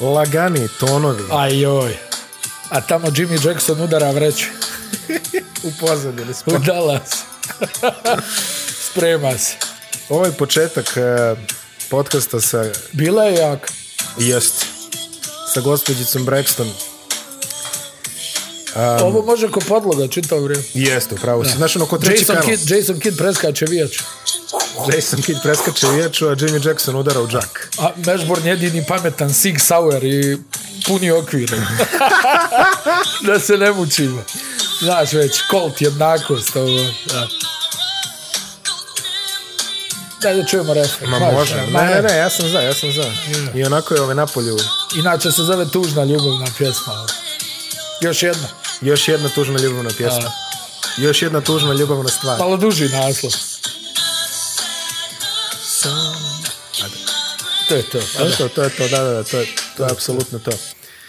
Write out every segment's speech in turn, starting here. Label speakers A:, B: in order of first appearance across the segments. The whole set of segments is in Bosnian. A: lagani tonovi
B: Ajoj. A tamo Jimmy Jackson udara vreću.
A: u pozadini. smo.
B: U Dallas. Sprema se.
A: Ovaj početak eh, podcasta sa
B: Bila je jaka.
A: jest sa gospođicom Braxton Um,
B: Ovo može ko podloga čitao vrijeme.
A: jeste, upravo si. Znaš, ono, ko treći
B: Jason
A: kanal.
B: Kidd, Jason Kidd preskače vijač.
A: Jason Kidd preskače vijaču, a Jimmy Jackson udara u džak.
B: A Mešborn jedini pametan Sig Sauer i puni okvir. da se ne mučimo. Znaš već, Colt jednakost. Ovo, da. Daj da čujemo refren.
A: Ma
B: Može,
A: može.
B: ma
A: Ne, ne, ne, ja sam za, ja sam za. I onako je ove napolju
B: Inače se zove tužna ljubavna pjesma. ali. Još jedna.
A: još jedna tužna ljubavna pjesma. Još jedna tužna ljubavna stvar.
B: Malo duži naslov. To je to.
A: To je to, to je to, da, da, da, to je, to je apsolutno to.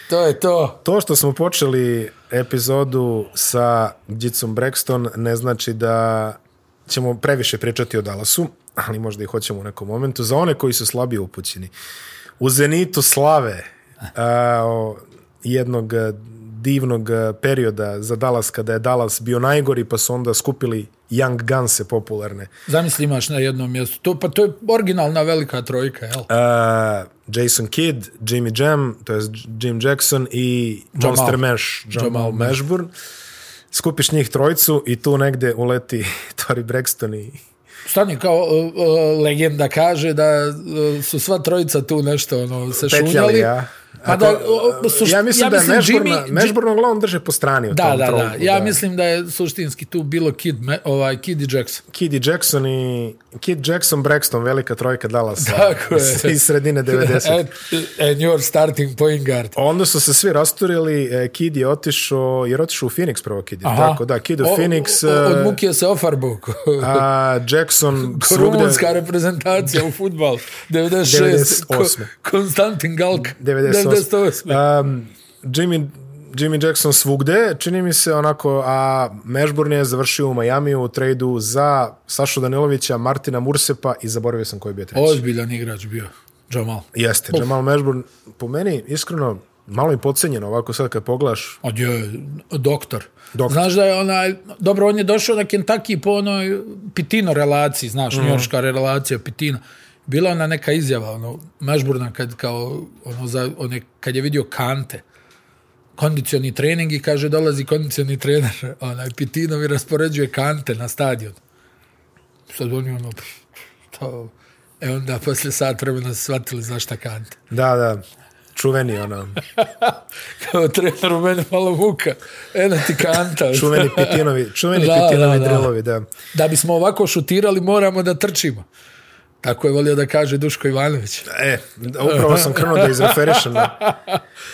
B: To je to.
A: To što smo počeli epizodu sa Djicom Braxton ne znači da ćemo previše pričati o Dallasu, ali možda i hoćemo u nekom momentu. Za one koji su slabije upućeni, u Zenitu slave a, o, jednog a, divnog a, perioda za Dallas, kada je Dallas bio najgori, pa su onda skupili Young Gunse popularne.
B: Zamisli imaš na jednom mjestu. To, pa to je originalna velika trojka, jel?
A: Uh, Jason Kidd, Jimmy Jam, to je Jim Jackson i
B: Jamal.
A: Monster Mash, Jamal,
B: Jamal
A: Jamal Mashburn. Skupiš njih trojicu i tu negde uleti Tori Braxton i...
B: Stani, kao uh, uh, legenda kaže da uh, su sva trojica tu nešto ono, se
A: Petljali,
B: šunjali.
A: ja.
B: Pa
A: A
B: da,
A: to-
B: uh, suš,
A: ja mislim da je Mashburn, Jimmy... Mashburn uglavnom drže po strani u
B: Da,
A: tom
B: da,
A: trolku,
B: da. Ja mislim da je suštinski tu bilo Kid, me, ovaj, Kid i Jackson.
A: Kid i Jackson i... Kid Jackson, Braxton, velika trojka Dallasa.
B: Tako je. E,
A: Iz sredine 90.
B: And, and your starting point guard.
A: Onda su se svi rasturili, e, Kid je otišao, jer otišao u Phoenix prvo Kid je, tako da, Kid u
B: O-
A: Phoenix,
B: o- o-
A: e,
B: Od Mukija se ofarbu.
A: a Jackson
B: Rumunska
A: svugde,
B: reprezentacija u futbal. 96.
A: 98..
B: Ko- Konstantin Galk.
A: 98. Um, Jimmy, Jimmy Jackson svugde, čini mi se onako, a Mashburn je završio u Majamiju u tradu za Sašu Danilovića, Martina Mursepa i zaboravio sam koji je bio treći.
B: Ozbiljan igrač bio. Jamal.
A: Jeste, Jamal Mashburn, po meni, iskreno, malo je pocenjeno ovako sad kad pogledaš.
B: On je e, doktor.
A: Doktor.
B: Znaš da je onaj, dobro, on je došao na Kentucky po onoj Pitino relaciji, znaš, mm.
A: Mhm.
B: njorška relacija Pitino. Bila ona neka izjava, ono, Mešburna kad, kao, ono, za, one, kad je vidio kante, kondicioni trening i kaže dolazi kondicioni trener, onaj Pitino mi raspoređuje kante na stadion. Sad oni ono, pff, to, e onda posle sat vremena su shvatili zašta kante.
A: Da, da, čuveni ono,
B: Kao trener u mene malo muka, eno ti kanta.
A: čuveni Pitinovi, čuveni
B: Da,
A: da,
B: da,
A: Pitinovi
B: da.
A: da, drilovi, da.
B: Da bismo ovako šutirali, moramo da trčimo. Tako je volio da kaže Duško Ivanović.
A: E, da, upravo sam krenuo da izreferišem na,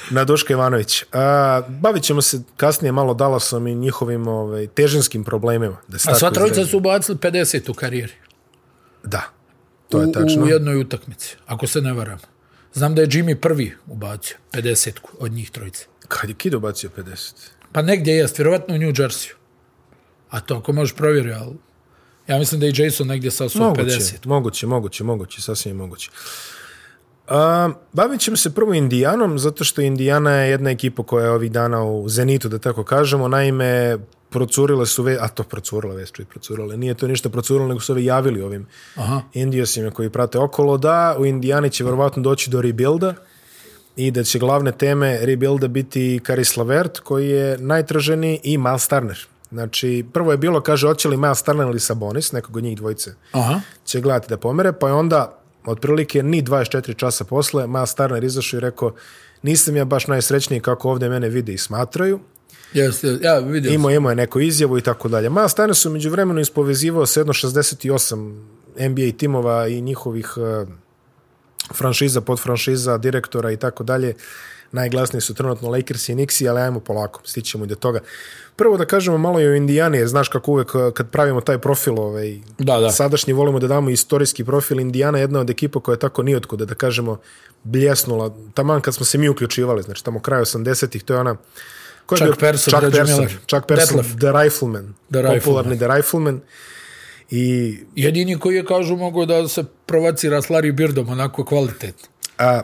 A: na Duška Ivanović. A, bavit ćemo se kasnije malo Dallasom i njihovim ovaj, težinskim problemima. Da se
B: A
A: tako
B: sva trojica
A: izrazim.
B: su ubacili 50 u karijeri.
A: Da, to je tačno.
B: U, u jednoj utakmici, ako se ne varam. Znam da je Jimmy prvi ubacio 50 od njih trojice.
A: Kad je Kid ubacio 50?
B: Pa negdje jest, vjerovatno u New Jerseyu. A to ako možeš provjeriti, ali ja mislim da je i Jason negdje sa 50.
A: Moguće, moguće, moguće, moguće, sasvim je moguće. A, bavit ćemo se prvo Indijanom, zato što Indijana je jedna ekipa koja je ovih dana u Zenitu, da tako kažemo. Naime, procurile su, ve, a to procurile, već čuj, procurile, nije to ništa procurilo, nego su ovi javili ovim
B: Aha.
A: Indiosima koji prate okolo, da u Indijani će verovatno doći do rebuilda i da će glavne teme rebuilda biti Karis Lavert koji je najtraženiji i Miles Turner. Znači, prvo je bilo, kaže, hoće li Miles Turner ili Sabonis, nekog od njih dvojice
B: Aha.
A: će gledati da pomere, pa je onda otprilike ni 24 časa posle Miles Turner izašao i rekao nisam ja baš najsrećniji kako ovde mene vide i smatraju,
B: Jeste, jeste. ja vidio sam.
A: imao, imao je neku izjavu i tako dalje. Miles Turner su među vremenu ispovezivao sa jedno 68 NBA timova i njihovih uh, franšiza, podfranšiza, direktora i tako dalje. Najglasniji su trenutno Lakers i Knicks, ali ajmo polako, stićemo i do toga. Prvo da kažemo malo i o Indijani, jer znaš kako uvek uh, kad pravimo taj profil ovaj,
B: Da, da.
A: sadašnji volimo da damo istorijski profil Indijana je jedna od ekipa koja je tako nijotkuda da kažemo bljesnula taman kad smo se mi uključivali znači tamo kraj 80-ih to je ona ko je
B: Chuck
A: Pa bio?
B: Persson,
A: Chuck
B: Reggie
A: Persson,
B: Miller.
A: Chuck Persson
B: Detlef.
A: The Rifleman
B: The
A: popularni The Rifleman i
B: Jedini koji je, kažu, mogo da se provocira s Larry Birdom onako kvalitetno.
A: a,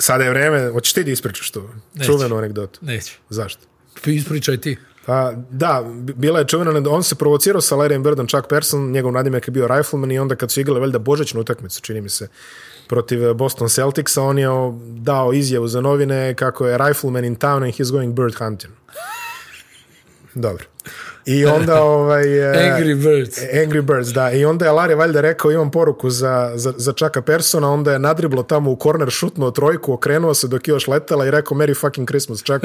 A: Sada je vreme, hoćeš ti da ispričaš to?
B: Neću.
A: Čuvenu anegdotu.
B: Neću.
A: Zašto?
B: Ispričaj ti.
A: Pa, da, bi- bila je čuvena, anegdota. on se provocirao sa Larrym Birdom, Chuck Person, njegov nadimak je bio Rifleman i onda kad su igrali valjda božećnu utakmicu, čini mi se, protiv e, Boston Celticsa, on je o- dao izjavu za novine kako je Rifleman in town and he's going bird hunting. Dobro. I onda ovaj... e,
B: Angry Birds.
A: Angry Birds, da. I onda je Larry valjda rekao imam poruku za, za, za Chucka Persona, onda je nadriblo tamo u korner, šutnuo trojku, okrenuo se dok je još letela i rekao Merry fucking Christmas, Chuck.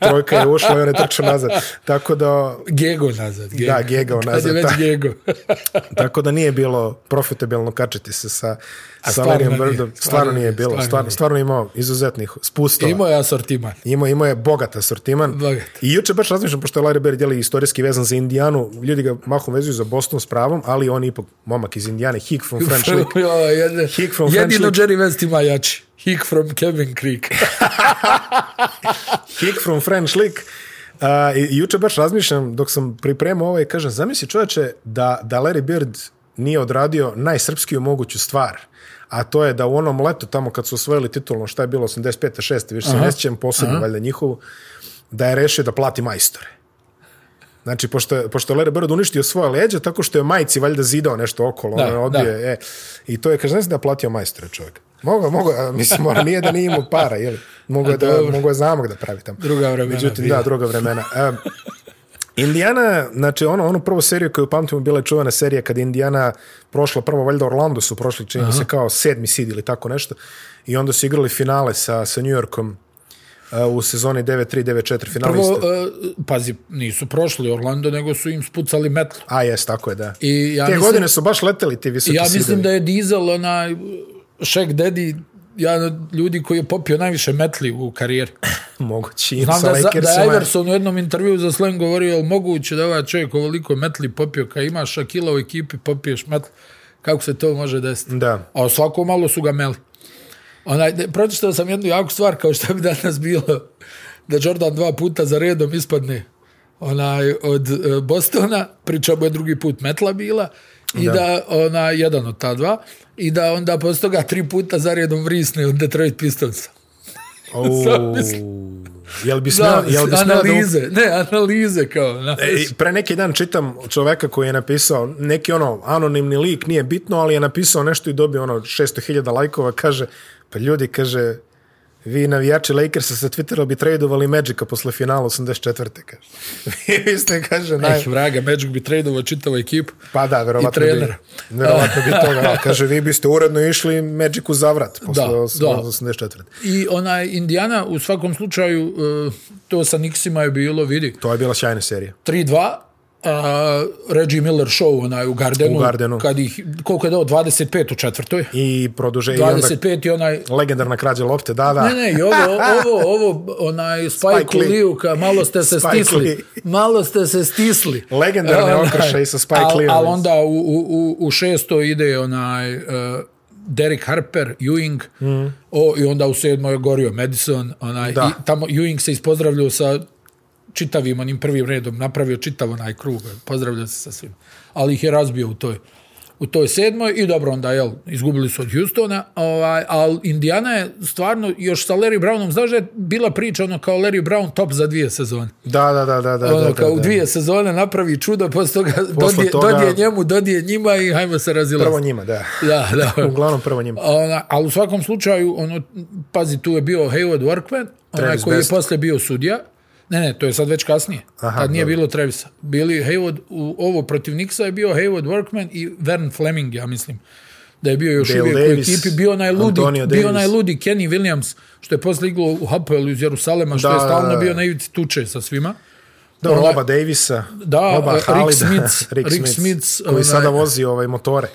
A: Trojka je ušla i on je trčao nazad. Tako da,
B: Gego nazad. Gego.
A: Da, gegao
B: Kad je
A: nazad,
B: već
A: da.
B: Gego.
A: tako da nije bilo profitabilno kačiti se sa, sa
B: stvarno
A: Larrym
B: nije,
A: Birdom. Stvarno nije bilo. Stvarno, stvarno,
B: nije.
A: imao izuzetnih spustova.
B: Imao je asortiman.
A: Imao, imao je bogat asortiman.
B: Bogat.
A: I juče baš razmišljam, pošto je Larry Bird je istorijski vezan za Indijanu, ljudi ga mahom vezuju za Boston s pravom, ali on je ipak momak iz Indijane, Hick from French Lick.
B: Jo, jedne-
A: Hick from
B: Jedino
A: French Lick.
B: Jerry West ima jači. Hick from Kevin Creek.
A: Hick from French Lick. Uh, i, i juče baš razmišljam, dok sam pripremao ovo i kažem, zamisli čoveče da, da Larry Bird nije odradio najsrpskiju moguću stvar, a to je da u onom letu tamo kad su osvojili titulno, šta je bilo 85. 6. više se ne sjećam, posebno valjda njihovu, da je rešio da plati majstore. Znači, pošto, je- pošto je Larry Bird uništio svoje leđe, tako što je majci valjda zidao nešto okolo.
B: Da,
A: Da, ono, odbio,
B: da.
A: je, E, I to je, kaže, ne znam da je platio majstora čovjek. Mogu, mogu, a, mislim, ono, nije da nije imao para, jel? Mogu je da,
B: dobro.
A: mogu je zamog da pravi tamo.
B: Druga vremena
A: Međutim,
B: bila.
A: da, druga vremena. Um, Indiana, znači ono, ono prvo seriju koju pamtimo bila je čuvena serija kada je Indiana prošla prvo, valjda Orlando su prošli, čini mi se kao sedmi sid ili tako nešto, i onda su igrali finale sa, sa New Yorkom uh, u sezoni 9-3-9-4
B: Prvo,
A: finaliste.
B: e, pazi, nisu prošli Orlando, nego su im spucali metlu.
A: A jes, tako je, da.
B: I ja
A: Te
B: mislim-
A: godine su baš leteli ti visoki
B: Ja
A: sidovi.
B: mislim da je Diesel, onaj, Shaq Daddy, jedan od ljudi koji je popio najviše metli u karijeri.
A: Moguće, im
B: Znam
A: sa
B: da, za- da je
A: Lakersima.
B: Iverson u jednom intervju za Slang govorio, je li moguće da ovaj čovjek ovoliko metli popio, kad imaš Šakila u ekipi, popiješ metli, kako se to može desiti?
A: Da.
B: A svako malo su ga meli. Onaj, de- pročitao sam jednu jaku stvar, kao što bi danas bilo, da Jordan dva puta za redom ispadne onaj, od e, Bostona, priča mu je drugi put metla bila, i da, da ona, jedan od ta dva, i da onda posle toga tri puta za redom vrisne od Detroit Pistonsa.
A: Au.
B: Zamisli.
A: Jel bi smeo,
B: Da,
A: jel bi smeo da
B: analize, ne, analize kao. Na,
A: E, pre neki dan čitam čoveka koji je napisao neki ono anonimni lik, nije bitno, ali je napisao nešto i dobio ono 600.000 lajkova, kaže, pa ljudi, kaže, vi navijači Lakersa sa Twittera bi tradovali Magica posle finala 84. Kaže. vi ste, kaže, naj...
B: Eh, vraga, Magic bi tradeovao čitavu ekipu.
A: Pa da, verovatno
B: I
A: bi,
B: trenera.
A: verovatno bi toga. ali Kaže, vi biste uredno išli Magicu za vrat posle
B: Da,
A: da,
B: da.
A: 84.
B: I ona Indiana, u svakom slučaju, eh, to sa Nixima je bilo, vidi,
A: To je bila sjajna serija.
B: 3-2, a, Reggie Miller show onaj u Gardenu,
A: U Gardenu.
B: kad ih, koliko je dao, 25 u četvrtoj,
A: I produže, i onda
B: 25 i onaj,
A: legendarna krađa lopte, da, da.
B: ne, ne, i ovo, ovo, ovo, onaj Spike,
A: Spike Lee.
B: Lee, ka, malo ste se
A: Spike Lee.
B: stisli, malo ste se stisli.
A: Legendarne
B: Onaj,
A: okršaje sa Spike
B: al-
A: Lee-om.
B: al onda u, u, u, u šesto ide onaj uh, Derek Harper, Ewing, mm. o, i onda u sedmoj je gorio Madison, onaj,
A: Da.
B: i tamo Ewing se ispozdravljao sa čitavim onim prvim redom, napravio čitav onaj krug, pozdravljao se sa svim. Ali ih je razbio u toj u toj sedmoj i dobro onda jel izgubili su od Houstona, ovaj al Indiana je stvarno još sa Larry Brownom znaš da je bila priča ono kao Larry Brown top za dvije sezone
A: Da, da, da, da, da.
B: ono,
A: da,
B: kao u
A: da,
B: dvije sezone napravi čudo, posle toga, dodije,
A: toga-
B: dodije njemu, dodije njima i hajmo se
A: da.
B: razilaziti.
A: Prvo njima, da.
B: Da, da.
A: Uglavnom prvo njima.
B: Ona, ali u svakom slučaju, ono, pazi, tu je bio Hayward Workman, onaj
A: Travis
B: koji
A: Best.
B: je posle bio sudija. Ne, ne, to je sad već kasnije.
A: Aha,
B: Aha, Tad nije
A: dobro.
B: bilo Travisa. Bili Hayward, u, ovo protiv Nixa je bio Hayward Workman i Vern Fleming, ja mislim. Da je bio još
A: Dale
B: uvijek
A: Davis,
B: u ekipi. Bio onaj ludi,
A: Antonio Davis.
B: bio onaj ludi Kenny Williams, što je posle iglo u Hapoelu iz Jerusalema, što
A: Da,
B: je
A: da,
B: stalno
A: da.
B: bio na ivici tuče sa svima.
A: Dobro,
B: Onaj-
A: oba Davisa,
B: ono- Da,
A: oba
B: eh, Rick Smith,
A: Rick,
B: Rick
A: Smith,
B: Smith,
A: koji
B: onaj-
A: sada vozi ovaj motore.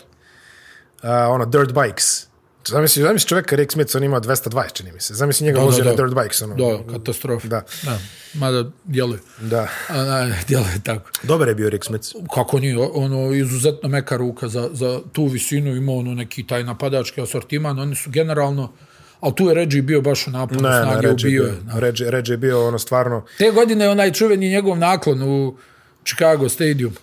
A: Uh, ono, dirt bikes. Zamisli, zamisli čoveka Rick Smith, on ima 220, čini mi se. Zamisli njega
B: da,
A: vozi na
B: da.
A: dirt bikes. Ono.
B: Do, katastrofa.
A: Da.
B: da. Mada djeluje.
A: da.
B: Ona, djeluje tako.
A: Dobar je bio Rick Smith.
B: Kako nije, ono, izuzetno meka ruka za, za tu visinu, ima ono neki taj napadački asortiman, oni su generalno, ali tu je Reggie bio baš u napadu,
A: Ne, ne,
B: snage
A: Reggie je
B: ubio je.
A: bio. Reggie, Reggie je bio ono stvarno...
B: Te godine je onaj čuveni njegov naklon u Chicago Stadium.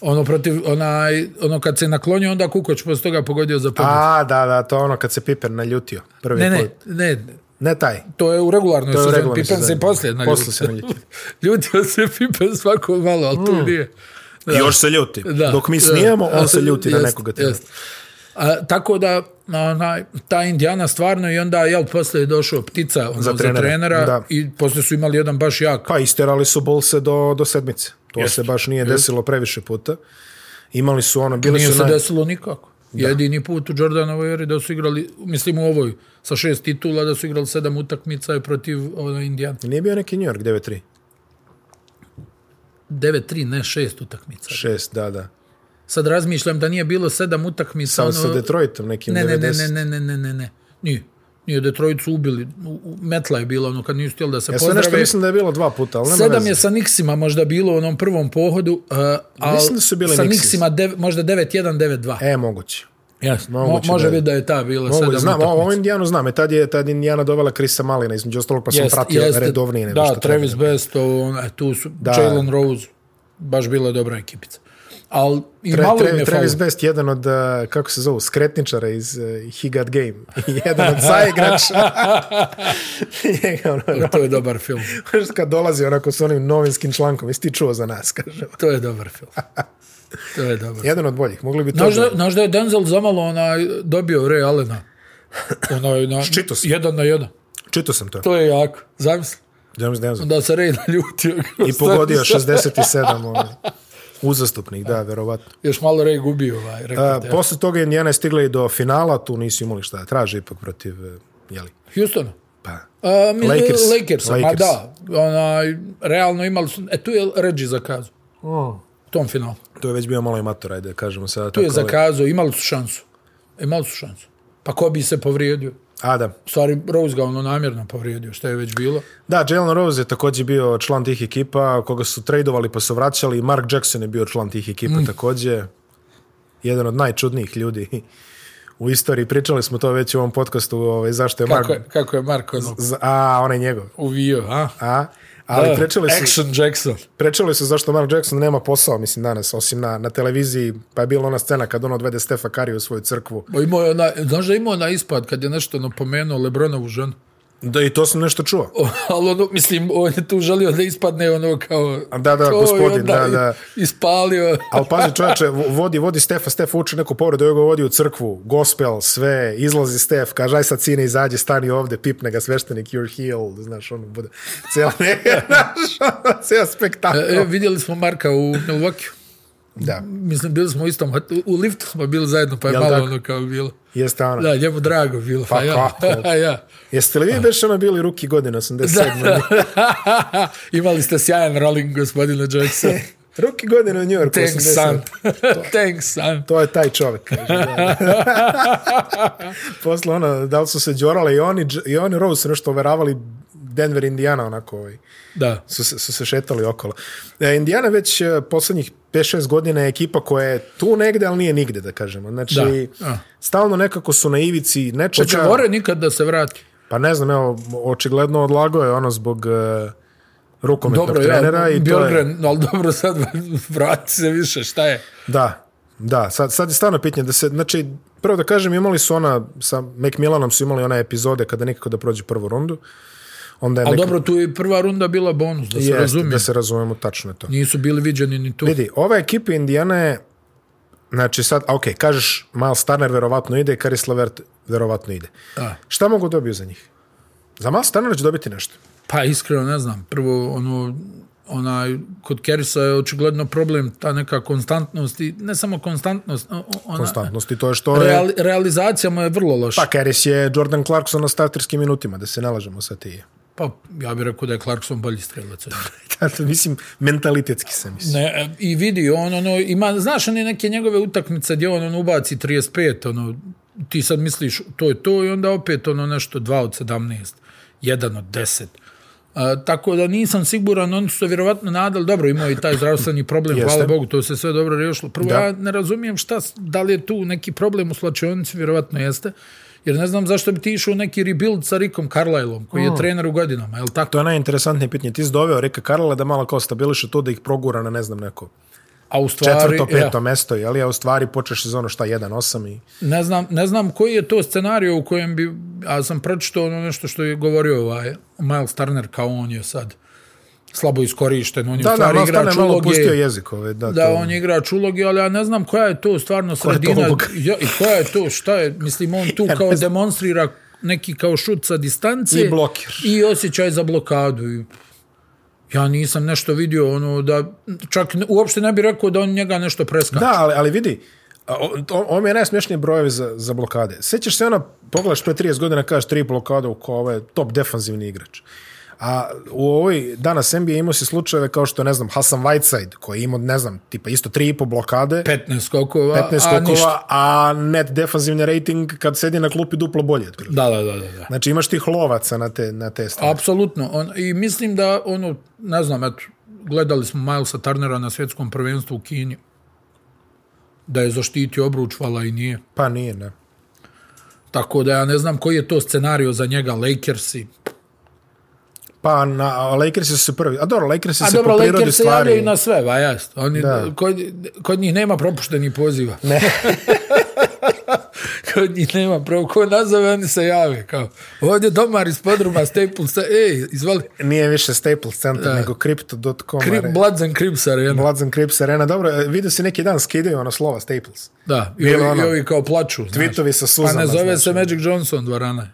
B: Ono protiv, onaj, ono kad se naklonio, onda Kukoć posle toga pogodio za pobjedu.
A: A, da, da, to ono kad se Piper naljutio. Prvi
B: Ne, ne,
A: put.
B: ne,
A: Ne taj.
B: To je u regularnoj
A: To je u
B: sezoni.
A: regularnoj
B: Pippen se
A: sezoni.
B: poslije na
A: Poslije se naljuti.
B: ljudi se Pippen svako malo, ali tu nije. Da.
A: Još se ljuti.
B: Da.
A: Mm. Dok mi snijemo,
B: Da.
A: on se ljuti na
B: Jest,
A: nekoga. trenera.
B: jest. A, tako da, onaj, ta Indiana stvarno i onda, jel, posle je došao ptica ono, za trenera,
A: trenera,
B: za trenera
A: da.
B: i posle su imali jedan baš jak.
A: Pa isterali su Bolse do, do sedmice. To
B: Jeste.
A: se baš nije desilo previše puta. Imali su ono, bili
B: Nije
A: su
B: se
A: naj...
B: desilo nikako. Jedini put u Jordanovoj eri da su igrali, mislim u ovoj, sa šest titula, da su igrali sedam utakmica je protiv ono, Indijana.
A: Nije bio neki New York 9-3.
B: 9-3, ne šest utakmica.
A: 6, da, da.
B: Sad razmišljam da nije bilo sedam
A: Sa,
B: utakmica.
A: sa Detroitom nekim
B: Ono, ne,
A: 90.
B: ne, ne, ne, ne, ne, ne, ne, ne. Nije. Nije Detroit su ubili. U- u- Metla je bila ono kad nisu htjeli da se
A: Ja sam E, nešto
B: pozdrave.
A: mislim da je bilo dva puta, ali nema
B: Sedam
A: veze.
B: je sa Nixima možda bilo u onom prvom pohodu, uh, ali
A: Mislim da su bili
B: sa
A: Nixi.
B: Nixima dev, možda 9-1, 9-2.
A: E, moguće.
B: Yes, mo,
A: moguće
B: može
A: da je.
B: biti da je ta bila
A: Mogu,
B: sedam
A: znam,
B: utakmica.
A: ovo Indijanu znam, e, tad je tad je Indijana dovela Krisa Malina, između ostalog, pa sam
B: Jeste,
A: pratio
B: jeste.
A: redovnije nego
B: Da,
A: što
B: Travis
A: treba.
B: Best, ovo, ono, e, tu su, Jalen Rose, baš bila dobra ekipica. Ali i
A: Tre,
B: malo im
A: tre,
B: je
A: Travis
B: falilo.
A: Best, jedan od, a, kako se zovu, skretničara iz uh, He Got Game. jedan od saigrača. Njega, ono,
B: To je dobar film.
A: Znaš, kad dolazi onako s onim novinskim člankom, jesi ti čuo za nas, kaže.
B: To je dobar film. To je dobar
A: Jedan od boljih, mogli bi to...
B: Znaš
A: da-
B: da, znaš da je Denzel zamalo onaj, dobio Ray Allena. Onaj, na,
A: Čitao sam.
B: Jedan na jedan.
A: Čitao sam to.
B: To je jako. Zamisli.
A: James Denzel.
B: Da se Ray naljutio.
A: I pogodio 67 ovaj, uzastopnih, da, verovatno.
B: Još malo Ray gubio ovaj
A: A,
B: rekord. ja.
A: posle toga Indiana je stigla i do finala, tu nisu imali šta da traže, ipak protiv, eh, jeli,
B: Houston.
A: pa...
B: A, mi, Lakers.
A: Lakers.
B: Lakers. Ma
A: Lakers.
B: da. Onaj, realno imali su... E, tu je Reggie zakazao. U tom finalu.
A: To je već bio malo amator, ajde, da kažemo sada. eh,
B: Tu je zakazao. Imali su šansu. Imali su šansu. Pa ko bi se povrijedio?
A: A, da.
B: U stvari, Rose ga ono namjerno povrijedio, što je već bilo.
A: Da, Jalen Rose je takođe bio član tih ekipa, koga su tradovali pa su vraćali. Mark Jackson je bio član tih ekipa mm. takođe. Jedan od najčudnijih ljudi u istoriji. Pričali smo to već u ovom podcastu, ovaj, zašto je Mark...
B: Kako je, kako je Marko ono
A: Z- A, onaj njegov.
B: uvio, a?
A: A, ali
B: Da,
A: pričali su,
B: Action Jackson.
A: pričali su zašto Mark Jackson nema posao, mislim, danas, osim na, na televiziji, pa je bila ona scena kad on odvede Stefa Karija u svoju crkvu.
B: Ba imao je ona, znaš da je imao ona ispad kad je nešto napomenuo Lebronovu ženu.
A: Da, i to sam nešto čuo.
B: O, Ali ono, mislim, on je tu želio da ispadne ono kao...
A: Da, da,
B: to i
A: gospodin,
B: onda
A: da,
B: je
A: da.
B: Ispalio.
A: Ali pazi čovječe, vo- vodi, vodi Stefa, Stefa uči neku povredu, ovaj ga vodi u crkvu, gospel, sve, izlazi Stef, kaže, aj sad sine, izađi, stani ovde, pipne ga sveštenik, you're healed, znaš, ono bude, cijela ne, znaš, ono, cijela spektakl.
B: E, vidjeli smo Marka u Milwaukee.
A: Da,
B: Mislim, bili smo u istom, hot- u liftu smo bili zajedno, pa je
A: Jel
B: malo
A: tako?
B: ono kao bilo.
A: jeste ono.
B: Da, njemu drago bilo, pa,
A: Pa
B: ja.
A: kako?
B: ja.
A: Jeste li vi beš ono bili ruki godine, ono? 87.
B: Da, da. Imali ste sjajan rolling, gospodine Jackson.
A: Ruki godine u New Yorku,
B: Thanks,
A: 87.
B: son. Thanks, son.
A: To je taj čovjek. Kaže, da. Posle ono, da li su se džorali i oni, Dž- i oni Rose su nešto overavali Denver, Indiana, onako ovaj.
B: Da.
A: su, se- su se šetali okolo. E, Indiana već e, poslednjih 5-6 godina je ekipa koja je tu negde, ali nije nigde, da kažemo. Znači,
B: Da, a.
A: da. stalno nekako su na ivici
B: Hoće
A: nečega.
B: Vore nikad da se vrati.
A: Pa ne znam, evo, očigledno odlago je ono zbog e, rukometnog
B: Dobro,
A: trenera.
B: ja,
A: i To je,
B: Bjorgren, ali dobro, sad vrati se više, šta je?
A: da, da, sad, sad je stvarno pitanje. Da se, znači, prvo da kažem, imali su ona, sa Macmillanom su imali one epizode kada nikako da prođe prvu rundu. Onda je
B: Ali
A: Mac-
B: dobro, tu je i prva runda bila bonus, da se
A: Jeste,
B: razumije.
A: da se razumemo, tačno je to.
B: Nisu bili viđeni ni tu.
A: Vidi, ova ekipa Indijana je, znači sad, ok, kažeš Miles Turner verovatno ide, Karis Levert verovatno ide.
B: Da.
A: Šta mogu dobiju za njih? Za Miles Turner će dobiti nešto.
B: Pa iskreno ne znam, prvo ono, onaj, kod Kerisa je očigledno problem ta neka konstantnost i ne samo konstantnost, o- o- ona,
A: Konstantnost i to je što je...
B: reali, realizacija mu je vrlo loša.
A: Pa Karis je Jordan Clarkson na starterskim minutima, da se nalažemo sa ti.
B: Pa, ja bih rekao da je Clarkson bolji strelac. od njega.
A: Zato, mislim, mentalitetski sam mislim.
B: Ne, e, I vidi, on, ono, ima, znaš, one neke njegove utakmice gdje on, on ubaci 35, ono, ti sad misliš, to je to, i onda opet, ono, nešto 2 od 17, 1 od 10. A, tako da nisam siguran, oni su se vjerovatno nadali, dobro, imao je i taj zdravstveni problem,
A: Jeste.
B: hvala Bogu, to se sve dobro riješilo. Prvo,
A: Da.
B: ja ne razumijem šta, s- da li je tu neki problem u slačionici, vjerovatno jeste, jer ne znam zašto bi ti išao u neki rebuild sa Rikom Carlisleom, koji
A: Mm.
B: je trener u godinama, je li tako?
A: To je najinteresantnije pitanje. Ti si doveo Rika Karla da malo kao stabiliše to da ih progura na ne znam neko
B: A u stvari,
A: Četvrto, peto
B: ja,
A: mesto, jeli? A u stvari počeš sezono šta, 1-8 i...
B: ne, znam, ne znam koji je to scenario u kojem bi, ja sam pročitao ono nešto što je govorio ovaj Miles Turner kao on je sad slabo iskorišten, on je u
A: Da, da,
B: stvari
A: malo
B: igrač
A: stane malo
B: uloge.
A: opustio jezik ove. Da,
B: da
A: to-
B: on je igrač uloge, ali ja ne znam koja je to stvarno
A: je to
B: sredina.
A: uloga?
B: ja, I koja je to, šta je, mislim, on tu kao demonstrira neki kao šut sa distance.
A: I blokir.
B: I osjećaj za blokadu. I ja nisam nešto vidio, ono, da, čak ne- uopšte ne bih rekao da on njega nešto preskače.
A: Da, ali, ali vidi, a, o- o- ovo mi je najsmješniji brojevi za, za blokade. Sećaš se ona, pogledaš pre 30 godina, kažeš tri blokada u ko ovo je top defanzivni igrač. A u ovoj danas NBA imao si slučajeve kao što, je, ne znam, Hasan Whiteside, koji je imao, ne znam, tipa isto 3,5 blokade,
B: 15 skokova,
A: 15
B: a ništa.
A: skokova, a net defanzivni rating kad sedi na klupi duplo bolje. otprilike.
B: Da, da, da, da. da.
A: Znači imaš tih lovaca na te, na te stvari.
B: Apsolutno. On, I mislim da, ono, ne znam, eto, gledali smo Milesa Turnera na svjetskom prvenstvu u Kini, da je zaštitio obruč, vala i nije.
A: Pa nije, ne.
B: Tako da ja ne znam koji je to scenario za njega, Lakersi.
A: Pa na, a Lakersi su se prvi. A dobro, Lakersi
B: A
A: se
B: Pa dobro,
A: po prirodi
B: Lakersi se
A: stvari...
B: javljaju na sve, ba jasno. Oni,
A: Da.
B: kod, kod njih nema propuštenih poziva.
A: Ne.
B: kod njih nema propuštenih. Ko nazove, oni se jave. Kao, ovdje domar iz podruma, Staples, ej, izvali.
A: Nije više Staples Center, da. nego Crypto.com.
B: Kri,
A: are-
B: Bloods and Crips arena.
A: Bloods and Crips Arena. Dobro, e, vidio si neki dan skidaju ono slova Staples.
B: Da, i
A: Bilo
B: ovi, i
A: ono.
B: ovi kao plaču. znaš.
A: Tweetovi sa
B: Pa
A: suzama.
B: ne zove
A: znači.
B: se Magic Johnson dvorana.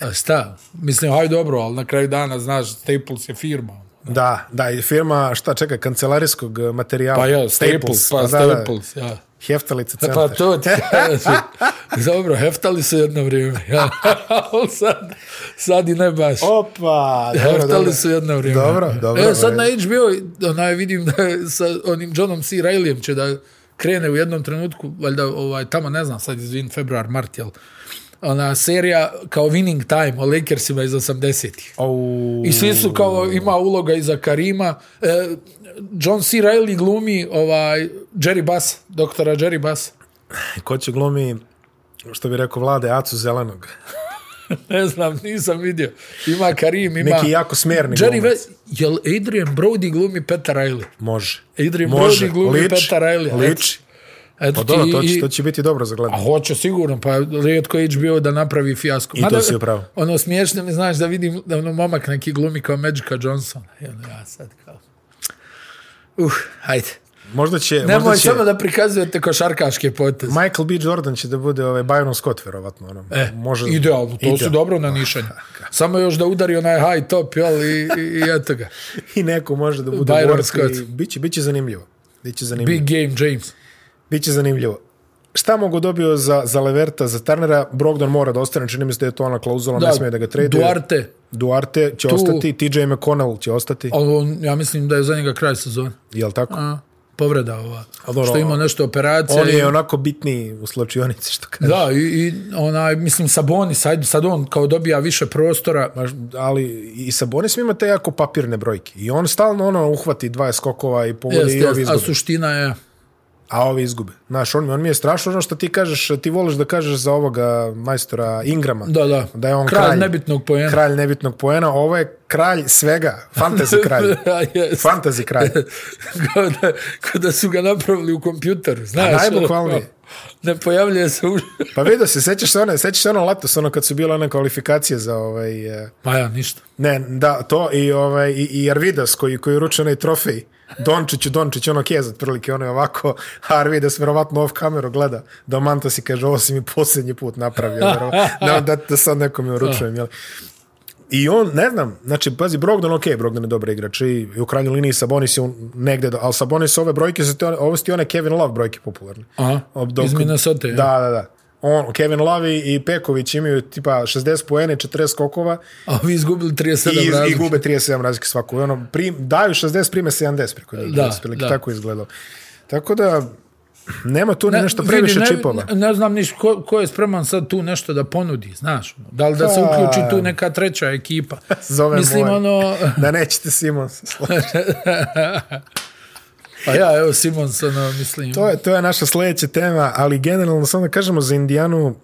B: A šta? Mislim, aj dobro, ali na kraju dana, znaš, Staples je firma.
A: Da, da, i firma, šta čeka, kancelarijskog e, materijala.
B: Pa ja, Staples, pa
A: da, da,
B: Staples, ja.
A: Heftalice
B: E,
A: centar.
B: Pa to ti kažem. Dobro, heftali su jedno vrijeme. Ja. Ali sad, sad i ne baš.
A: Opa, dobro, dobro.
B: Heftali su jedno vrijeme.
A: Dobro, dobro.
B: E, sad
A: u
B: na
A: redu.
B: HBO, onaj vidim da je sa onim Johnom C. Reillyem će da krene u jednom trenutku, valjda ovaj, tamo ne znam, sad izvin, februar, mart, jel? Ona serija kao Winning Time o Lakersima iz 80-ih.
A: Au,
B: I svi su kao, ima uloga iza Karima. E, John C. Reilly glumi ovaj, Jerry Bass, doktora Jerry Bass.
A: ko će glumi, što bi rekao vlade, Acu Zelenog.
B: Ne znam, nisam vidio. Ima Karim, ima...
A: Neki jako smjerni
B: Jerry
A: glumac.
B: West, jel Adrian Brody glumi Petar Riley?
A: Može.
B: Adrian
A: Može.
B: Brody glumi
A: Lič,
B: Petar Riley.
A: Lič.
B: Eto
A: Pa dobro,
B: ti
A: to će,
B: i-
A: to će biti dobro za
B: A
A: gledanje.
B: hoće sigurno, pa rijetko je HBO da napravi fijasko.
A: I to si upravo.
B: Ono smiješno mi, znaš, da vidim da ono momak neki glumi kao Magica Johnsona. I ono, ja sad kao... Uh, hajde.
A: Možda će... možda
B: Nemoj
A: će...
B: samo da prikazujete košarkaške poteze.
A: Michael B. Jordan će da bude ovaj Byron Scott, verovatno. Ono.
B: E, Može, idealno, to ideal. su dobro na nišanje. Samo još da udari onaj high top, jel, i, i, i eto ga.
A: I neko može da bude
B: Byron
A: Byron
B: Scott.
A: Scott. Biće, biće zanimljivo. Biće zanimljivo.
B: Big
A: Big.
B: game, James.
A: Biće zanimljivo. Šta mogu dobio za, za Leverta, za Turnera? Brogdon mora da ostane, čini mi se da je to ona klauzula, ne smije da ga traduje.
B: Duarte,
A: Duarte će tu. ostati, TJ McConnell će ostati,
B: ali on, ja mislim da je za njega kraj sezone.
A: jel tako?
B: A, povreda ova.
A: dobro,
B: što ima nešto operacije.
A: On je ono- onako bitni u slačionici, što kaže.
B: Da, i, i onaj, mislim, Sabonis, ajde, sad on kao dobija više prostora.
A: Baš, ali i sa Bonisima imate jako papirne brojke. I on stalno ono uhvati 20 skokova i povodi
B: Jest,
A: i ovi
B: jest, a
A: izgube.
B: suština je...
A: a ovi izgube. Znaš, on, mi- on mi je strašno ono što ti kažeš, ti voliš da kažeš za ovoga majstora Ingrama.
B: Da, da.
A: Da je on
B: kralj.
A: kralj.
B: nebitnog poena.
A: Kralj nebitnog poena, ovo je kralj svega. Fantasy kralj.
B: yes.
A: Fantasy kralj.
B: kao, da, kao da su ga napravili u kompjuteru, znaš.
A: najbukvalnije.
B: ono, Ne pojavljuje se už...
A: Pa vidio se, sećaš se one, sećaš se ono letos, ono kad su bile one kvalifikacije za ovaj... eh,
B: Ma ja, ništa.
A: Ne, da, to i, ovaj, i, i Arvidas koji, koji uruče onaj trofej. Dončiću, Dončić, ono kez otprilike, ono je ovako, a Arvidas verovatno off kameru gleda, da Mantas i kaže, ovo si mi posljednji put napravio, verovatno, da, da, da sad nekom je uručujem, jel? I on, ne znam, znači, pazi, Brogdon, ok, Brogdon je dobar igrač i u krajnjoj liniji Sabonis je on negde, do, ali Sabonis ove brojke, su te, one- ovo su ti one Kevin Love brojke popularne.
B: Aha, iz Minnesota. ja.
A: Da, da, da. On, Kevin Love i Peković imaju tipa 60 poene, 40 skokova,
B: A vi izgubili 37
A: i, iz- i
B: razlike.
A: gube 37 razlike svako. I Ono, prim, daju 60, prime 70 preko njih.
B: Da,
A: Da,
B: da.
A: da. Tako je izgledalo. Tako da, nema tu ne, nešto previše
B: vidi, ne,
A: čipova.
B: Ne, ne znam niš ko, ko je spreman sad tu nešto da ponudi, znaš. ono. Da li da se uključi tu neka treća ekipa.
A: Pa. Zove
B: Mislim,
A: moje.
B: ono...
A: Da nećete Simon se složiti.
B: Pa ja, evo Simonsona, mislim.
A: To je, to je naša sljedeća tema, ali generalno samo da kažemo za Indijanu,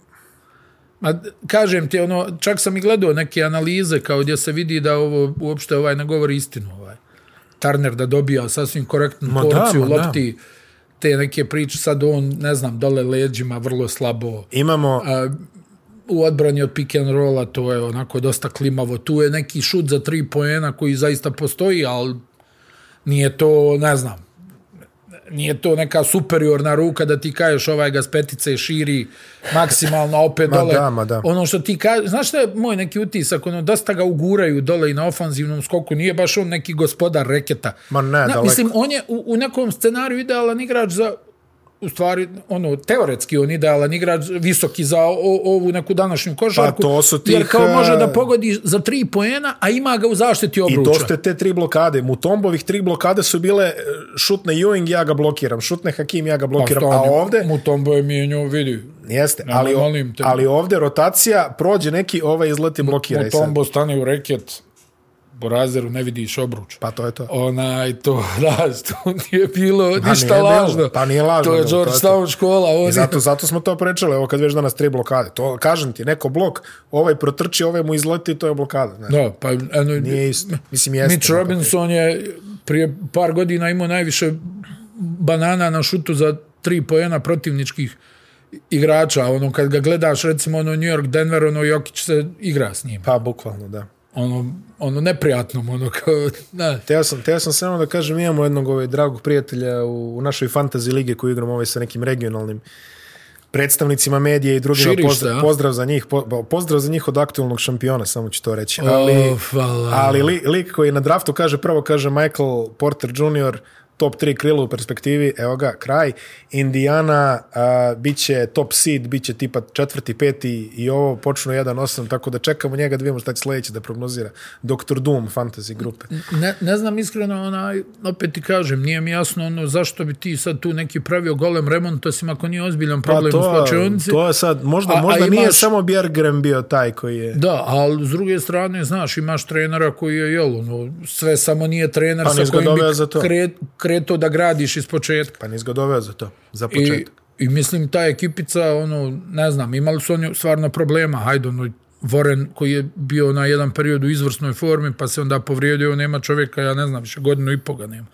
B: Ma, kažem ti, ono, čak sam i gledao neke analize kao gdje se vidi da ovo uopšte ovaj ne govori istinu. Ovaj. Turner da dobija sasvim korektnu
A: Ma da,
B: porciju
A: ma da.
B: lopti, te neke priče, sad on, ne znam, dole leđima, vrlo slabo.
A: Imamo,
B: U odbrani od pick and rolla to je onako dosta klimavo. Tu je neki šut za tri poena koji zaista postoji, ali nije to, ne znam, nije to neka superiorna ruka da ti kažeš ovaj ga s petice širi maksimalno a opet
A: Ma
B: dole.
A: da, ma da.
B: Ono što ti kažeš, znaš što je moj neki utisak, ono, dosta ga uguraju dole i na ofanzivnom skoku, nije baš on neki gospodar reketa.
A: Ma ne, daleko.
B: Mislim, on je u, u nekom scenariju idealan igrač za u stvari, ono, teoretski on idealan igrač, visoki za o, ovu neku današnju košarku.
A: Pa to su tih,
B: Jer kao može da
A: eh,
B: pogodi za tri poena, a ima ga u zaštiti
A: I
B: obruča.
A: dosta je te tri blokade. Mutombovih tri blokade su bile e, šutne Ewing, ja ga blokiram, šutne Hakim, ja ga
B: Pa
A: blokiram. A ovde,
B: Mutombo je mijenio, vidi.
A: jeste,
B: Nemoj,
A: ali,
B: molim te.
A: ali ovde rotacija, prođe neki, ovaj izleti, blokira. i sad.
B: Mutombo stane u reket, Borazeru ne vidiš obruč.
A: Pa to je to.
B: Onaj, to, da, to nije bilo pa ništa
A: nije bilo,
B: lažno.
A: pa nije lažno
B: To je
A: bilo, to je to.
B: Georgetown škola.
A: I
B: Oni,
A: zato, zato smo to prečali, evo kad već danas tri blokade. To, kažem ti, neko blok, ovaj protrči, ovaj mu izleti, to je blokada. Ne,
B: Da, pa, eno,
A: nije isto. Mislim, jeste.
B: Mitch Robinson je prije par godina imao najviše banana na šutu za tri pojena protivničkih igrača. Ono, kad ga gledaš, recimo, ono, New York, Denver, ono, Jokić se igra s njim.
A: Pa, bukvalno, da.
B: Ono, ono, neprijatnom, ono, kao, da,
A: Teo sam, teo sam samo da kažem, imamo jednog ovaj dragog prijatelja u, u našoj fantasy lige koju igram ovaj sa nekim regionalnim predstavnicima medija i drugima.
B: Širiš se, a?
A: pozdrav, pozdrav, za njih, po, bo- pozdrav za njih od aktualnog šampiona, samo ću to reći. Ali,
B: O, hvala.
A: ali li, lik koji na draftu kaže, prvo kaže Michael Porter Jr., top 3 krila u perspektivi, evo ga, kraj. Indiana a, bit će top seed, bit će tipa četvrti, peti i ovo počnu 1-8, tako da čekamo njega da vidimo šta će sledeće da prognozira. Dr. Doom, fantasy grupe.
B: Ne, ne znam iskreno, onaj, opet ti kažem, nije mi jasno ono zašto bi ti sad tu neki pravio golem remont, osim ako nije ozbiljan problem u slačionici.
A: Pa To je sad, možda,
B: A- a
A: a, možda a nije
B: imaš-
A: samo Bjergren bio taj koji je...
B: Da, ali s druge strane, znaš, imaš trenera koji je, jel, ono, sve samo nije trener
A: Pa
B: sa
A: nisi ga
B: kojim
A: doveo za
B: bi
A: to.
B: kre, kreto da gradiš iz početka.
A: Pa nis ga doveo za to, za
B: I,
A: početak.
B: I mislim, ta ekipica, ono, ne znam, imali su oni stvarno problema. Hajde, ono, Voren koji je bio na jedan period u izvrsnoj formi, pa se onda povrijedio, nema čovjeka, ja ne znam, više godinu i po ga nema.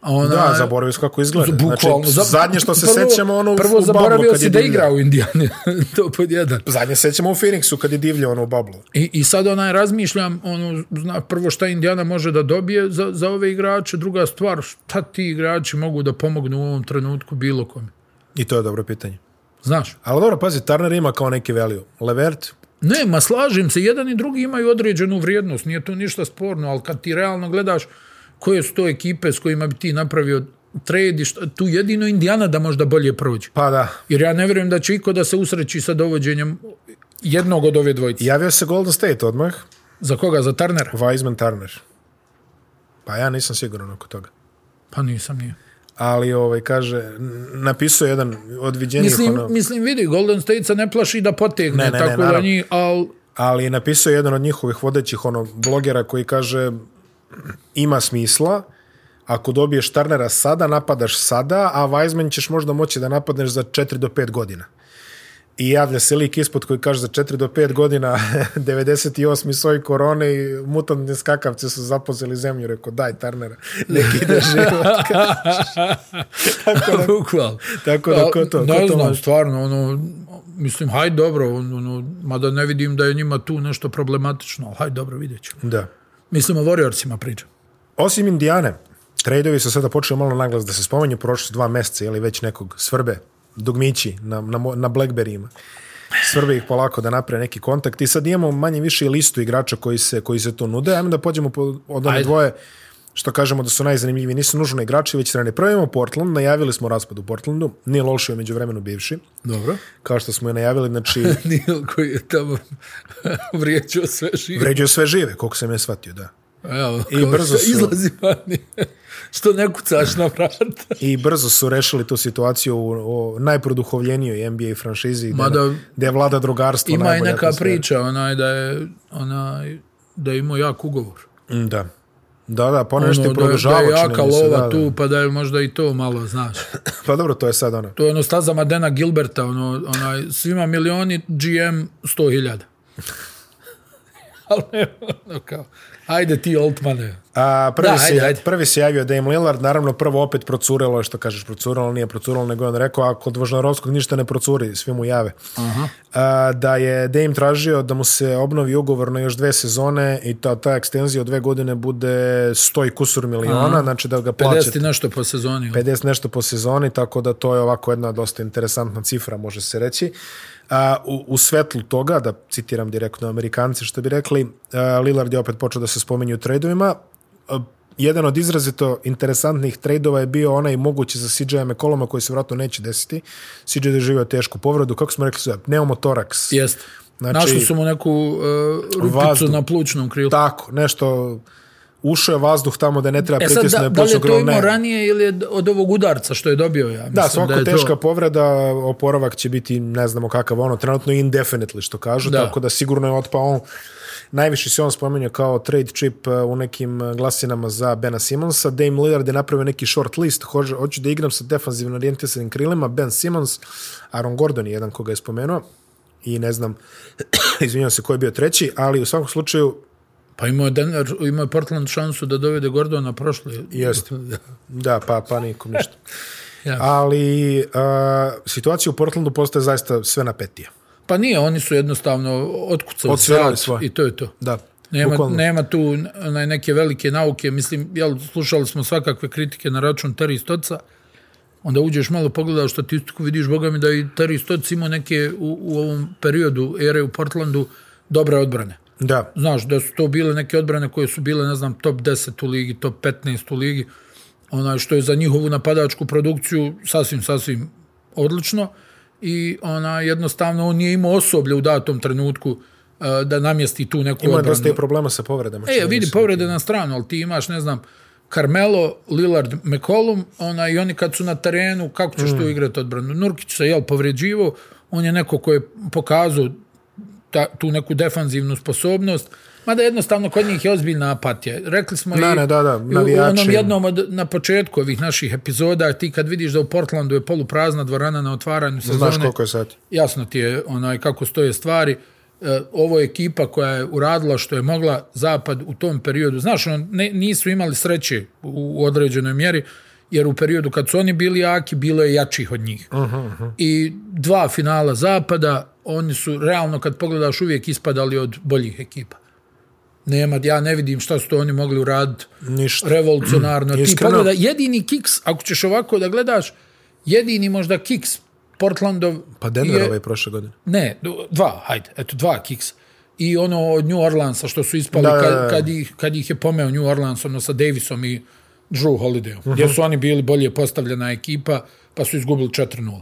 B: A ona,
A: I, da, zaboravio se kako izgleda. Znači,
B: bukvalno, za-
A: zadnje što se sećamo ono u-
B: Prvo
A: u bablu
B: zaboravio
A: kad
B: si
A: je
B: da
A: divljao.
B: igra u Indijani, to pod jedan.
A: Zadnje se sećamo u Phoenixu kad je divljao ono u bablu.
B: I, I sad onaj razmišljam, ono, zna, prvo šta Indiana može da dobije za, za ove igrače, druga stvar, šta ti igrači mogu da pomognu u ovom trenutku bilo kome.
A: I to je dobro pitanje.
B: Znaš,
A: Ali dobro, pazi, Turner ima kao neki value. Levert,
B: ne, ma slažem se, jedan i drugi imaju određenu vrijednost, nije to ništa sporno, ali kad ti realno gledaš koje su to ekipe s kojima bi ti napravio trade, i šta, tu jedino Indiana da možda bolje prođe.
A: pa da.
B: Jer ja ne vjerujem da će iko da se usreći sa dovođenjem jednog od ove dvojice.
A: Javio se Golden State odmah,
B: Za koga? Za Tarnera?
A: Wiseman Turner. Pa ja nisam siguran oko toga.
B: Pa nisam, nije.
A: Ali, ovaj, kaže, n- napisao je jedan od viđenijih...
B: Mislim,
A: ono-
B: mislim vidi, Golden State se ne plaši da potegne,
A: Ne, ne, ne,
B: tako da
A: naravno.
B: njih, ali
A: ali napisao je jedan od njihovih vodećih ono, blogera koji kaže ima smisla, ako dobiješ Tarnera sada, napadaš sada, a Weizman ćeš možda moći da napadneš za 4 do 5 godina. I javlja se lik ispod koji kaže za 4 do 5 godina 98. soj korone i mutantne skakavce su zapozeli zemlju. Rekao, daj Tarnera, neki ide život.
B: bukvalno.
A: Tako da, ko to?
B: ne
A: Ko to
B: znam,
A: može?
B: stvarno, ono, mislim, haj dobro, ono, ono, mada ne vidim da je njima tu nešto problematično, ali haj dobro, vidjet ćemo.
A: Da.
B: Mislim, o Warriorsima pričam.
A: Osim Indijane, tradeovi su sada počeli malo naglas da se spomenju, prošli su dva meseca ili već nekog svrbe, dugmići na, na, mo- na Blackberryima. Svrbe ih polako da naprave neki kontakt i sad imamo manje više i listu igrača koji se, koji se tu nude. Ajmo da pođemo po, od one
B: Ajde.
A: dvoje što kažemo da su najzanimljiviji, nisu nužno igrači, već strane. Prvo imamo Portland, najavili smo raspad u Portlandu, Neil Olshu je među vremenu bivši,
B: Dobro.
A: kao što smo i najavili, znači
B: Nil koji je tamo vrijeđao sve živo.
A: vređaju sve žive, koliko sam je shvatio, da.
B: Evo,
A: I
B: kao
A: brzo
B: što
A: su-
B: Izlazi vani. što ne kucaš na vrata.
A: I brzo su rešili tu situaciju u, u najproduhovljenijoj NBA franšizi, gde,
B: Mada-
A: gde vlada drugarstvo.
B: Ima i
A: najbolja
B: neka
A: atmosfera.
B: priča, onaj, da je, onaj, da je imao jak ugovor.
A: Mm, Da. Da, da, ponešto
B: ono,
A: je
B: da, da
A: produžava.
B: je jaka
A: čini mi se,
B: lova
A: da, da.
B: tu, pa da je možda i to malo, znaš.
A: Pa dobro, to je sad ono.
B: To je ono stazama Dena Gilberta, ono, onaj, svima milioni, GM 100.000. Ali ne, ono kao, Ajde ti Altmane.
A: A, prvi,
B: Da,
A: da, se,
B: ajde,
A: ajde,
B: ajde.
A: prvi se javio Dame Lillard, naravno prvo opet procurelo je što kažeš procurelo, nije procurelo, nego je on rekao ako od Vožnarovskog ništa ne procuri, svi mu jave. Aha. A, da je Dame tražio da mu se obnovi ugovor na još dve sezone i ta, ta ekstenzija od dve godine bude 100 i kusur miliona, Aha. znači da ga plaća
B: 50 i nešto po sezoni. ono,
A: 50 nešto po sezoni, tako da to je ovako jedna dosta interesantna cifra, može se reći. A, u, u svetlu toga, da citiram direktno Amerikanci što bi rekli, a, Lillard je opet počeo da se spominje u trejdovima. A, jedan od izrazito interesantnih trejdova je bio onaj mogući za CJ McColluma koji se vratno neće desiti. CJ je doživio tešku povredu, kako smo rekli sve, pneumotoraks.
B: Jeste.
A: Znači-
B: Znači, Našli su mu neku uh, rupicu
A: Vazduh.
B: na plućnom krilu.
A: Tako, nešto ušao je vazduh tamo da ne treba
B: E sad,
A: pritisnuti.
B: da, da li je to imao ranije ili je d- od ovog udarca što je dobio? Ja mislim
A: Da, svako
B: da je
A: teška
B: To...
A: povreda, oporavak će biti, ne znamo kakav ono, trenutno indefinitely što kažu, da.
B: Da.
A: tako da sigurno je otpao on. Najviše se on spominje kao trade chip eh, u nekim eh, glasinama za Bena Simonsa. Dame Lillard je napravio neki short list, hoće, hoću da igram sa defanzivno orijentisanim krilima, Ben Simons, Aaron Gordon je jedan koga je spomenuo i ne znam, izvinjam se ko je bio treći, ali u svakom slučaju
B: Pa imao je, Denver, imao je Portland šansu da dovede Gordona prošli.
A: Jeste. Da, pa, pa nikom ništa.
B: Ja.
A: Ali uh, situacija u Portlandu postaje zaista sve napetija.
B: pa nije, oni su jednostavno otkucali
A: Odsvirali
B: svirat
A: svoje.
B: i to je to.
A: Da,
B: Nema,
A: bukvalno.
B: nema tu onaj, neke velike nauke, mislim, jel, slušali smo svakakve kritike na račun Terry Stotca, onda uđeš malo, pogledaš statistiku, vidiš, boga mi, da je i Terry Stotts imao neke u, u ovom periodu ere u Portlandu dobre odbrane.
A: Da,
B: Znaš, da su to bile neke odbrane koje su bile, ne znam, top 10 u ligi, top 15 u ligi, onaj, što je za njihovu napadačku produkciju sasvim, sasvim odlično i ona jednostavno on nije imao osoblje u datom trenutku e, da namjesti tu neku
A: ima
B: odbranu.
A: dosta i problema sa povredama.
B: E,
A: čini mi
B: vidi,
A: se.
B: povrede na stranu, ali ti imaš, ne znam, Carmelo, Lillard, McCollum, ona, i oni kad su na terenu, kako ćeš mm. tu igrati odbranu? Nurkić se, jel, povređivo, on je neko ko je pokazao ta, tu neku defanzivnu sposobnost, mada jednostavno kod njih je ozbiljna apatija. Rekli smo
A: Da,
B: i,
A: ne, da, da,
B: i u
A: navijači.
B: onom jednom od, na početku ovih naših epizoda, ti kad vidiš da u Portlandu je poluprazna dvorana na otvaranju sezone,
A: Znaš koliko je sati?
B: jasno ti je onaj kako stoje stvari. E, ovo je ekipa koja je uradila što je mogla zapad u tom periodu. Znaš, on, ne, nisu imali sreće u, u određenoj mjeri, jer u periodu kad su oni bili jaki, bilo je jačih od njih. Uh -huh. I dva finala zapada, oni su realno, kad pogledaš, uvijek ispadali od boljih ekipa. Nema, ja ne vidim šta su to oni mogli uraditi
A: Ništa. Mm,
B: revolucionarno. Ti
A: Iskreno.
B: pogleda, jedini kiks, ako ćeš ovako da gledaš, jedini možda kiks Portlandov
A: Pa Denver
B: je,
A: ovaj prošle godine.
B: Ne, d- dva, hajde, eto, dva kiksa. I ono od New Orleansa što su ispali
A: Da, da, da.
B: kad, kad, ih, kad ih je pomeo New Orleans, ono sa Davisom i Drew Holidayom,
A: Mhm.
B: uh -huh. gdje su oni bili bolje postavljena ekipa, pa su izgubili 4-0.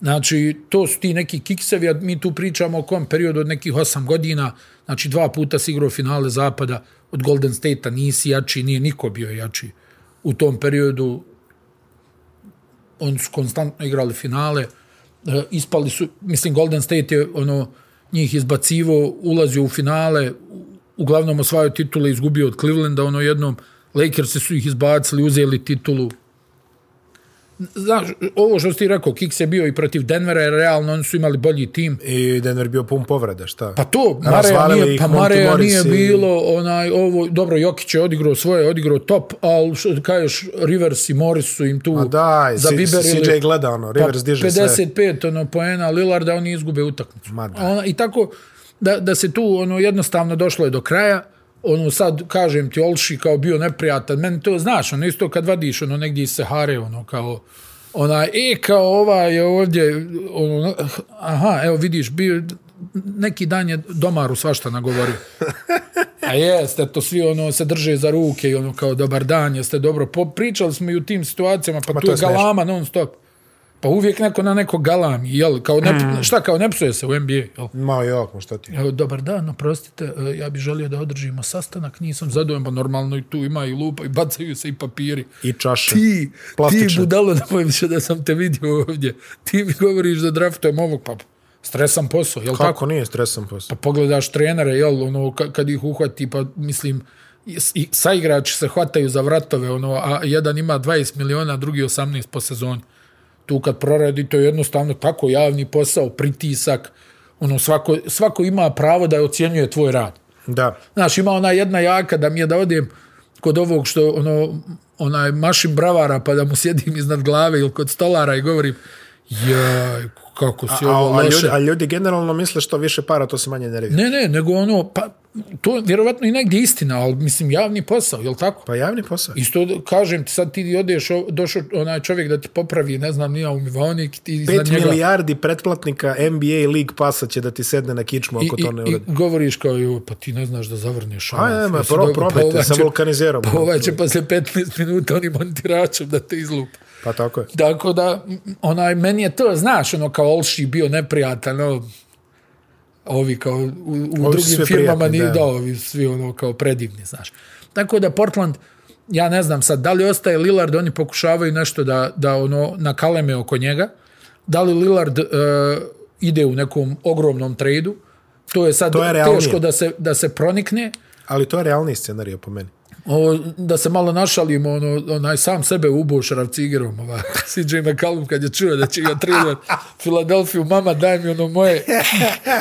B: Znači, to su ti neki kiksevi, a mi tu pričamo o kom periodu od nekih 8 godina, znači dva puta si igrao finale zapada, od Golden State-a nisi jači, nije niko bio jači u tom periodu, oni su konstantno igrali finale, e, ispali su, mislim Golden State je ono njih izbacivo, ulazio u finale, u- uglavnom osvajao titule, izgubio od Clevelanda ono jednom, Lakersi su ih izbacili, uzeli titulu. Znaš, ovo što si ti rekao, Kiks je bio i protiv Denvera, jer realno oni su imali bolji tim.
A: I Denver bio pun povreda, šta?
B: Pa to, Mareja
A: Razvalili
B: nije,
A: ih
B: pa
A: Monty
B: Mareja
A: Morris
B: nije
A: i-
B: bilo onaj, ovo, dobro, Jokić je odigrao svoje, odigrao top, ali što kažeš, Rivers i Morris su im tu
A: A daj,
B: zabiberili.
A: CJ gleda
B: pa
A: ono, Rivers diže
B: 55
A: sve.
B: 55 ono poena Lillarda oni izgube utakmicu.
A: Ma da.
B: A Ona, I tako da, da se tu ono jednostavno došlo je do kraja. Ono sad kažem ti Olši kao bio neprijatan. Meni to znaš, ono isto kad vadiš ono negdje iz Sahare ono kao ona e kao ova je ovdje ono, aha evo vidiš bio neki dan je domaru svašta nagovorio. A jeste, to svi ono se drže za ruke i ono kao dobar dan, jeste dobro. Po, pričali smo i u tim situacijama, pa,
A: Ma,
B: tu
A: to
B: je
A: je smiješno.
B: galama non stop. Pa uvijek neko na neko galami, jel? Kao ne, Šta kao, ne psuje se u NBA, jel?
A: Mao Jok, ma šta ti?
B: Evo, dobar dan, oprostite, e, ja bih želio da održimo sastanak, nisam zadovoljan, pa normalno i tu ima i lupa i bacaju se i papiri.
A: I čaše.
B: Ti, ti
A: Plastične.
B: budalo, ne bojim se da sam te vidio ovdje. Ti mi govoriš da draftujem ovog, pa stresan posao, jel tako?
A: Kako nije stresan posao?
B: Pa pogledaš trenere, jel, ono, ka- kad ih uhvati, pa mislim, s- i saigrači se hvataju za vratove, ono, a jedan ima 20 miliona, drugi 18 po sezoni. Tu kad proradi, to je jednostavno tako javni posao, pritisak, ono, svako, svako ima pravo da ocjenjuje tvoj rad.
A: Da.
B: Znaš, ima ona jedna jaka da mi je da odem kod ovog što ono, onaj mašin bravara pa da mu sjedim iznad glave ili kod stolara i govorim jaj, kako si
A: A,
B: ovo
A: a,
B: loše.
A: ljudi, a ljudi generalno misle što više para, to se manje nervira.
B: Ne, ne, nego ono, pa to je vjerovatno i negdje istina, ali mislim javni posao, jel tako?
A: Pa javni posao.
B: Isto da- kažem ti, sad ti odeš, o- došao onaj čovjek da ti popravi, ne znam, nija umivaonik, ti iznad
A: 5
B: njega...
A: milijardi pretplatnika NBA League pasa će da ti sedne na kičmu ako
B: I,
A: to ne
B: i, I
A: uradi.
B: govoriš kao, joj, pa ti ne znaš da zavrneš ovo.
A: A, nema,
B: Jesi
A: pro,
B: dobro, pa
A: probajte,
B: ovaj
A: sa
B: će-
A: vulkanizerom.
B: Pa ovaj će posle 15 minuta onim montiračom da te izlupa.
A: Pa tako je.
B: Tako da, m, onaj, meni je to, znaš, ono, kao Olši bio neprijatan, ono, ovi kao u, u
A: su sve
B: drugim firmama
A: prijatni,
B: nije
A: da.
B: da, ovi svi ono kao predivni, znaš. Tako da Portland, ja ne znam sad, da li ostaje Lillard, oni pokušavaju nešto da, da ono nakaleme oko njega, da li Lillard e, ide u nekom ogromnom tradu, to je sad
A: To je realnije.
B: teško da se, da se pronikne,
A: Ali to je realni scenarij po meni.
B: Ovo, da se malo našalimo, ono, onaj sam sebe ubo šravcigerom, ova, CJ McCallum kad je čuo da će ga trilovat Filadelfiju, mama daj mi ono moje,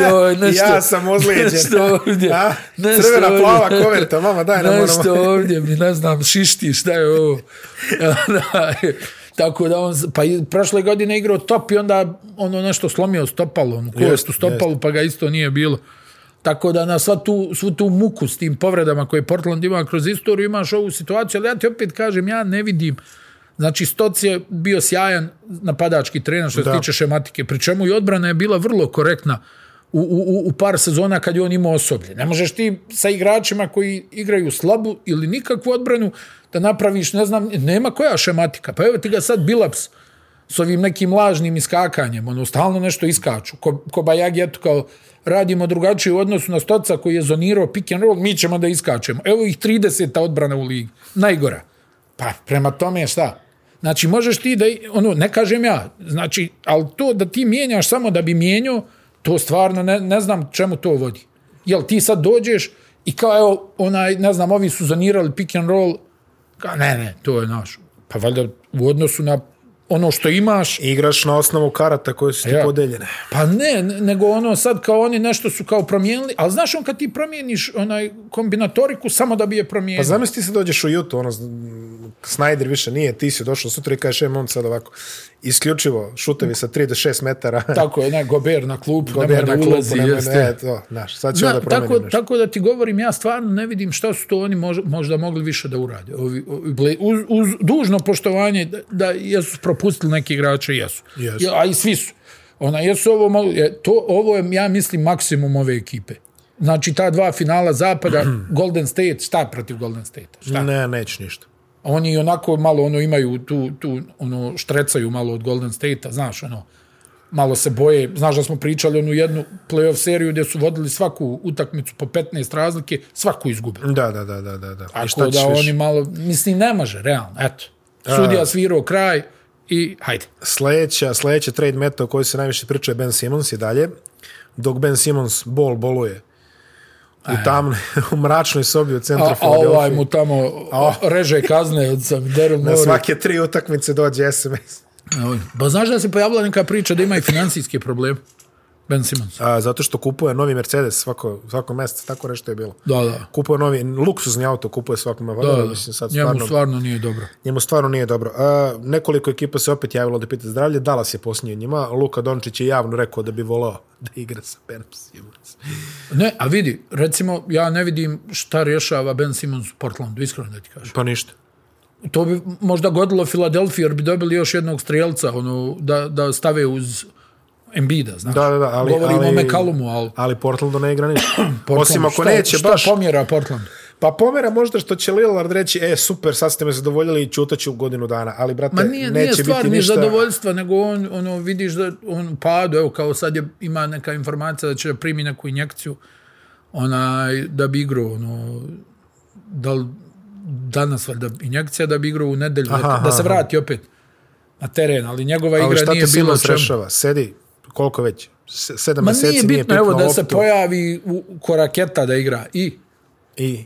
B: joj, nešto,
A: Ja sam ozlijeđen.
B: nešto ovdje,
A: A? Crvena, plava koverta, mama, daj nam ono
B: nešto
A: moje.
B: ovdje, mi ne znam, šišti, šta je ovo, Onaj, tako da on, z- pa i prošle godine igrao top i onda ono nešto slomio stopalo, ono,
A: Jest,
B: kost u stopalu, pa ga isto nije bilo. Tako da na sva tu, svu tu muku s tim povredama koje Portland ima kroz istoriju imaš ovu situaciju, ali ja ti opet kažem, ja ne vidim. Znači, Stoc je bio sjajan napadački trener što se
A: Da.
B: tiče šematike, pri čemu i odbrana je bila vrlo korektna u, u, u- u par sezona kad je on imao osoblje. Ne možeš ti sa igračima koji igraju slabu ili nikakvu odbranu da napraviš, ne znam, nema koja šematika. Pa evo ti ga sad Bilaps s ovim nekim lažnim iskakanjem, ono, stalno nešto iskaču. Ko, ko Bajagi, eto, kao, radimo drugačije u odnosu na Stoca koji je zonirao pick and roll, mi ćemo da iskačemo. Evo ih 30. odbrana u ligi. Najgora. Pa, prema tome, šta? Znači, možeš ti da, ono, ne kažem ja, znači, ali to da ti mijenjaš samo da bi mijenjao, to stvarno ne, ne znam čemu to vodi. Jel, ti sad dođeš i kao, evo, onaj, ne znam, ovi su zonirali pick and roll, kao, ne, ne, to je naš. Pa valjda u odnosu na ono što imaš,
A: Igraš na osnovu karata koje su ti
B: Ja.
A: podeljene.
B: Pa ne, ne- nego ono sad kao oni nešto su kao promijenili, ali znaš on kad ti promijeniš onaj kombinatoriku samo da bi je
A: Pa
B: promijenio.
A: zamisli ti se dođeš u Jutu, ono, Snyder više nije, ti si došao sutra i kažeš, e, mom sad ovako, isključivo šutevi sa 3 do 6 metara.
B: Tako je, ne, Gober na klupu,
A: Gober na
B: nemoj da
A: klupu,
B: ulazi,
A: nemoj-
B: jeste.
A: e, to, znaš, sad ćemo da
B: Da,
A: promenimo
B: tako,
A: nešto.
B: tako da ti govorim, ja stvarno ne vidim šta su to oni mož, možda mogli više da urade. Ovi, ovi, Bla- uz, uz dužno poštovanje da, da jesu propustili neki igrače, jesu.
A: Jesu.
B: Ja, A i svi su. Ona, jesu ovo, mogli- je, to, ovo je, ja mislim, maksimum ove ekipe. Znači, ta dva finala zapada, Golden State, šta protiv Golden State? Šta?
A: Ne, neću ništa.
B: Oni onako malo ono imaju tu, tu ono štrecaju malo od Golden State-a, znaš, ono, malo se boje. Znaš da smo pričali onu jednu playoff seriju gdje su vodili svaku utakmicu po 15 razlike, svaku izgubili.
A: Da, da, da, da, da. da. I
B: Tako da oni malo, mislim, ne može, realno, eto. Sudija svirao kraj i hajde.
A: Sljedeća, sljedeća trade meta o kojoj se najviše priča je Ben Simmons i dalje. Dok Ben Simmons bol boluje u tamnoj, u mračnoj sobi u centru
B: A, a
A: Philadelphia.
B: ovaj mu tamo reže kazne od sam Daryl
A: Na
B: Morey.
A: svake tri utakmice dođe SMS.
B: Evo, Ba znaš da se pojavila neka priča da ima i financijski problem? Ben Simmons.
A: A, zato što kupuje novi Mercedes svako, svako mjeseca, tako nešto je bilo.
B: Da, da.
A: Kupuje novi, luksuzni auto kupuje svako ma
B: Da,
A: valjda,
B: da.
A: mislim sad
B: Njemu
A: stvarno,
B: stvarno nije dobro.
A: njemu stvarno nije dobro. A, nekoliko ekipa se opet javilo da pita zdravlje, Dallas je posljednji od njima, Luka Dončić je javno rekao da bi volao da igra sa Ben Simmons.
B: Ne, a vidi, recimo, ja ne vidim šta rješava Ben Simmons u Portlandu, iskreno da ti kažem.
A: Pa ništa.
B: To bi možda godilo Filadelfiji, jer bi dobili još jednog strijelca, ono, da, da stave uz Embida, znaš.
A: Da, da, da, ali-
B: Govorimo
A: ali-
B: o McCallumu, ali...
A: Ali Portlandu ne igra ništa.
B: Portland,
A: Osim ako
B: šta-
A: neće
B: šta
A: baš...
B: pomjera Portland?
A: Pa pomera možda što će Lillard reći, e, super, sad ste me zadovoljili i ćutaću godinu dana, ali, brate,
B: Ma Pa nije,
A: neće
B: nije stvar
A: biti
B: ni
A: ništa...
B: zadovoljstva, nego on, ono, vidiš da on padu, evo, kao sad je, ima neka informacija da će da primi neku injekciju, onaj, da bi igrao, ono, da li danas valjda injekcija, da bi igrao u nedelju, aha, da, da se vrati opet na teren, ali njegova
A: Ali
B: igra
A: šta
B: nije
A: ti
B: bilo
A: Silas
B: čemu.
A: rešava? Sedi, koliko već? Se- Sedam
B: Ma
A: mjeseci
B: nije
A: nije
B: bitno,
A: pipnuo
B: evo, da se
A: loptu.
B: pojavi u, u koraketa da igra i
A: I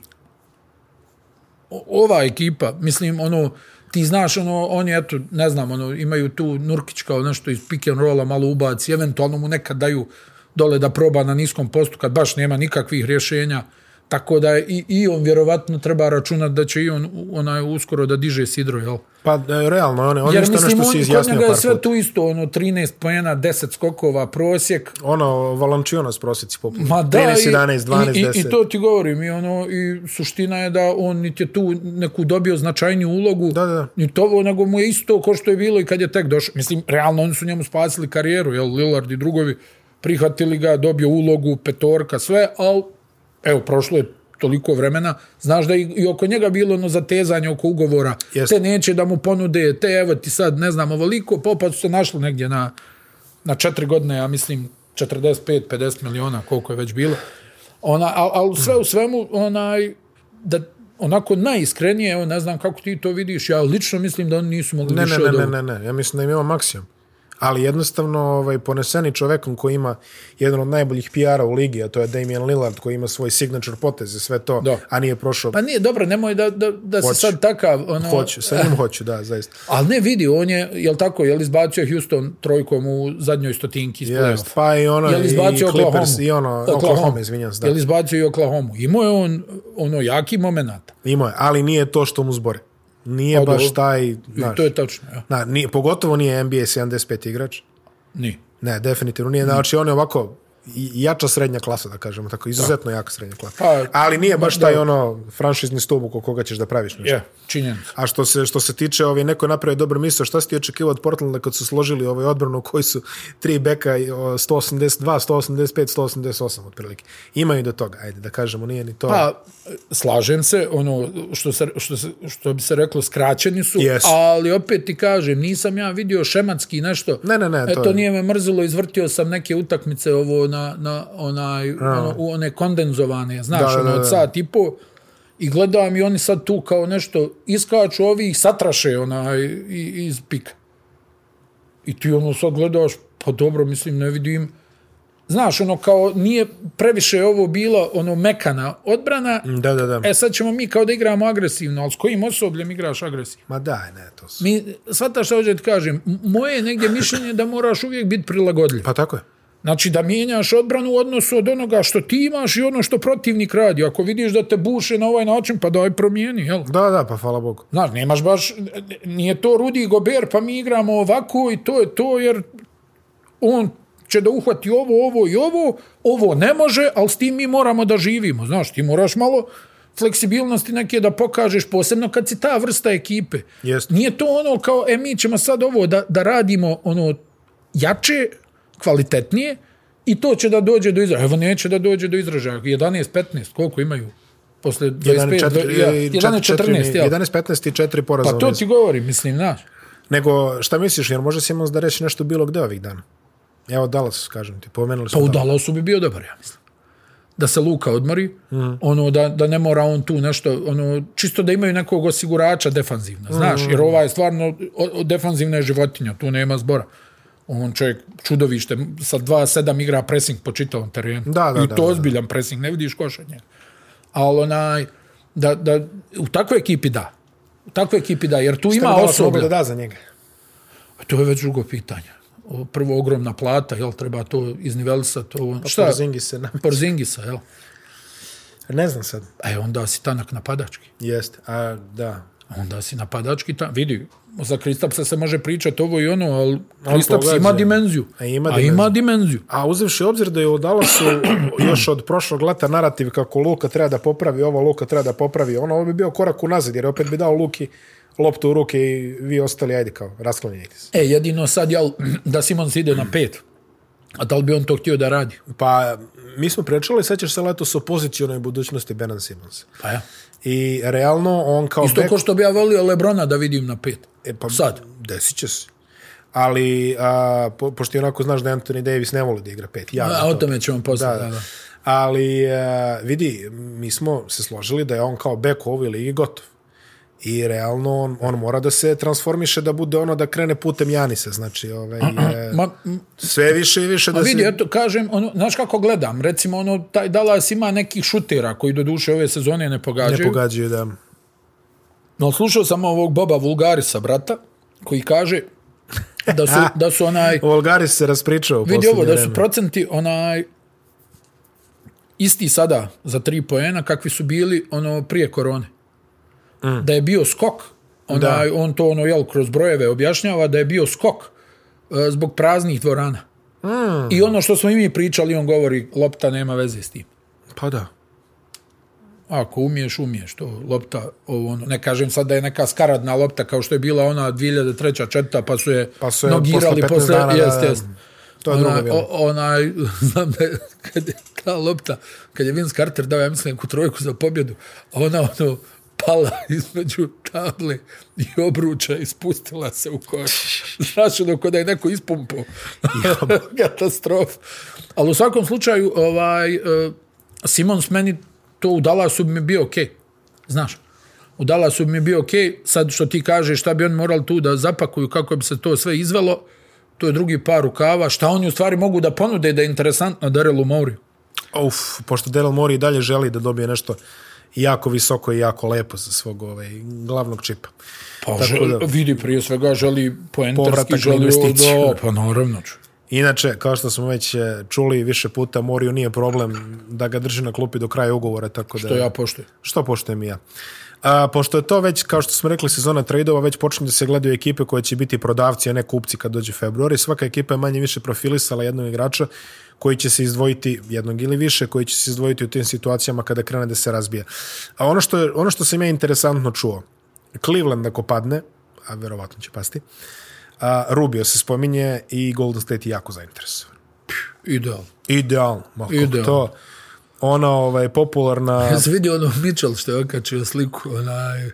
B: o- ova ekipa, mislim, ono, ti znaš, ono, oni, eto, ne znam, ono, imaju tu Nurkić kao nešto iz pick and rolla, malo ubaci, eventualno mu nekad daju dole da proba na niskom postu kad baš nema nikakvih rješenja. Tako da je i, i on vjerovatno treba računati da će i on u- onaj uskoro da diže sidro, jel?
A: Pa, e, realno, on je, on je
B: Jer
A: isto ono
B: mislim,
A: što
B: on,
A: si
B: kod
A: izjasnio
B: njega je
A: par
B: sve
A: puta.
B: tu isto, ono, 13 pojena, 10 skokova, prosjek,
A: Ono, Valančijonas prosjeci popularni.
B: Ma da,
A: 13,
B: i-
A: 11, 12,
B: i, i,
A: 10.
B: I to ti govorim, i, ono, i suština je da on niti je tu neku dobio značajniju ulogu,
A: Da, da, da.
B: ni to, nego mu je isto ko što je bilo i kad je tek došao. Mislim, realno oni su njemu spasili karijeru, jel, Lillard i drugovi prihvatili ga, dobio ulogu, petorka, sve, ali evo, prošlo je toliko vremena, znaš da i, i oko njega bilo ono zatezanje oko ugovora,
A: Jeste.
B: te neće da mu ponude, te evo ti sad ne znam ovoliko, pa pa su se našli negdje na, na četiri godine, ja mislim, 45-50 miliona, koliko je već bilo. Ona, al, al sve u svemu, onaj, da onako najiskrenije, evo ne znam kako ti to vidiš, ja lično mislim da oni nisu mogli
A: Ne,
B: više
A: ne,
B: od
A: ne, ne,
B: ovog.
A: ne, ne, ja mislim da im ima maksimum. Ali jednostavno ovaj, poneseni čovekom koji ima jedan od najboljih PR-a u ligi, a to je Damian Lillard koji ima svoj signature potez i sve to,
B: Da.
A: a nije prošao.
B: Pa nije, dobro, nemoj da, da, da se
A: Hoću.
B: sad takav, ono,
A: hoću, sa njim hoću, da, zaista.
B: ali ne vidi, on je, jel tako, jel izbacio Houston trojkom u zadnjoj stotinki iz
A: Jest,
B: play-offa.
A: pa i ono,
B: Jel
A: i
B: izbacio Oklahoma?
A: Clippers, i ono, Oklahoma, Oklahoma izvinjam se, da.
B: Jel izbacio i Oklahoma? Imao je on, ono, jaki moment.
A: Imao je, ali nije to što mu zbore. Nije
B: Pa,
A: baš
B: dobro.
A: taj,
B: I
A: znaš,
B: to je tačno, ja.
A: na, nije, pogotovo nije NBA 75 igrač.
B: Ni.
A: Ne, definitivno
B: Mm.
A: nije. Znači, on je ovako i- jača srednja klasa, da kažemo tako, izuzetno jaka srednja klasa.
B: Pa,
A: Ali nije baš
B: da.
A: taj ono franšizni stup oko koga ćeš da praviš nešto.
B: Je, činjenica.
A: A što se što se tiče, ovaj neko je napravio dobro misao, šta si ti očekivao od Portlanda kad su složili ovaj odbranu koji su tri beka i, o, 182, 185, 188 otprilike. Imaju do toga, ajde da kažemo, nije ni to.
B: Pa, slažem se, ono, što, se, što, se, što bi se reklo, skraćeni su,
A: Jesu.
B: ali opet ti kažem, nisam ja vidio šematski nešto.
A: Ne, ne, ne, to
B: Eto,
A: je-
B: nije me mrzilo, izvrtio sam neke utakmice ovo na, na onaj, ono, u one kondenzovane, znaš,
A: Da,
B: ono,
A: da, da.
B: od sat i po, i gledam i oni sad tu kao nešto iskaču ovi i satraše onaj, i- iz pika. I ti ono sad gledaš, pa dobro, mislim, ne vidim. Znaš, ono kao nije previše ovo bilo ono mekana odbrana.
A: da, da, da.
B: E sad ćemo mi kao da igramo agresivno, ali s kojim osobljem igraš agresivno?
A: Ma da, ne, to su.
B: Mi, svataš šta hoću da ti kažem, m- moje je negdje mišljenje da moraš uvijek biti prilagodljiv.
A: Pa tako je.
B: Znači da mijenjaš odbranu u odnosu od onoga što ti imaš i ono što protivnik radi. Ako vidiš da te buše na ovaj način, pa daj promijeni, jel?
A: Da, da, pa hvala Bogu.
B: Znaš, nemaš baš, nije to Rudi Gober, pa mi igramo ovako i to je to, jer on će da uhvati ovo, ovo i ovo, ovo ne može, ali s tim mi moramo da živimo. Znaš, ti moraš malo fleksibilnosti neke da pokažeš, posebno kad si ta vrsta ekipe.
A: Jest.
B: Nije to ono kao, e, mi ćemo sad ovo da, da radimo ono jače, kvalitetnije, i to će da dođe do izražaja. Evo, neće da dođe do izražaja. 11, 15, koliko imaju? Posle 25,
A: 11-4,
B: 11, 14, jel?
A: 11-15 i 4 poraza.
B: Pa
A: u
B: to
A: nizu.
B: ti govorim, mislim, znaš.
A: Nego, šta misliš, jer može Simons da reći nešto bilo gde ovih dana? Evo Dallas, kažem ti, pomenuli
B: Pa
A: smo
B: u
A: Dallas.
B: Dallasu bi bio dobar, ja mislim. Da se Luka odmori,
A: Mhm.
B: ono da, da ne mora on tu nešto, ono čisto da imaju nekog osigurača defanzivno, znaš,
A: Mhm.
B: jer ova je stvarno o, o, defanzivna je životinja, tu nema zbora. On čovjek čudovište, sa 2-7 igra pressing po čitavom terenu.
A: Da, da,
B: I
A: da,
B: to
A: da.
B: ozbiljan pressing, ne vidiš košanje. Ali onaj, da, da, u takvoj ekipi da. U takvoj ekipi da, jer tu
A: Šta bi
B: ima
A: Dallas
B: osoblja.
A: mogao da da za njega.
B: Pa To je već drugo pitanje. O, Prvo, ogromna plata, jel, treba to iznivelisati. Ovo,
A: Pa
B: Pa šta?
A: Porzingi se nam...
B: Porzingisa, jel?
A: Ne znam sad.
B: E, onda si tanak napadački.
A: Jeste. A, da.
B: Onda si napadački, ta, vidi, za Kristapsa se može pričati ovo i ono, ali
A: On
B: Kristaps
A: pogađa.
B: ima dimenziju.
A: A ima
B: A ima dimenziju.
A: A uzevši obzir da je u Dallasu još od prošlog leta narativ kako Luka treba da popravi ovo, Luka treba da popravi ono, ovo bi bio korak unazad, jer opet bi dao Luki loptu u ruke i vi ostali, ajde kao, rasklanjajte se.
B: E, jedino sad, jel, da Simons ide na pet, a da li bi on to htio da radi?
A: Pa, mi smo pričali, sećaš se letos o pozicionoj budućnosti Benan Simonsa.
B: Pa ja.
A: I realno on kao
B: Isto ko što bi ja volio Lebrona da vidim na pet.
A: E, pa,
B: Sad.
A: Desit će se. Ali, a, po, pošto i onako znaš da Anthony Davis ne voli da igra pet. Ja,
B: A, o tome ćemo poslije.
A: da, da. Ali, a, vidi, mi smo se složili da je on kao bek u ovoj ligi gotov. I realno on, on mora da se transformiše da bude ono da krene putem Janisa. Znači, ovaj, e,
B: Ma, m,
A: sve više i više da
B: Pa vidi,
A: se...
B: eto, kažem, ono, znaš kako gledam, recimo, ono, taj Dallas ima nekih šutera koji do duše ove sezone ne pogađaju.
A: Ne pogađaju da...
B: No, slušao sam ovog Boba Vulgarisa, brata, koji kaže da su, da su onaj,
A: Volgaris se raspričao u
B: vidi ovo,
A: posljednje
B: da su
A: vreme.
B: procenti onaj, isti sada za tri poena kakvi su bili ono prije korone. Mm. Da je bio skok, onaj, da. on to ono, jel, kroz brojeve objašnjava da je bio skok e, zbog praznih dvorana. Mm. I ono što smo i mi pričali, on govori, lopta nema veze s tim.
A: Pa da.
B: Ako umiješ, umiješ to. Lopta, ovo, ono, ne kažem sad da je neka skaradna lopta kao što je bila ona 2003. četvrta, pa su je,
A: Pa su je
B: nogirali
A: posle 15
B: posle,
A: dana, da,
B: jest,
A: da.
B: jest.
A: To je drugo
B: Onaj,
A: bilo.
B: o- onaj, znam da je, kad je ta lopta, kad je Vince Carter dao, ja mislim, neku trojku za pobjedu, a ona ono pala između table i obruča i spustila se u koš. Znaš, ono, ko da je neko ispumpao. Katastrofa. Ali u svakom slučaju, ovaj, eh, Simons meni to u Dallasu bi mi bio okej. Znaš, u Dallasu bi mi bio okej. Sad što ti kažeš, šta bi oni morali tu da zapakuju, kako bi se to sve izvelo, to je drugi par rukava. Šta oni u stvari mogu da ponude da je interesantno Darelu Mauriju?
A: Uf, pošto Daryl Morey i dalje želi da dobije nešto jako visoko i jako lepo za svog ovaj, glavnog čipa.
B: Pa
A: Tako
B: želi,
A: da-
B: vidi prije svega želi poentarski,
A: Povratak na
B: želi
A: investiciju.
B: ovo, pa naravno ću.
A: Inače, kao što smo već eh, čuli više puta, Moriju nije problem da ga drži na klupi do kraja ugovora, tako da...
B: To ja poštujem.
A: Što poštujem i ja. A, pošto je to već, kao što smo rekli, sezona tradeova, već počinju da se gledaju ekipe koje će biti prodavci, a ne kupci kad dođe februar. I svaka ekipa je manje više profilisala jednog igrača koji će se izdvojiti jednog ili više, koji će se izdvojiti u tim situacijama kada krene da se razbija. A ono što, je, ono što sam ja interesantno čuo, Cleveland ako padne, a verovatno će pasti, a, Rubio se spominje i Golden State je jako zainteresovan.
B: Idealno.
A: Idealno, ma kako
B: Idealno.
A: to ona ovaj, popularna...
B: Ja sam vidio ono Mitchell što je okačio sliku onaj,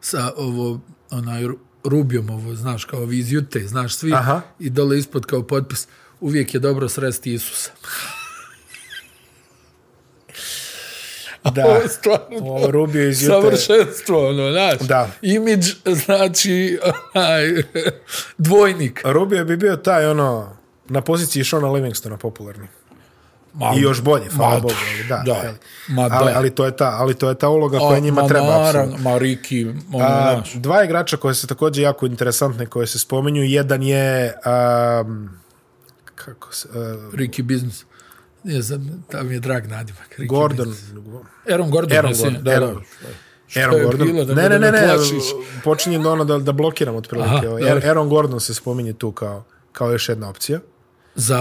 B: sa ovo, onaj Ru- Rubijom, ovo, znaš, kao vi iz Jute, znaš, svi,
A: Aha.
B: i dole ispod kao potpis, uvijek je dobro sresti Isusa.
A: Da.
B: Ovo je stvarno
A: Ovo Rubio iz Jute.
B: savršenstvo, ono, znaš.
A: Da.
B: Imidž, znači, onaj, dvojnik.
A: Rubio bi bio taj ono na poziciji Shona Livingstona popularni.
B: Ma,
A: I još bolje, hvala
B: Ma,
A: Bogu. Ali, da,
B: da.
A: ali,
B: Ma, da.
A: ali, ali, to je ta, ali to je ta uloga koja njima
B: ma,
A: treba. apsolutno.
B: Naravno, ma Riki, ono,
A: A,
B: znaš.
A: Dva igrača koje se takođe jako interesantne koje se spomenju. Jedan je um, kako se, uh,
B: Riki biznis. Ne znam, tam mi je drag nadimak. Ricky
A: Gordon.
B: Aaron Gordon.
A: Aaron
B: je sin-
A: Gordon, da,
B: Aaron.
A: da.
B: Što
A: Aaron
B: je
A: Gordon.
B: bilo, da
A: ne,
B: me-
A: ne, ne,
B: da me
A: ne,
B: plašiš?
A: počinjem da ono da, da blokiram otprilike.
B: Aha,
A: Aha,
B: dobro.
A: Aaron Gordon se spominje tu kao, kao još jedna opcija.
B: Za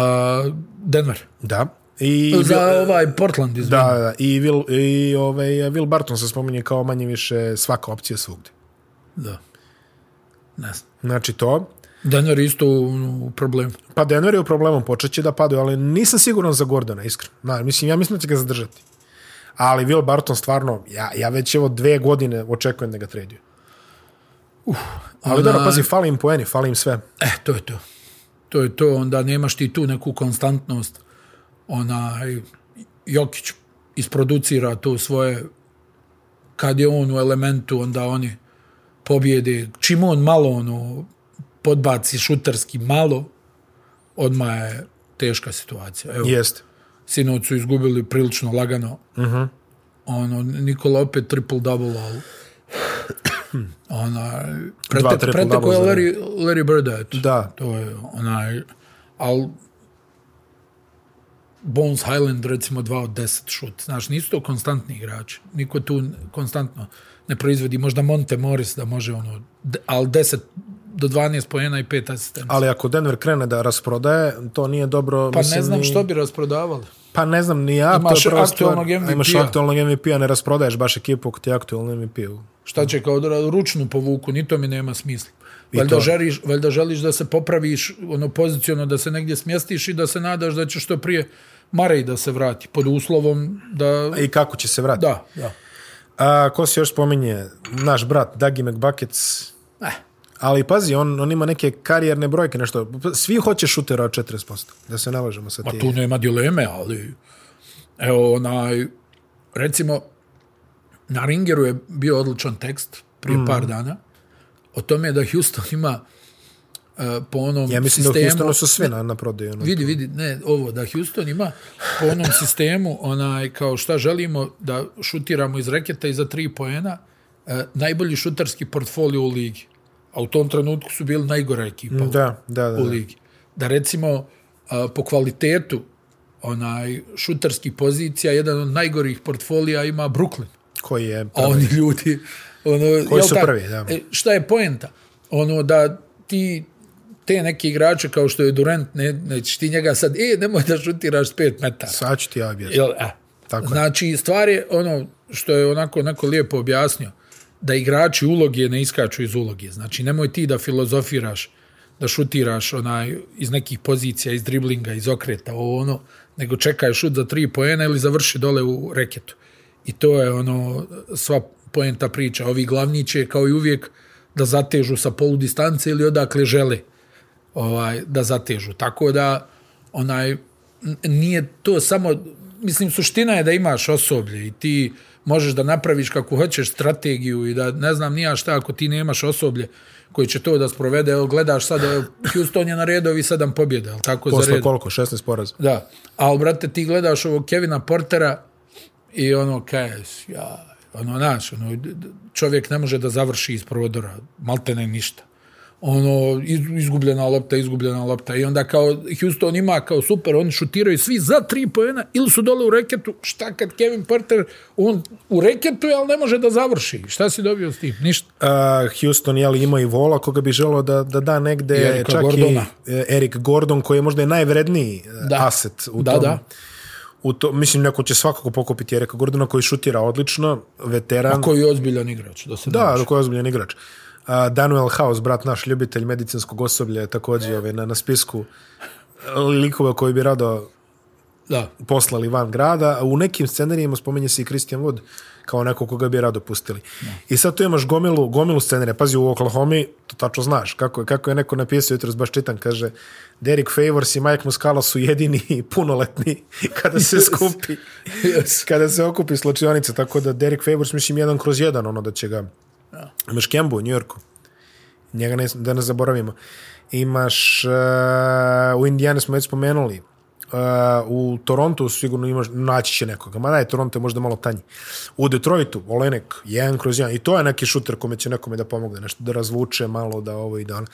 B: Denver.
A: Da. I
B: za ovaj Portland, izvim.
A: Da, da, da. I, Will, i ovaj, Will Barton se spominje kao manje više svaka opcija svugde.
B: da. Ne znam.
A: Znači to.
B: Denver je isto u, u problemu.
A: Pa Denver je u problemu, počet će da padaju, ali nisam siguran za Gordona, iskreno. Na, mislim, ja mislim da će ga zadržati. Ali Will Barton stvarno, ja, ja već evo dve godine očekujem da ga traduju. Uh, ali dobro,
B: onaj-
A: pazi, fali im poeni, fali im sve.
B: E, to je to. To je to, onda nemaš ti tu neku konstantnost. Onaj, Jokić isproducira to svoje, kad je on u elementu, onda oni pobjede. Čim on malo ono, podbaci šutarski malo, odmah je teška situacija. Evo,
A: Jeste.
B: sinoć su izgubili prilično lagano. Uh
A: Mhm.
B: -huh. Ono, Nikola opet triple-double, ali ona,
A: Dva
B: prete,
A: triple
B: prete
A: double
B: koje
A: za
B: Larry, Larry Birda, eto.
A: Da.
B: To je onaj, ali Bones Highland recimo 2 od 10 šut. Znaš, nisu to konstantni igrači. Niko tu konstantno ne proizvodi. Možda Monte Morris da može ono, de- ali 10 do 12 pojena i 5 asistencija.
A: Ali ako Denver krene da rasprodaje, to nije dobro.
B: Pa ne znam što bi rasprodavali.
A: Pa ne znam, ni ja. to je
B: Imaš
A: prva stvar.
B: aktuelnog MVP-a.
A: Imaš aktualnog MVP-a, ne rasprodaješ baš ekipu ako ti je aktualni MVP-u.
B: Šta će kao da ručnu povuku, ni to mi nema smisla. Valjda
A: to-
B: želiš, valjda želiš da se popraviš ono poziciono, da se negdje smjestiš i da se nadaš da će što prije Marej da se vrati, pod uslovom da...
A: I kako će se vratiti?
B: Da, da.
A: A, ko se još spominje? Naš brat, Dagi McBuckets.
B: Eh.
A: Ali pazi, on, on ima neke karijerne brojke, nešto. Svi hoće šutera od 40%, da se nalažemo sa
B: Pa
A: ti.
B: tu nema dileme, ali evo onaj, recimo, na Ringeru je bio odličan tekst prije mm. par dana o tome da Houston ima uh, po onom
A: Ja mislim da u
B: sistemu...
A: Houstonu su sve na, na prodaju. Ono.
B: Vidi, vidi, ne, ovo, da Houston ima po onom sistemu, onaj, kao šta želimo da šutiramo iz reketa i za tri poena, e, najbolji šutarski portfolio u ligi. a u tom trenutku su bili najgora ekipa u-
A: Da, da, da.
B: u
A: da.
B: ligi. Da recimo a, po kvalitetu onaj šutarskih pozicija jedan od najgorih portfolija ima Brooklyn.
A: Koji je...
B: A oni ljudi ono
A: Koji
B: jel
A: su
B: tako?
A: prvi, da.
B: E, šta je poenta? Ono da ti te neke igrače kao što je Durant, ne, nećeš ti njega sad, e, nemoj da šutiraš s 5 metara.
A: Sad ću ti ja objasniti.
B: Jel, e.
A: Tako je.
B: znači, stvar je ono što je onako neko lijepo objasnio, da igrači uloge ne iskaču iz uloge. Znači, nemoj ti da filozofiraš, da šutiraš onaj, iz nekih pozicija, iz driblinga, iz okreta, ovo ono, nego čekaj šut za tri poena ili završi dole u reketu. I to je ono sva poenta priča. Ovi glavni će, kao i uvijek, da zatežu sa polu distance ili odakle žele ovaj, da zatežu. Tako da, onaj, n- nije to samo, mislim, suština je da imaš osoblje i ti možeš da napraviš kako hoćeš strategiju i da ne znam nija šta ako ti nemaš osoblje koji će to da sprovede. Evo, gledaš sad, evo, Houston je na redovi sedam pobjeda, ali tako za
A: Posle
B: red.
A: koliko? 16 poraza.
B: Da, ali brate ti gledaš ovog Kevina Portera i ono kaješ, ja, ono naš, ono, d- d- čovjek ne može da završi iz prodora, maltene ništa. Ono, iz- izgubljena lopta, izgubljena lopta i onda kao Houston ima kao super, oni šutiraju svi za tri pojena ili su dole u reketu, šta kad Kevin Porter, on u reketu je, ali ne može da završi. Šta si dobio s tim? Ništa.
A: Uh, Houston jel, ima i vola koga bi želeo da, da da negde
B: I Erika
A: čak
B: Gordona.
A: i e, Erik Gordon koji je možda i najvredniji da.
B: Da.
A: aset u
B: Da,
A: tom.
B: da.
A: U to, mislim, neko će svakako pokupiti Erika Gordona koji šutira odlično, veteran.
B: Koji je ozbiljan igrač, da se ne
A: Da,
B: laže.
A: do koji je ozbiljen igrač. A, Daniel House, brat naš ljubitelj medicinskog osoblja, je također ove, na, na spisku likova koji bi rado
B: da.
A: poslali van grada, a u nekim scenarijima spominje se i Christian Wood kao neko koga bi rado pustili. I sad tu imaš gomilu, gomilu scenarija. Pazi, u Oklahoma to tačno znaš. Kako je, kako je neko napisao, jutro baš čitam, kaže Derek Favors i Mike Muscala su jedini i punoletni kada se skupi,
B: Yes.
A: kada se okupi slučionica. Tako da Derek Favors, mislim, jedan kroz jedan, ono da će ga... Imaš Kembu u Njujorku. Njega ne, da ne zaboravimo. Imaš, uh, u Indijani smo već spomenuli, uh, u Torontu sigurno imaš, naći će nekoga, mada je Toronto je možda malo tanji. U Detroitu, Olenek, jedan kroz jedan, i to je neki šuter kome će nekome da pomogne, nešto da razvuče malo, da ovo i da ono.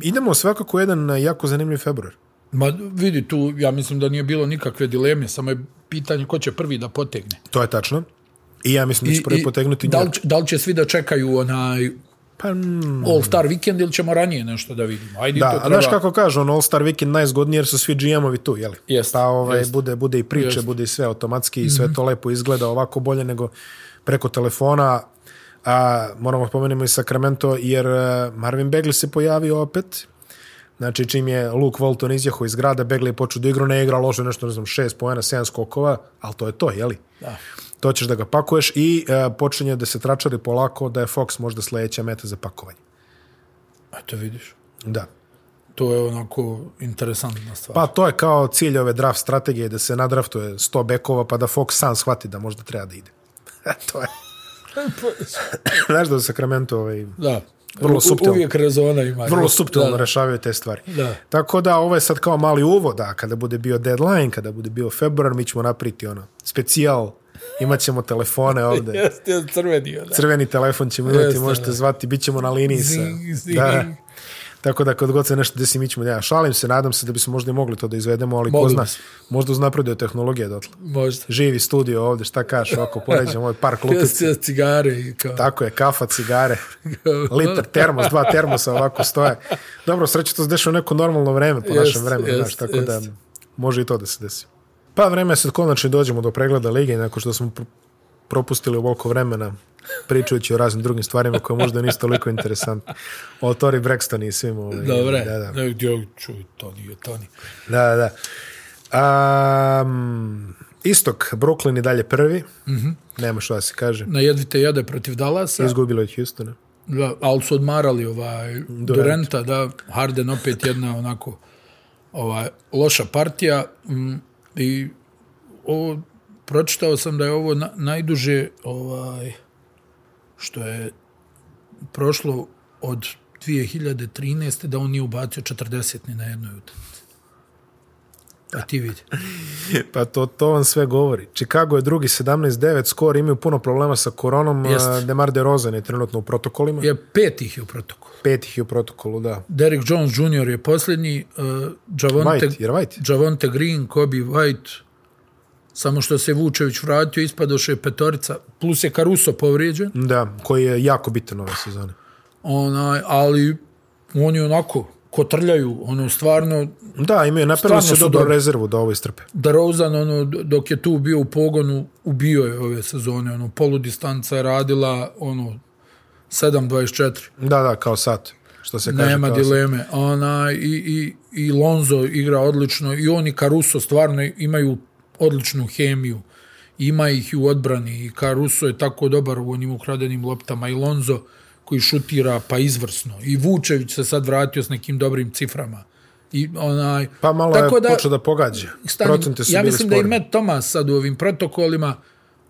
A: Idemo svakako u jedan uh, jako zanimljiv februar.
B: Ma vidi tu, ja mislim da nije bilo nikakve dileme, samo je pitanje ko će prvi da potegne.
A: To je tačno. I ja mislim da će prvi potegnuti
B: da
A: da
B: li, će- da li će svi da čekaju onaj
A: Pa, mm,
B: All-Star vikend ili ćemo ranije nešto da vidimo? Ajde,
A: da,
B: to
A: a
B: treba.
A: znaš kako kažu, ono All Star Weekend najzgodnije jer su svi GM-ovi tu, jeli?
B: Jest,
A: pa ovaj,
B: jest.
A: bude, bude i priče,
B: Jest.
A: bude i sve automatski i sve to lepo izgleda ovako bolje nego preko telefona. A, moramo spomenemo i Sacramento jer e, Marvin Bagley se pojavio opet. Znači čim je Luke Walton izjaho iz grada, Bagley je počeo da igra, ne igra loše nešto, ne znam, šest pojena, sedam skokova, ali to je to, jeli?
B: Da.
A: To ćeš da ga pakuješ i e, počinje da se tračari polako da je Fox možda sledeća meta za pakovanje.
B: A to vidiš.
A: Da.
B: To je onako interesantna stvar.
A: Pa to je kao cilj ove draft strategije da se nadraftuje 100 bekova pa da Fox sam shvati da možda treba da ide. to je. Znaš da u Sacramento ovaj,
B: da.
A: Pa- Vrlo
B: U-
A: suptilno.
B: Uvijek rezona ima.
A: vrlo suptilno
B: Da.
A: rešavaju te stvari.
B: Da.
A: Tako da ovo je sad kao mali uvod, a kada bude bio deadline, kada bude bio februar, mi ćemo napriti ono, specijal, imat ćemo telefone ovde.
B: Jeste, jeste crvenio, da.
A: Crveni telefon ćemo imati,
B: Jeste,
A: možete
B: da.
A: zvati, bit ćemo na liniji sa...
B: Zing, zing.
A: Da. Tako da kad god se nešto desi, mi ćemo... Ja šalim se, nadam se da bismo možda i mogli to da izvedemo, ali ko
B: Mogli
A: zna,
B: bismo.
A: možda uznapreduje tehnologija dotle.
B: Možda.
A: živi studio ovde, šta kažeš, ovako poređamo ovaj park
B: Jeste,
A: lupice.
B: jeste cigare i kao...
A: Tako je, kafa, cigare, liter, termos, dva termosa ovako stoje. Dobro, sreće to se dešava u neko normalno vreme, po
B: Jest,
A: našem vremenu,
B: jest,
A: znaš, tako da
B: jest.
A: može i to da se desi. Pa vreme je sad konačno i dođemo do pregleda lige, nakon što smo pr- propustili ovoliko vremena pričajući o raznim drugim stvarima koje možda nisu toliko interesantne. O Tori Braxton i svim ovim.
B: Dobre.
A: Da, da.
B: Ne, jo, čuj, to nije, to nije.
A: Da, da. Um, istok, Brooklyn i dalje prvi. Mm
B: Mhm.
A: -hmm. Nema što da se kaže.
B: Na jedvite jede protiv Dallasa.
A: Izgubilo je od Houstona.
B: Da, ali su odmarali ovaj Durenta, da, Harden opet jedna onako ovaj, loša partija mm, i ovo, pročitao sam da je ovo na, najduže ovaj, što je prošlo od 2013. da on nije ubacio 40 ni na jednoj utakmici. A ti vidi.
A: Pa to, to vam sve govori. Chicago je drugi 17-9, skor imaju puno problema sa koronom.
B: Jeste.
A: Jest. Demar DeRozan je trenutno u protokolima.
B: Je pet ih je u protokolu.
A: Pet ih je u protokolu, da.
B: Derek Jones Jr. je posljednji, uh, Javonte,
A: White, jer White?
B: Javonte Green, Kobe White, samo što se Vučević vratio, ispadoše petorica, plus je Caruso povrijeđen,
A: Da, koji je jako bitan ove sezone.
B: onaj, ali oni onako, kotrljaju, ono, stvarno,
A: Da, imaju napravili
B: Stvarno
A: su
B: su
A: dobru
B: dobri.
A: rezervu da ovo istrpe.
B: DeRozan, ono, dok je tu bio u pogonu, ubio je ove sezone, ono, poludistanca je radila, ono, 7.24.
A: Da, da, kao sat. Što se kaže,
B: Nema
A: kao sat.
B: dileme. Ona, i, i, I Lonzo igra odlično i on i Caruso stvarno imaju odličnu hemiju. Ima ih i u odbrani i Caruso je tako dobar u onim ukradenim loptama i Lonzo koji šutira pa izvrsno. I Vučević se sad vratio s nekim dobrim ciframa. I onaj,
A: Pa malo
B: tako
A: je
B: da,
A: počeo da pogađa.
B: Stani,
A: Procente su
B: ja
A: bili
B: mislim da i
A: sporni.
B: Matt Thomas sad u ovim protokolima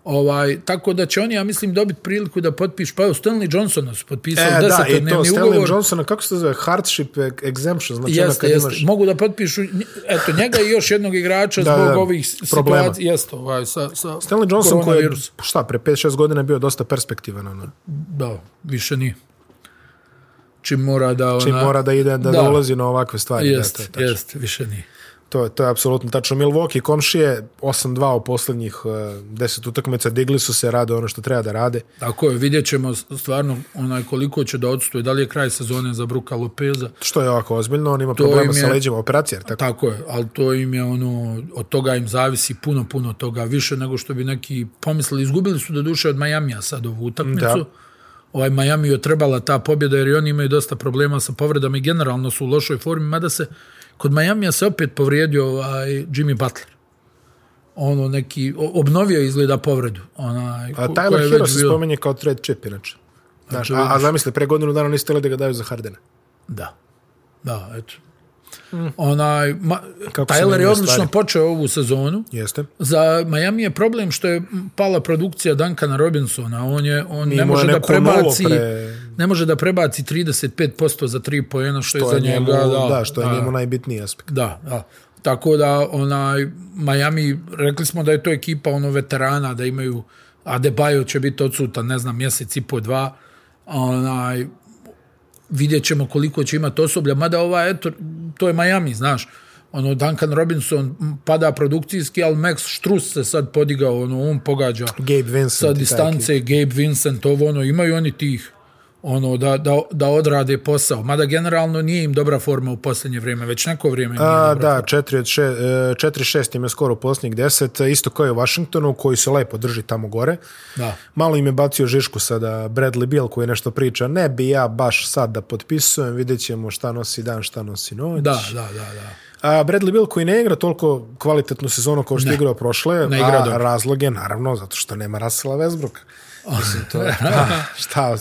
B: ovaj, tako da će oni, ja mislim, dobiti priliku da potpiš, pa evo, Stanley Johnsona su potpisali
A: E, da, i to,
B: desetodnevni
A: Stanley
B: ugovor.
A: Johnsona, kako se to zove, hardship exemption, znači ono
B: Jeste,
A: kad
B: jeste.
A: imaš...
B: Mogu da potpišu, eto, njega i još jednog igrača
A: Da,
B: zbog
A: da,
B: ovih
A: problema.
B: situacija. Jeste, ovaj, sa, sa
A: Stanley Johnson koji je,
B: koronavirusom.
A: šta, pre 5-6 godina je bio dosta perspektivan, ono.
B: Da, više nije. Čim mora da ona...
A: Čim Znači, mora da ide, da,
B: Pa Da.
A: da. ulazi na ovakve stvari.
B: Jeste,
A: da, to je
B: da, jeste, više nije.
A: To, je- to je apsolutno tačno. Milwaukee komšije 8-2 u posljednjih eh, 10 utakmica, digli su se, rade ono što treba da rade.
B: Tako je, vidjet ćemo stvarno onaj koliko će da odstuje, da li je kraj sezone za Bruka Lopeza,
A: Što je ovako ozbiljno, on ima
B: im
A: problema sa
B: je-
A: leđima operacija, jer tako?
B: E, Tako je, ali to im je ono, od toga im zavisi puno, puno toga, više nego što bi neki pomislili. Izgubili su do duše od Majamija sad ovu utakmicu. Da.
A: Da.
B: Ovaj Miami je trebala ta pobjeda jer i oni imaju dosta problema sa povredama i generalno su u lošoj formi, mada se kod Majamija se opet povrijedio ovaj Jimmy Butler. Ono neki, o- obnovio je izgleda povredu. Onaj,
A: A
B: ko- koja je
A: Tyler
B: već Znači,
A: Hero se
B: bila-
A: spominje kao trade chip, inače. Znaš, a, a zamisli, pre godinu dana niste htjeli da ga daju za Hardena.
B: Da. Da, eto. Onaj, ma,
A: Mm. Kako se
B: Tyler je
A: mijenjaju
B: odlično
A: stvari.
B: počeo ovu sezonu.
A: Jeste.
B: Za Miami je problem što je pala produkcija Duncana Robinsona. On je on ne
A: imao
B: može
A: je
B: da
A: neko nulu
B: prebaci
A: pre-
B: ne može da prebaci 35% za 3 poena što,
A: To
B: je
A: je
B: za njega,
A: njemu, da,
B: da,
A: što je
B: da,
A: njemu najbitniji aspekt.
B: Da, da. Tako da onaj Miami rekli smo da je to ekipa ono veterana da imaju Adebayo će biti odsutan, ne znam, mjesec i po dva. Onaj vidjet ćemo koliko će imati osoblja, mada ova, eto, to je Miami, znaš, ono, Duncan Robinson m, pada produkcijski, ali Max Strus se sad podigao, ono, on pogađa
A: Gabe Vincent. i
B: sa
A: taj ekip.
B: distance, Gabe Vincent, ovo, ono, imaju oni tih, ono, da, da, da odrade posao, mada generalno nije im dobra forma u posljednje vrijeme, već neko vrijeme nije
A: A,
B: dobra.
A: da, 4 od 6, 4 6 im je skoro u posljednjih 10, isto kao i u Washingtonu koji se lepo drži tamo gore.
B: Da.
A: Malo im je bacio Žišku sada Bradley Beal koji nešto priča, ne bi ja baš sad da potpisujem, vidjet ćemo šta nosi dan, šta nosi noć.
B: Da, da, da, da.
A: A Bradley Beal koji ne igra toliko kvalitetnu sezonu kao što je igrao prošle,
B: Ne igra
A: a
B: dobro.
A: razlog je naravno zato što nema Rasela Westbrooka. Mislim, to, da, šta,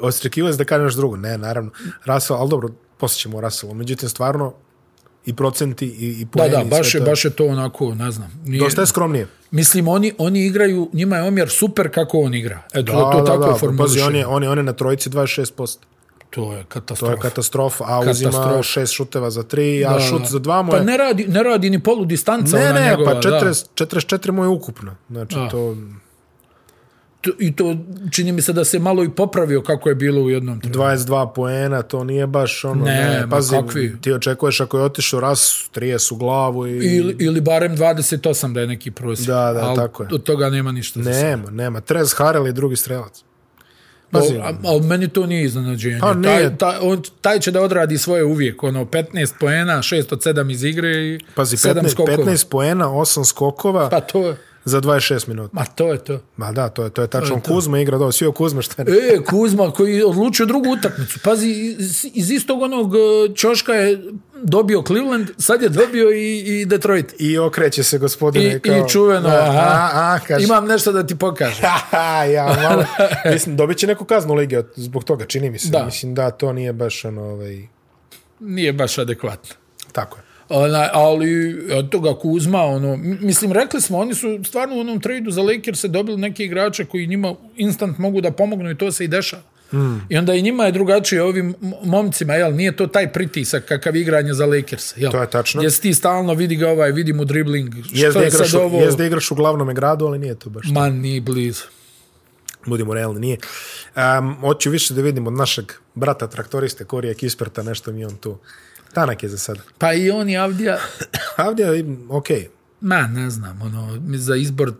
A: očekivao se da kažeš drugo? Ne, naravno. Rasel, ali dobro, poslije ćemo o Raselu. Međutim, stvarno, i procenti i, i
B: Da,
A: poeni.
B: da,
A: i sve
B: baš je,
A: to.
B: baš je to onako, ne znam. Nije,
A: Dosta je skromnije.
B: Mislim, oni, oni igraju, njima je omjer super kako on igra. Eto,
A: Da,
B: to
A: da,
B: tako
A: da, pa
B: da,
A: pazi,
B: formuliše.
A: on je, on, je, on je na trojici 26%.
B: To je
A: To
B: katastrofa.
A: je katastrofa, a uzima
B: Katastrofa.
A: šest šuteva za tri, a šut za dva mu je...
B: Pa ne radi, ne radi ni polu distanca
A: ne,
B: ona
A: ne,
B: njegova.
A: pa 40, 44 mu je ukupno. Znači,
B: Da.
A: to...
B: Da. I to čini mi se da se malo i popravio kako je bilo u jednom trenutku.
A: 22 poena, to nije baš ono...
B: Ne,
A: Ne,
B: ma
A: pazi,
B: kakvi.
A: ti očekuješ ako je otišao ras, 30 u glavu i...
B: Ili, ili barem 28 da je neki prosjek.
A: Da, da,
B: ali
A: tako je.
B: Od toga nema ništa. za sebe.
A: Nema, nema. Trez Harrell je drugi strelac. Pazi,
B: Ali, ali meni to nije iznenađenje.
A: Pa
B: Taj,
A: nije.
B: taj, on, taj će da odradi svoje uvijek. Ono, 15 poena, 6 od 7 iz igre i
A: pazi,
B: 7
A: 15,
B: skokova.
A: 15 poena, 8 skokova
B: Pa to je,
A: za 26 minuta.
B: ma to je to.
A: Ma da, to je, to je tačno. Kuzma igra dobro, svi o Kuzma šta ne.
B: E, Kuzma koji je odlučio drugu utakmicu. Pazi, iz, iz istog onog e, čoška je dobio Cleveland, sad je dobio i, i Detroit.
A: I okreće se gospodine.
B: I,
A: kao,
B: i čuveno,
A: Da,
B: aha,
A: A, a, kaže, Ima...
B: imam nešto da ti pokažem.
A: ja, malo. Mislim, dobit će neku kaznu lige od- zbog toga, čini mi se.
B: Da.
A: Mislim, da, to nije baš ono, ovaj,
B: Nije baš adekvatno.
A: tako je.
B: Ona, ali od toga Kuzma, ono, m- mislim, rekli smo, oni su stvarno u onom tradu za Lakers se dobili neke igrače koji njima instant mogu da pomognu i to se i dešava. Mm.
A: Hmm.
B: I onda i njima je drugačije ovim momcima, jel, nije to taj pritisak kakav igranje za Lakers, jel?
A: To je tačno.
B: Jesi ti stalno vidi ga ovaj, vidi mu dribling,
A: Jest
B: što
A: da,
B: je
A: igraš,
B: sad
A: u-
B: ovo?
A: jest da igraš u glavnom gradu, ali nije to baš.
B: Ma, ni blizu.
A: Budimo realni, nije. Um, hoću više da vidim od našeg brata traktoriste Korija Kisperta, nešto mi je on tu. Tanak je za sada.
B: Pa i on i Avdija,
A: Avdija, ok,
B: ma, ne znam, ono, mi za izbor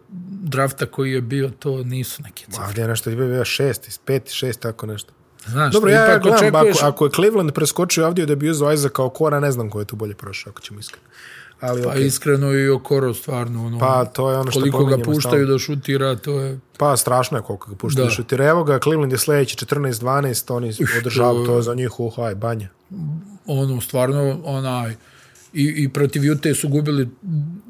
B: drafta koji je bio, to nisu neke cifre.
A: Avdija je nešto, bio šest, pet, šest, tako nešto.
B: Znaš,
A: Dobro,
B: ti
A: ja, ja
B: ipak
A: gledam, ba,
B: očekuješ-
A: ako, ako je Cleveland preskočio Avdiju da bi uzao Isaac kao kora, ne znam ko je tu bolje prošao, ako ćemo iskreno. Ali,
B: Pa iskreno i Okoro stvarno, ono,
A: Pa, to je ono što
B: koliko ga
A: pominjemo
B: puštaju
A: stalno.
B: da šutira, to je...
A: Pa, strašno je koliko ga pušta da.
B: Da.
A: šutira. Evo ga, Cleveland je sljedeći 14-12, oni održavaju to za njih, uh, uhaj, banja.
B: ono stvarno onaj i, i protiv Jute su gubili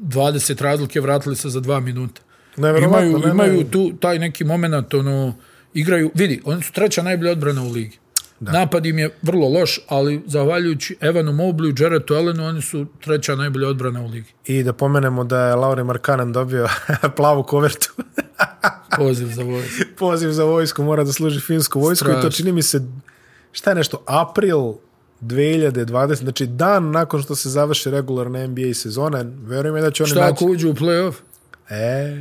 B: 20 razlike, vratili se za dva minuta.
A: Neverovatno,
B: Imaju,
A: ne, ne.
B: imaju tu taj neki moment, ono, igraju, vidi, oni su treća najbolja odbrana u ligi. Da. Napad im je vrlo loš, ali zahvaljujući Evanu Mobliju, Jarrettu Allenu, oni su treća najbolja odbrana u ligi.
A: I da pomenemo da je Lauri Markanen dobio plavu kovertu.
B: Poziv za vojsku.
A: Poziv za vojsku, mora da služi finsku vojsku i to
B: Strašno.
A: čini mi se, šta je nešto, april 2020, znači dan nakon što se završi regularna NBA sezona, verujem je da će oni
B: Šta
A: naći...
B: ako uđu u playoff?
A: E,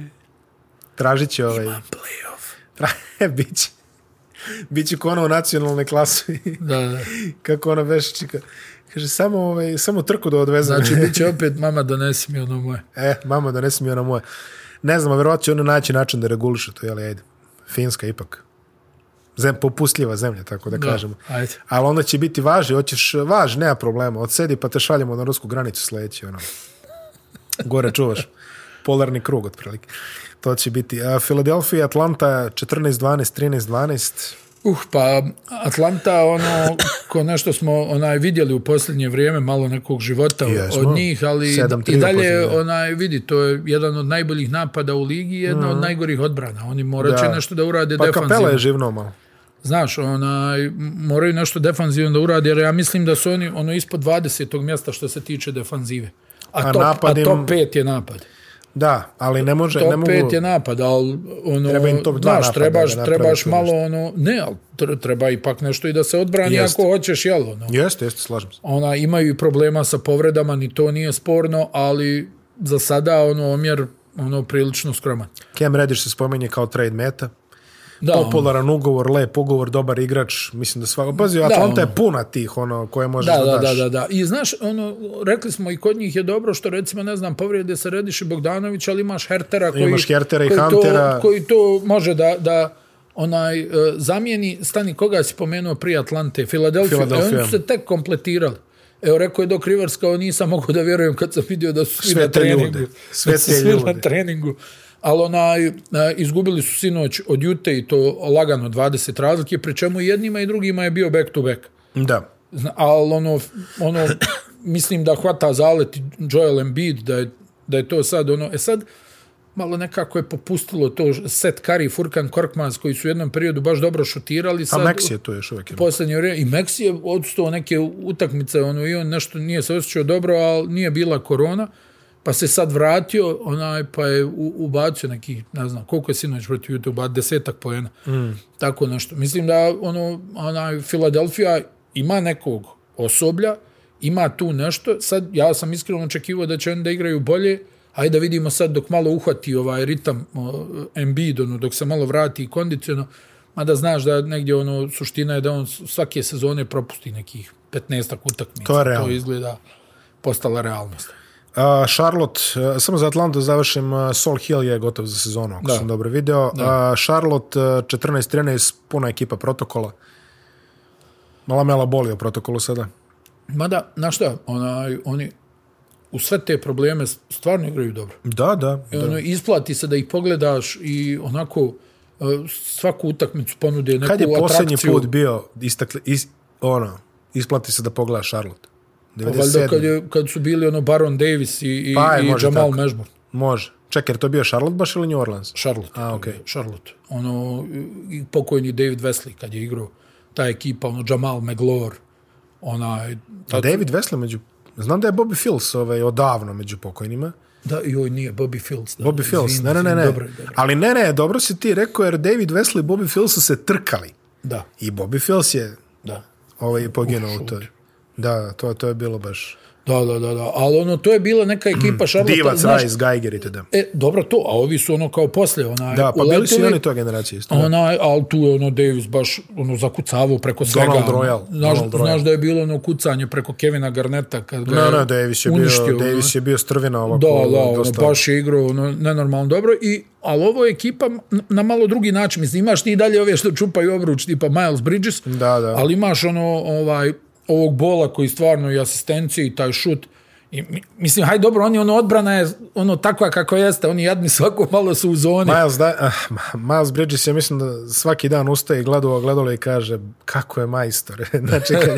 A: tražit će ovaj...
B: Playoff.
A: Tra... Biće. Biće ko ono u nacionalnoj klasi.
B: Da, da.
A: Kako ona vešičika. Kaže, samo, ovaj, samo trku da odvezam.
B: Znači, bit će opet mama donesi mi ono moje.
A: E, mama, da ne smije ona moje. Ne znam, a verovatno će ona naći način da reguliše to, jel, ajde. Finska ipak. Zem, popustljiva zemlja, tako da,
B: Da,
A: kažemo.
B: ajde.
A: Ali onda će biti važi, hoćeš važ, nema problema. Odsedi pa te šaljemo na rusku granicu sledeći, ono. Gore čuvaš. Polarni krug, otprilike. To će biti. A, Philadelphia, Atlanta, 14-12, 13-12.
B: Uh, pa Atlanta, ono, ko nešto smo onaj vidjeli u posljednje vrijeme, malo nekog života
A: Jesmo.
B: Jesmo. od njih, ali
A: Sedam, tri
B: i
A: u posljednje
B: dalje,
A: vrijeme.
B: onaj, vidi, to je jedan od najboljih napada u ligi, jedna od najgorih odbrana. Oni morat će
A: Mhm. Da.
B: nešto da urade
A: Pa kapela je
B: defanzivno.
A: živno malo.
B: Znaš, onaj, m- moraju nešto defanzivno da urade, jer ja mislim da su oni ono ispod 20. mjesta što se tiče defanzive. A,
A: A
B: a, top,
A: napad
B: a
A: im-
B: top 5 je napad.
A: Da, ali ne može, ne
B: Top
A: mogu...
B: 5 je napad, ali ono,
A: Treba im top dva
B: znaš,
A: napada
B: trebaš,
A: da naprave
B: trebaš
A: tu
B: malo ono, ne, ali tr- treba ipak nešto i da se odbrani
A: Jeste.
B: ako hoćeš, jel, ono.
A: Jeste, jeste, slažem se.
B: Ona, imaju i problema sa povredama, ni to nije sporno, ali za sada ono omjer ono prilično skroman.
A: Cam Reddish se spomenje kao trade meta.
B: Da, ono,
A: popularan ugovor, lep ugovor, dobar igrač, mislim da svako... Pazi, Atlanta je puna tih, ono, koje možeš da,
B: da, da,
A: daš.
B: da, da, da. I znaš, ono, rekli smo i kod njih je dobro što recimo, ne znam, povrijede se Rediš i Bogdanović, ali imaš Hertera koji,
A: Imaš Hertera i
B: koji,
A: Huntera.
B: to, koji to može da, da onaj e, zamijeni, stani koga si pomenuo prije Atlante, Filadelfiju, e,
A: Filadelfija.
B: oni su se tek kompletirali. Evo, rekao je Doc Rivers kao nisam mogao da vjerujem kad sam vidio da su svi
A: Sve
B: na
A: te ljude.
B: treningu.
A: Sve
B: Da su
A: te
B: svi
A: ljude.
B: na treningu. Ali onaj, e, izgubili su sinoć od Jute i to lagano 20 razlike, pri čemu i jednima i drugima je bio back to back.
A: da.
B: Zna- ali ono, ono mislim da hvata zalet i Joel Embiid, da je, da je to sad ono, e sad, malo nekako je popustilo to Seth Curry, Furkan Korkmaz, koji su u jednom periodu baš dobro šutirali.
A: A
B: Sad,
A: Meksi Pa je tu još uvijek.
B: u Posljednje vrijeme, i Meksi je odstao neke utakmice, ono, i on nešto nije se osjećao dobro, ali nije bila korona, pa se sad vratio, onaj, pa je u, ubacio neki, ne znam, koliko je sinoć protiv YouTube, desetak pojena, mm. tako nešto. Mislim da, ono, onaj, Filadelfija ima nekog osoblja, ima tu nešto, sad ja sam iskreno očekivao da će oni da igraju bolje, ajde da vidimo sad dok malo uhvati ovaj ritam o, Embiid, ono, dok se malo vrati i kondiciono, mada znaš da negdje ono, suština je da on s- svake sezone propusti nekih 15 utakmica.
A: To je realno.
B: To izgleda postala realnost.
A: Uh, Charlotte, uh, samo za Atlantu završim, uh, Sol Hill je gotov za sezonu, ako da.
B: Da.
A: sam dobro video. Da. Uh, Charlotte, uh, 14-13, puna ekipa protokola. Mala Mela boli o protokolu sada.
B: Mada, znaš šta, onaj, oni u sve te probleme stvarno igraju dobro.
A: Da, da.
B: I ono, isplati se da ih pogledaš i onako e, svaku utakmicu ponude neku
A: Kad je posljednji
B: atrakciju.
A: put bio, istakli, is, ono, isplati se da pogledaš Charlotte?
B: Pa Valjda
A: 97.
B: kad, je, kad su bili ono Baron Davis i, i,
A: Pa, je,
B: i
A: može
B: Jamal
A: tako.
B: Mashburn.
A: Može. Čekaj, jer to bio Charlotte baš ili New Orleans?
B: Charlotte.
A: A, okej.
B: Charlotte. Ono, i pokojni David Wesley kad je igrao ta ekipa, ono Jamal McGlure, onaj...
A: Pa
B: Ta,
A: David Wesley među... Znam da je Bobby Fields ovaj, odavno među pokojnima.
B: da, joj, nije, Bobby Fields. Da,
A: Bobby Fields,
B: izvini,
A: ne, ne, ne. ne.
B: izvini, Dobro, je, dobro.
A: Ali ne, ne, dobro si ti rekao jer David Wesley i Bobby Fields su se trkali.
B: Da,
A: I Bobby Fils je
B: da.
A: ovaj, poginuo u toj. Da, to, to je bilo baš...
B: Da, da, da, da. Ali ono, to je bila neka ekipa Šarlota.
A: Mm, Divac,
B: znaš-
A: Rajs, Geiger i tada.
B: E, dobro to, a ovi su ono kao poslije, onaj,
A: Da, pa bili su i
B: uletili.
A: oni to generacije isto.
B: Onaj, ali tu je ono Davis baš ono zakucavao preko svega. ono.
A: Donald Royal,
B: Znaš,
A: Donald Royal.
B: znaš da je bilo ono kucanje preko Kevina Garneta kad ga
A: Da, da, Davis je bio,
B: uništio, ono,
A: Davis je bio strvina ovako.
B: Da, da, ono,
A: dosta-
B: baš je igrao ono, nenormalno dobro. I, ali ovo je ekipa na- na malo drugi način. Mislim, imaš ti i dalje ove što čupaju obruč, tipa Miles Bridges,
A: Da, da.
B: ali imaš ono, ovaj, ovog bola koji stvarno i asistencije i taj šut. I, mi- mislim, haj dobro, oni ono odbrana je ono takva kako jeste, oni jadni svako malo su u zoni.
A: Miles, da, ah, Miles Bridges je, mislim da svaki dan ustaje i gleda u ogledalo i kaže kako je majstor. znači, kad,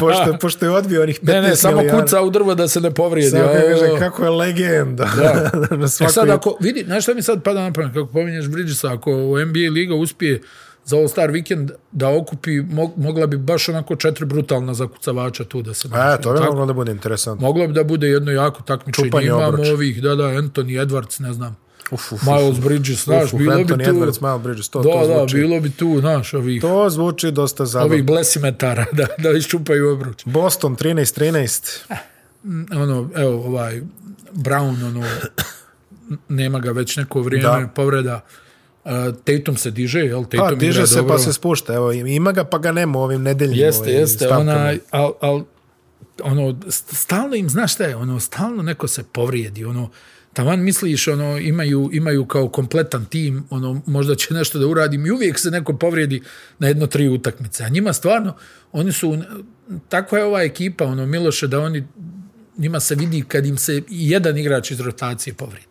A: pošto, pošto je odbio onih 15
B: Ne, ne, samo
A: milijana,
B: kuca u drvo da se ne povrijedi.
A: Samo
B: a,
A: kaže kako je legenda. Da. Na
B: E
A: svakoj-
B: sad ako, vidi, znaš šta mi sad pada na pamet, kako pominješ Bridgesa, ako NBA liga uspije za All Star vikend da okupi, mo- mogla bi baš onako četiri brutalna zakucavača tu da se
A: A,
B: nađu,
A: E, Pa to bi
B: tako?
A: moglo da bude interesantno.
B: Moglo bi da bude jedno jako takmičenje.
A: Čupanje
B: Imamo
A: obruča.
B: ovih, da, da, Anthony Edwards, ne znam,
A: Uf, uf,
B: Miles Bridges, znaš,
A: uf,
B: bilo
A: Anthony
B: bi tu...
A: Edwards, Miles Bridges, to,
B: da,
A: to
B: da,
A: zvuči.
B: bilo bi tu, znaš, ovih,
A: To zvuči dosta zabavno.
B: ovih blesimetara da, da iščupaju obruč.
A: Boston 13-13.
B: E, ono, evo, ovaj, Brown, ono, nema ga već neko vrijeme,
A: Da.
B: da. povreda. Uh, Tatum se diže, jel? Tatum
A: Pa, diže
B: igra
A: se
B: dobro.
A: pa se spušta. Evo, ima ga pa ga nema u ovim nedeljnim
B: Jeste,
A: ovim
B: jeste,
A: stavkama.
B: onaj, al, al, ono, st- stalno im, znaš šta je, ono, stalno neko se povrijedi, ono, taman misliš, ono, imaju, imaju kao kompletan tim, ono, možda će nešto da uradim i uvijek se neko povrijedi na jedno tri utakmice, a njima stvarno, oni su, takva je ova ekipa, ono, Miloše, da oni, njima se vidi kad im se i jedan igrač iz rotacije povrijedi.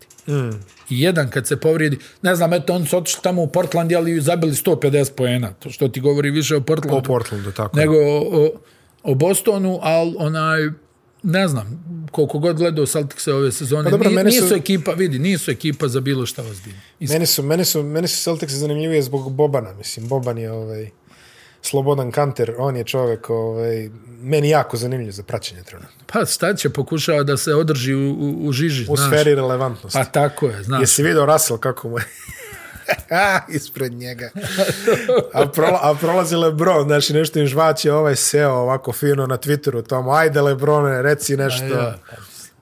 B: I jedan kad se povrijedi, ne znam, eto, oni su otišli tamo u Portland, ali zabili 150 poena, to što ti govori više o
A: Po
B: Portlandu
A: Portlandu, tako.
B: nego o, o Bostonu, ali onaj, ne znam, koliko god gledao Celticse ove sezone,
A: Pa
B: pa
A: dobro,
B: dobro,
A: meni su-
B: nisu ekipa, vidi, nisu ekipa za bilo šta ozbiljno. I
A: Meni su, meni su, meni su Celtics zanimljivije zbog Bobana, mislim. Boban je ovaj, slobodan kanter, on je čovjek ovaj, meni jako zanimljiv za praćenje trenutno.
B: Pa šta će, pokušava da se održi u, u, u žiži,
A: U
B: znaš.
A: sferi relevantnosti.
B: Pa tako je, znaš.
A: Jesi vidio Russell kako mu je A, ispred njega. A, prola, a prolazi Lebron, znači nešto im žvaće, ovaj seo ovako fino na Twitteru, tamo, ajde Lebrone, reci nešto,
B: ja.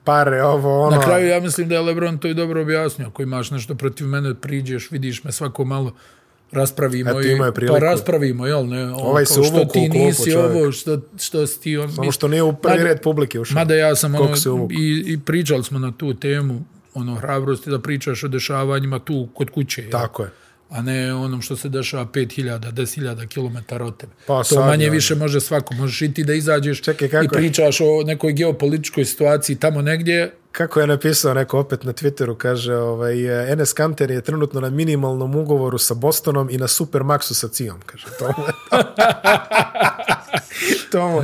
A: pare, ovo, ono.
B: Na kraju ja mislim da je Lebron to i dobro objasnio. Ako imaš nešto protiv mene, priđeš, vidiš me svako malo, raspravimo
A: Eto,
B: i-
A: imao je
B: pa
A: priliku.
B: raspravimo, jel ne? Ovo,
A: Ovaj
B: kao
A: se
B: što
A: uvukao u
B: ti
A: klupu,
B: nisi
A: čovjek.
B: ovo, što, što si ti on...
A: Samo što nije u prvi
B: Mada-
A: red publike ušao.
B: Mada ja sam ono,
A: Koliko se uvukao?
B: i, i pričali smo na tu temu, ono, hrabrosti da pričaš o dešavanjima tu kod kuće. jel?
A: Tako je.
B: A ne onom što se dešava 5000, 10.000 km od tebe.
A: Pa
B: to
A: sad,
B: manje
A: ja.
B: više može svako. Možeš i ti da izađeš
A: Čekaj, kako
B: i
A: je?
B: pričaš o nekoj geopolitičkoj situaciji tamo negdje.
A: Kako je napisao neko opet na Twitteru, kaže, ovaj, eh, NS Kanter je trenutno na minimalnom ugovoru sa Bostonom i na Supermaxu sa Cijom, kaže. To mu je, to mu,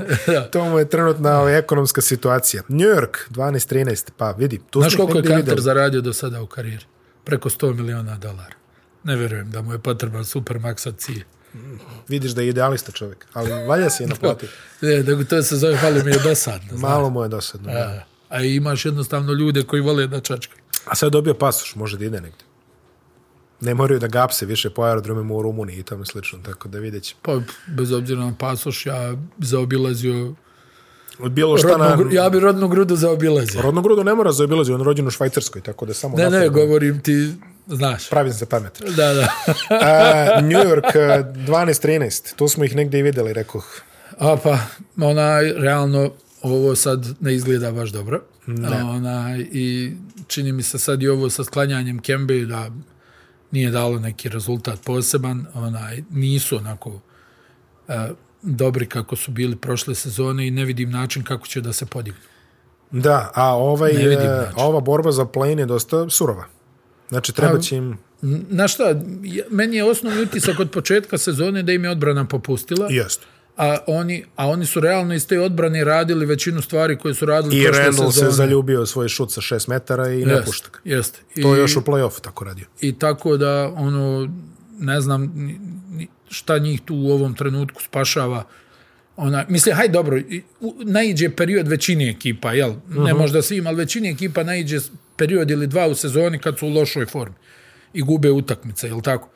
A: to mu je trenutna ovaj, ekonomska situacija. New York, 12-13, pa vidi. Tu
B: Znaš
A: smo ih
B: koliko je
A: negdje
B: Kanter
A: videli.
B: zaradio do sada u karijeri? Preko 100 miliona dolara. Ne vjerujem da mu je potreban Supermax od cije.
A: Vidiš da je idealista čovjek, ali valja se i naplatiti.
B: Ne, E, da to se zove, malo mi je dosadno. znaš.
A: Malo mu je dosadno. da.
B: A, a imaš jednostavno ljude koji vole da čačkaju.
A: A sad je dobio pasoš, može da ide negdje. Ne moraju da gapse više po aerodromima u Rumuniji i tome slično, tako da vidjet ćemo.
B: Pa, bez obzira na pasoš, ja zaobilazio...
A: Od bilo šta
B: Rodnu,
A: na...
B: gru- ja bi rodnu grudu zaobilazio.
A: Rodnu grudu ne mora zaobilazi, on je rođen u Švajcarskoj, tako da samo...
B: Ne, ne,
A: napred.
B: govorim ti, znaš.
A: Pravim se pametan.
B: Da, da.
A: A, New York e, 12-13, tu smo ih negdje i videli, rekoh.
B: A pa, onaj, realno, ovo sad ne izgleda baš dobro. Ne. Onaj, I čini mi se sad i ovo sa sklanjanjem Kembe da nije dalo neki rezultat poseban. Onaj, nisu onako e, dobri kako su bili prošle sezone i ne vidim način kako će da se podignu.
A: Da, a ovaj,
B: Ne znači. vidim
A: e,
B: način.
A: ova borba za play-in je dosta surova. Znači, treba će im...
B: N- Na šta, ja- meni je osnovni utisak od početka sezone da im je odbrana popustila.
A: Jest.
B: a oni, a oni su realno iz te odbrane radili većinu stvari koje su radili
A: I
B: prošle
A: Randall se
B: sezone.
A: zaljubio u svoj šut sa 6 metara i ne pušta ga.
B: Jest. I,
A: To je još u play-offu tako radio.
B: I tako da, ono, ne znam ni- ni šta njih tu u ovom trenutku spašava. Ona, mislim, haj dobro, i- u- naiđe period većini ekipa, jel? Ne
A: Mhm.
B: možda svim, ali većini ekipa naiđe s- period ili dva u sezoni kad su u lošoj formi i gube utakmice, jel tako?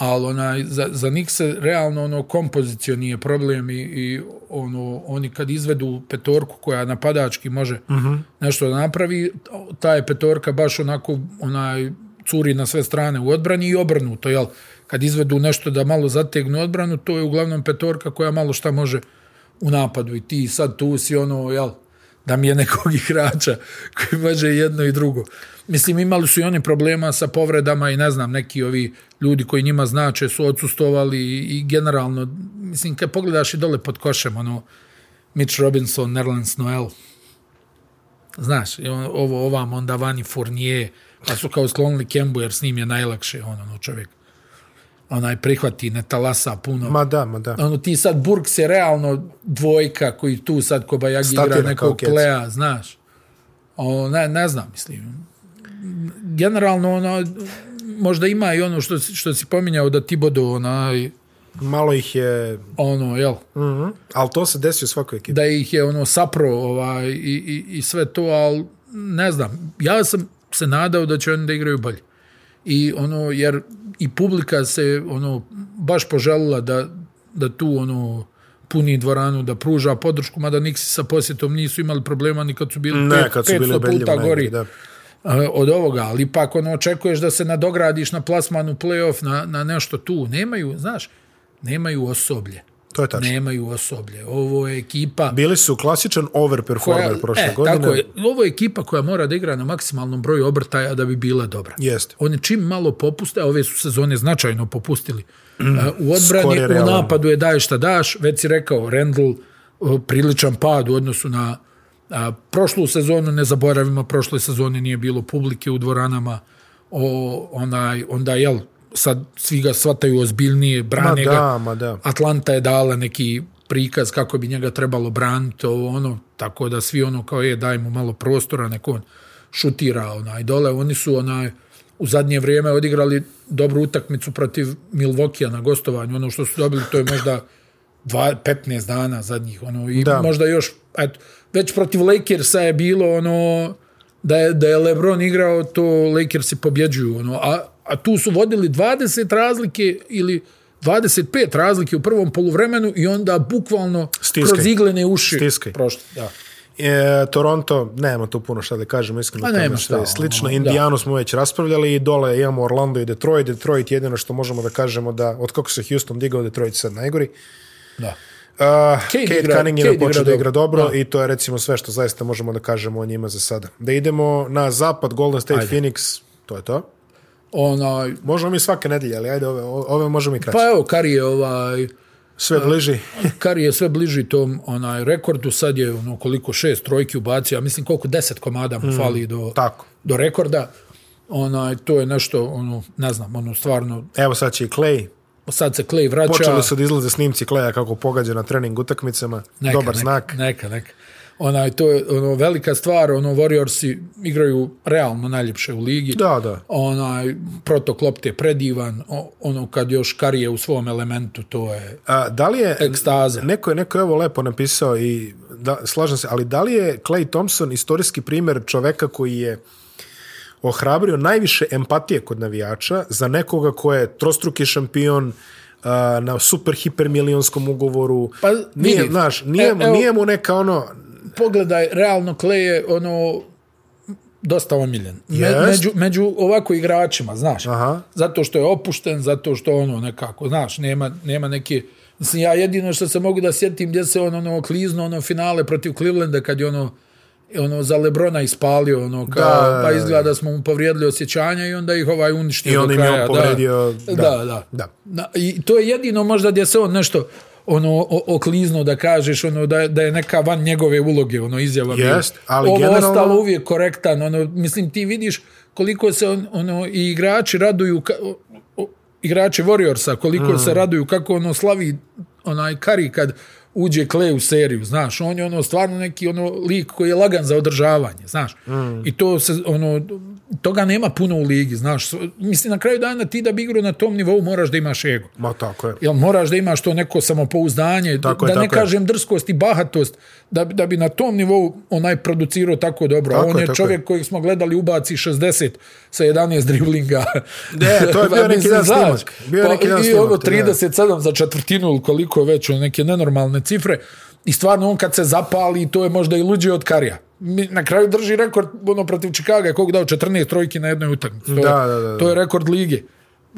B: ali onaj, za, za njih se realno ono kompozicija nije problem i, i ono, oni kad izvedu petorku koja napadački može uh -huh. nešto da napravi, ta je petorka baš onako onaj, curi na sve strane u odbrani i obrnuto, jel? Kad izvedu nešto da malo zategnu odbranu, to je uglavnom petorka koja malo šta može u napadu i ti sad tu si ono, jel? da mi je nekog igrača koji može jedno i drugo. Mislim, imali su i oni problema sa povredama i ne znam, neki ovi ljudi koji njima znače su odsustovali i, i generalno, mislim, kad pogledaš i dole pod košem, ono, Mitch Robinson, Nerlens Noel, znaš, i on, ovo ovam, onda vani Fournier, pa su kao sklonili Kembu, jer s njim je najlakše, ono, ono čovjek onaj prihvati, ne talasa puno.
A: Ma da, ma da.
B: Ono, ti sad Burks je realno dvojka koji tu sad Kobajagi
A: Statira
B: igra
A: kao
B: nekog
A: kec.
B: pleja, znaš. O, ne, ne znam, mislim. Generalno, ono, možda ima i ono što, si- što si pominjao da Tibodo, onaj,
A: Malo ih je...
B: ono, jel,
A: Mhm. Ali to se desi u svakoj ekipi.
B: da ih je ono sapro ovaj, i, i, i sve to, ali ne znam, ja sam se nadao da će oni da igraju bolje. I ono, jer i publika se ono, baš poželila da, da tu ono, puni dvoranu, da pruža podršku, mada Nixi sa posjetom nisu imali problema ni kad su bili
A: Ne,
B: pet-
A: kad su bili
B: 500
A: ubedljivo
B: puta
A: najbolji,
B: gori
A: Da.
B: e, od ovoga, ali ipak ono očekuješ da se nadogradiš na plasmanu playoff, na, na nešto tu. Nemaju, znaš, nemaju osoblje.
A: To je tačno.
B: Nemaju osoblje. Ovo je ekipa
A: Bili su klasičan overperformer prošle
B: e,
A: godine.
B: Tako je. Ovo je ekipa koja mora da igra na maksimalnom broju obrtaja da bi bila dobra.
A: Jeste.
B: Oni čim malo popuste, a ove su sezone značajno popustili, e, u odbrani,
A: Skoro je realno.
B: u napadu je daješ šta daš, već si rekao, Rendl e, priličan pad u odnosu na a, prošlu sezonu, ne zaboravimo, prošle sezone nije bilo publike u dvoranama, o, onaj, onda, jel, sad svi ga shvataju ozbiljnije,
A: Ma
B: brane ga,
A: da, ma da.
B: Atlanta je dala neki prikaz kako bi njega trebalo braniti, ovo ono, tako da svi ono kao je, daj mu malo prostora, neko on šutira onaj dole. Oni su onaj, u zadnje vrijeme odigrali dobru utakmicu protiv Milvokija na gostovanju. Ono što su dobili, to je možda dva, 15 dana zadnjih. Ono, I
A: Da.
B: da. možda još, eto, već protiv Lakersa je bilo ono, da je, da je LeBron igrao, to Lakersi pobjeđuju. Ono, a, a tu su vodili 20 razlike ili 25 razlike u prvom poluvremenu i onda bukvalno
A: Stiskaj.
B: Stiskaj. kroz iglene uši
A: Stiskaj.
B: prošli. Da.
A: E, Toronto, nema tu puno šta da kažemo, iskreno
B: Pa
A: tamo
B: nema
A: je
B: šta,
A: sve slično.
B: ono,
A: Indijanu smo već raspravljali i dole imamo Orlando i Detroit. Detroit jedino što možemo da kažemo da od kako se Houston digao, Detroit sad najgori.
B: da.
A: Uh, Kate,
B: igra-
A: Cunningham je
B: Cade
A: počeo
B: igra
A: da igra dobro
B: dobro.
A: i to je recimo sve što zaista možemo da kažemo o njima za sada. Da idemo na zapad, Golden State,
B: Ajde.
A: Phoenix, to je to.
B: Onaj,
A: Možemo mi svake nedelje, ali ajde ove, ove možemo i kraće.
B: pa evo, Kari je ovaj,
A: Sve bliži.
B: Kari je sve bliži tom onaj rekordu, sad je ono koliko šest trojki ubacio, ja mislim koliko deset komada
A: Mm.
B: mu fali do,
A: Tako.
B: do rekorda. Onaj, to je nešto, ono, ne znam, ono, stvarno,
A: Evo sad će i Clay.
B: sad se Clay vraća.
A: Počeli su da izlaze snimci Claya kako pogađa na trening utakmicama.
B: neka,
A: Dobar
B: neka,
A: znak.
B: Neka, neka. Onaj, to je ono, velika stvar, ono, Warriorsi igraju realno najljepše u ligi.
A: Da, da.
B: Onaj, protok lopte je predivan, o- ono, kad još Kari je u svom elementu, to je
A: A, da li je,
B: ekstaza.
A: neko je, neko je ovo lepo napisao i da, slažem se, ali da li je Clay Thompson istorijski primjer čoveka koji je ohrabrio najviše empatije kod navijača za nekoga ko je trostruki šampion a, na super hipermilionskom ugovoru.
B: Pa,
A: nije,
B: vidi.
A: znaš, nije,
B: E,
A: mu-
B: evo-
A: nije mu neka ono,
B: pogledaj, realno Clay je ono dosta omiljen. Me,
A: Jest.
B: među, među ovako igračima, znaš.
A: Aha.
B: Zato što je opušten, zato što ono nekako, znaš, nema, nema neke... Mislim, ja jedino što se mogu da sjetim gdje se on ono klizno, ono finale protiv Clevelanda kad je ono ono za Lebrona ispalio ono kao
A: Da, da,
B: da, pa
A: da.
B: izgleda da smo mu povrijedili osjećanja i onda ih ovaj uništio
A: I
B: do
A: onda im je on
B: kraja.
A: povrijedio-
B: da,
A: da,
B: da. da.
A: da.
B: Na, I to je jedino možda gdje se on nešto ono o- oklizno da kažeš ono da je- da je neka van njegove uloge ono izjava bila.
A: Jest, ali
B: ovo
A: generalno-
B: ostalo uvijek korektan ono mislim ti vidiš koliko se on, ono i igrači raduju ka, o, o, igrači Warriorsa koliko se raduju kako ono slavi onaj Kari kad uđe Clay u seriju, znaš, on je ono stvarno neki ono lik koji je lagan za održavanje, znaš. Mm. I to se ono toga nema puno u ligi, znaš. Mislim na kraju dana ti da bi igrao na tom nivou moraš da imaš ego.
A: Ma tako je.
B: Jel moraš da imaš to neko samopouzdanje,
A: Tako je,
B: da ne
A: tako je.
B: kažem drskost i bahatost, da, bi- da bi na tom nivou onaj producirao tako dobro.
A: Tako
B: A on
A: je,
B: je,
A: tako
B: čovjek kojeg smo gledali ubaci 60 sa 11 driblinga.
A: Ne, to je
B: Pa,
A: bio neki
B: mislim,
A: dan
B: znaš,
A: snimak. Bio je
B: pa
A: neki dan
B: i
A: snimak,
B: ono
A: to je, da.
B: 37 za četvrtinu ili koliko je već, ono, neke nenormalne cifre. I stvarno on kad se zapali, to je možda i luđe od Karija. Mi- Na kraju drži rekord ono protiv Čikaga, kog dao 14 trojki na jednoj utakmici. To, je-
A: Da, da, da, da.
B: to je rekord lige.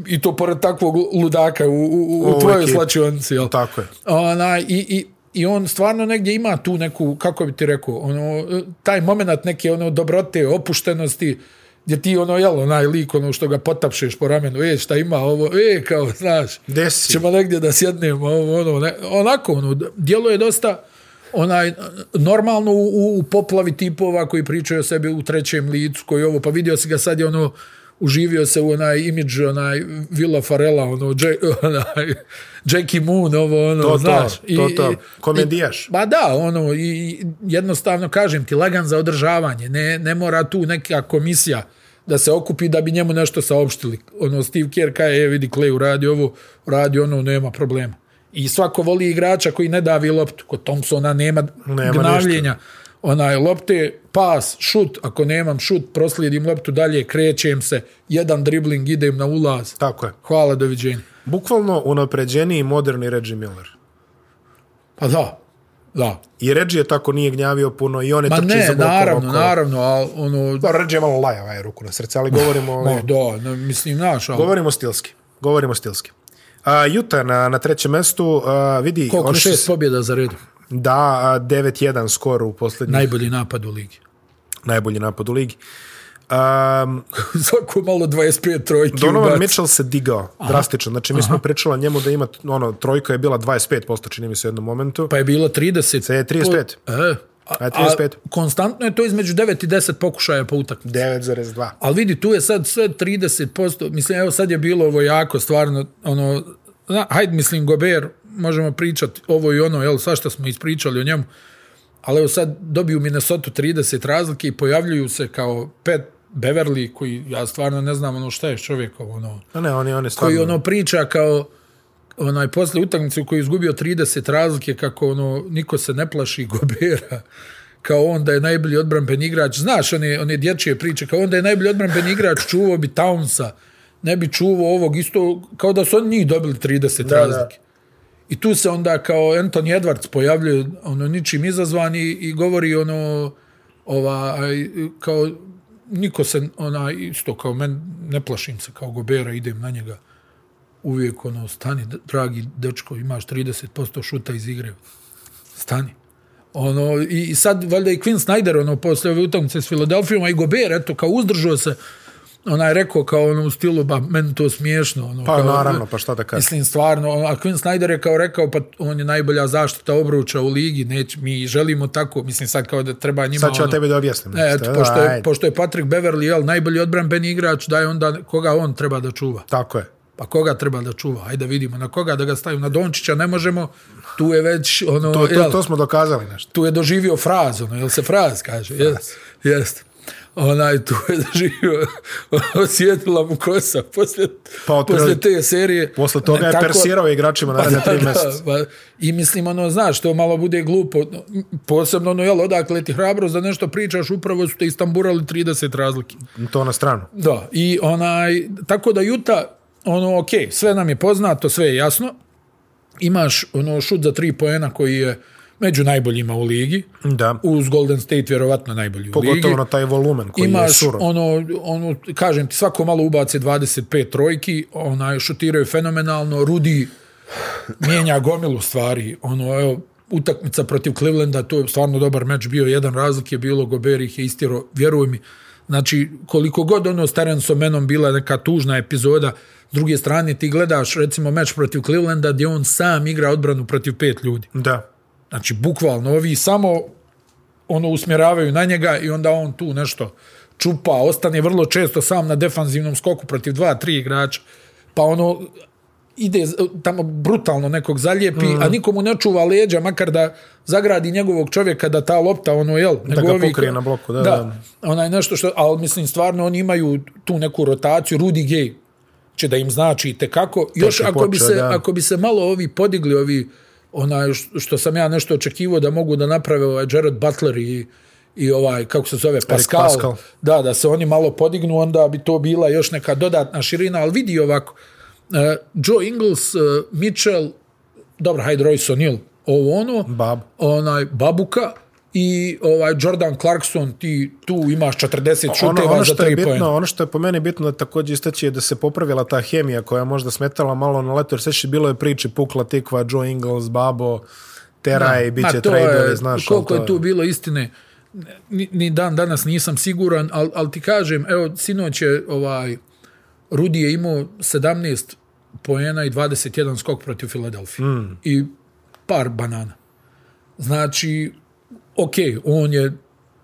B: I to pored takvog ludaka u, u, u,
A: U
B: u tvojoj
A: ekipi.
B: slačionici. Jel?
A: Tako je.
B: Ona, i, i, I on stvarno negdje ima tu neku, kako bi ti rekao, ono, taj moment neke ono dobrote, opuštenosti, gdje ti ono, jel, onaj lik, ono što ga potapšeš po ramenu, e, šta ima ovo, e, kao, znaš,
A: Gde si?
B: ćemo negdje da sjednemo, ovo, ono, ne, onako, ono, djelo je dosta, onaj, normalno u- u, u poplavi tipova koji pričaju o sebi u trećem licu, koji ovo, pa vidio si ga sad je ono, uživio se u onaj imidž, onaj Villa Farela, ono, Jack, onaj, Jackie Moon, ovo, ono,
A: To, to,
B: znaš. i-
A: to, to.
B: i-
A: Komedijaš.
B: Ba da, ono, i, i jednostavno kažem ti, lagan za održavanje, ne, ne mora tu neka komisija da se okupi da bi njemu nešto saopštili. Ono, Steve Kerr kaže, e, vidi, Clay uradi ovo, uradi ono, nema problema. I svako voli igrača koji ne davi loptu. Kod Thompsona nema,
A: Nema
B: nema gnavljenja. Onaj, lopte, pas, šut, ako nemam šut, proslijedim loptu dalje, krećem se, jedan dribling, idem na ulaz.
A: Tako je.
B: Hvala, doviđenja.
A: Bukvalno unapređeniji moderni Reggie Miller.
B: Pa da, da.
A: I Reggie je tako nije gnjavio puno i on je
B: Ma
A: trčao
B: ne,
A: za blokom
B: naravno,
A: okolo.
B: naravno, ali ono,
A: Dobro, Reggie je malo lajava je ruku na srce, ali govorimo,
B: Ma, Pa, da, ne, mislim, znaš, ali
A: govorimo stilski. Govorimo stilski. A, Juta na, na trećem mestu, a, vidi...
B: koliko
A: oni su-
B: šest pobjeda za redom.
A: Da, a, 9-1 skor u posljednji, Naj...
B: Najbolji napad u ligi.
A: najbolji napad u ligi. Um,
B: Svako malo 25 trojki
A: Donovan
B: ubaci.
A: Mitchell se digao drastično. Znači, mi smo pričali o njemu da ima, ono, trojka je bila 25%, čini mi se u jednom momentu.
B: Pa je bilo 30.
A: Se je Pa 35.
B: Po, e, a,
A: A 35.
B: A, konstantno je to između 9 i 10 pokušaja po utakmici.
A: 9,2.
B: Ali vidi, tu je sad sve 30%. Mislim, evo sad je bilo ovo jako, stvarno, ono, na, hajde, mislim, Gober, možemo pričati ovo i ono, jel, svašta smo ispričali o njemu, ali evo sad dobiju Minnesota 30 razlike i pojavljuju se kao pet Beverly, koji ja stvarno ne znam ono šta je čovjekov, ono,
A: A Pa ne, on je, on je
B: koji
A: stvarno...
B: ono priča kao onaj posle utakmice u kojoj je izgubio 30 razlike kako ono niko se ne plaši Gobera kao on da je najbolji odbranben igrač znaš one one dječje priče kao on da je najbolji odbranben igrač čuvao bi Townsa ne bi čuvao ovog isto kao da su oni njih dobili 30 da,
A: da.
B: razlike I tu se onda kao Anthony Edwards pojavljuje ono ničim izazvan i, i govori ono ova kao niko se ona isto kao men ne plašim se kao Gobera idem na njega uvijek ono stani d- dragi dečko imaš 30% šuta iz igre stani ono i i sad valjda i Quinn Snyder ono posle ove utakmice s Filadelfijom a i Gober eto kao uzdržao se onaj rekao kao ono u stilu ba meni to smiješno ono
A: Pa
B: kao,
A: naravno, pa šta da kažem.
B: Mislim, stvarno, ono, a Quinn Snyder je kao rekao, pa on je najbolja zaštita obruča u ligi, neć, mi želimo tako, mislim sad kao da treba njima...
A: Sad ću ja
B: ono,
A: tebi da objasnim.
B: E,
A: nešto,
B: eto,
A: da,
B: pošto, je,
A: ajde.
B: pošto je Patrick Beverly jel, najbolji odbranbeni igrač, da je onda koga on treba da čuva.
A: Tako je.
B: Pa koga treba da čuva? Ajde vidimo na koga da ga stavimo. Na Dončića ne možemo, tu je već ono...
A: To, to,
B: jel,
A: to smo dokazali nešto.
B: tu je doživio fraz, ono, jel se fraz kaže? Jest, jest. Onaj tu je doživio, osjetila mu kosa poslije,
A: Pa
B: pa,
A: otprilike-
B: poslije te serije.
A: Posle toga je
B: Tako-
A: persirao igračima naredne
B: da,
A: tri meseca.
B: pa, I mislim, ono, znaš, to malo bude glupo. Posebno, ono, jel, odakle ti hrabrost da nešto pričaš, upravo su te istamburali 30 razlike.
A: To na stranu.
B: Da, i onaj, tako da Juta, ono, ok, sve nam je poznato, sve je jasno. Imaš, ono, šut za tri poena koji je među najboljima u ligi.
A: Da.
B: Uz Golden State vjerovatno najbolji u ligi.
A: Pogotovo na taj volumen koji je
B: Imaš
A: surov.
B: ono, ono, kažem ti, svako malo ubace 25 trojki, onaj, šutiraju fenomenalno, Rudi mijenja gomilu stvari, ono, evo, utakmica protiv Clevelanda, to je stvarno dobar meč bio, jedan razlik je bilo, Gober ih je istiro, vjeruj mi, znači, koliko god ono s Terensom Menom bila neka tužna epizoda, s druge strane ti gledaš, recimo, meč protiv Clevelanda, gdje on sam igra odbranu protiv pet ljudi.
A: Da.
B: Znači, bukvalno, ovi samo ono usmjeravaju na njega i onda on tu nešto čupa, ostane vrlo često sam na defanzivnom skoku protiv dva, tri igrača. Pa ono, ide z- tamo brutalno nekog zalijepi, mm. a
A: Mhm.
B: nikomu ne čuva leđa, makar da zagradi njegovog čovjeka da ta lopta, ono, jel? nego
A: ga
B: ovi-
A: pokrije na bloku, da,
B: da. Onaj nešto što, ali mislim, stvarno oni imaju tu neku rotaciju, Rudy Gay će da im znači tekako. Još
A: je
B: ako bi,
A: počeo,
B: se,
A: da.
B: ako bi se malo ovi podigli, ovi, onaj, š- što sam ja nešto očekivao da mogu da naprave ovaj Jared Butler i, i ovaj, kako se zove, Pascal,
A: Pascal.
B: Da, da se oni malo podignu, onda bi to bila još neka dodatna širina, ali vidi ovako, uh, Joe Ingles, uh, Mitchell, dobro, hajde Royce O'Neal, ovo ono,
A: Bab.
B: onaj, Babuka, i ovaj Jordan Clarkson ti tu imaš 40
A: ono,
B: šuteva
A: ono
B: za
A: što je
B: 3
A: bitno,
B: poena.
A: ono što je po meni bitno da također istaći je da se popravila ta hemija koja je možda smetala malo na letu, jer sveći bilo je priči Pukla, Tikva, Joe Ingles, Babo, Teraj, i bit
B: Ma,
A: će
B: to je,
A: trade, znaš.
B: Koliko
A: ali
B: je
A: to
B: tu bilo istine, ni, ni dan danas nisam siguran, ali al ti kažem, evo, sinoć je ovaj, Rudi je imao 17 poena i 21 skok protiv Filadelfije.
A: Hmm.
B: Mm. I par banana. Znači, ok, on je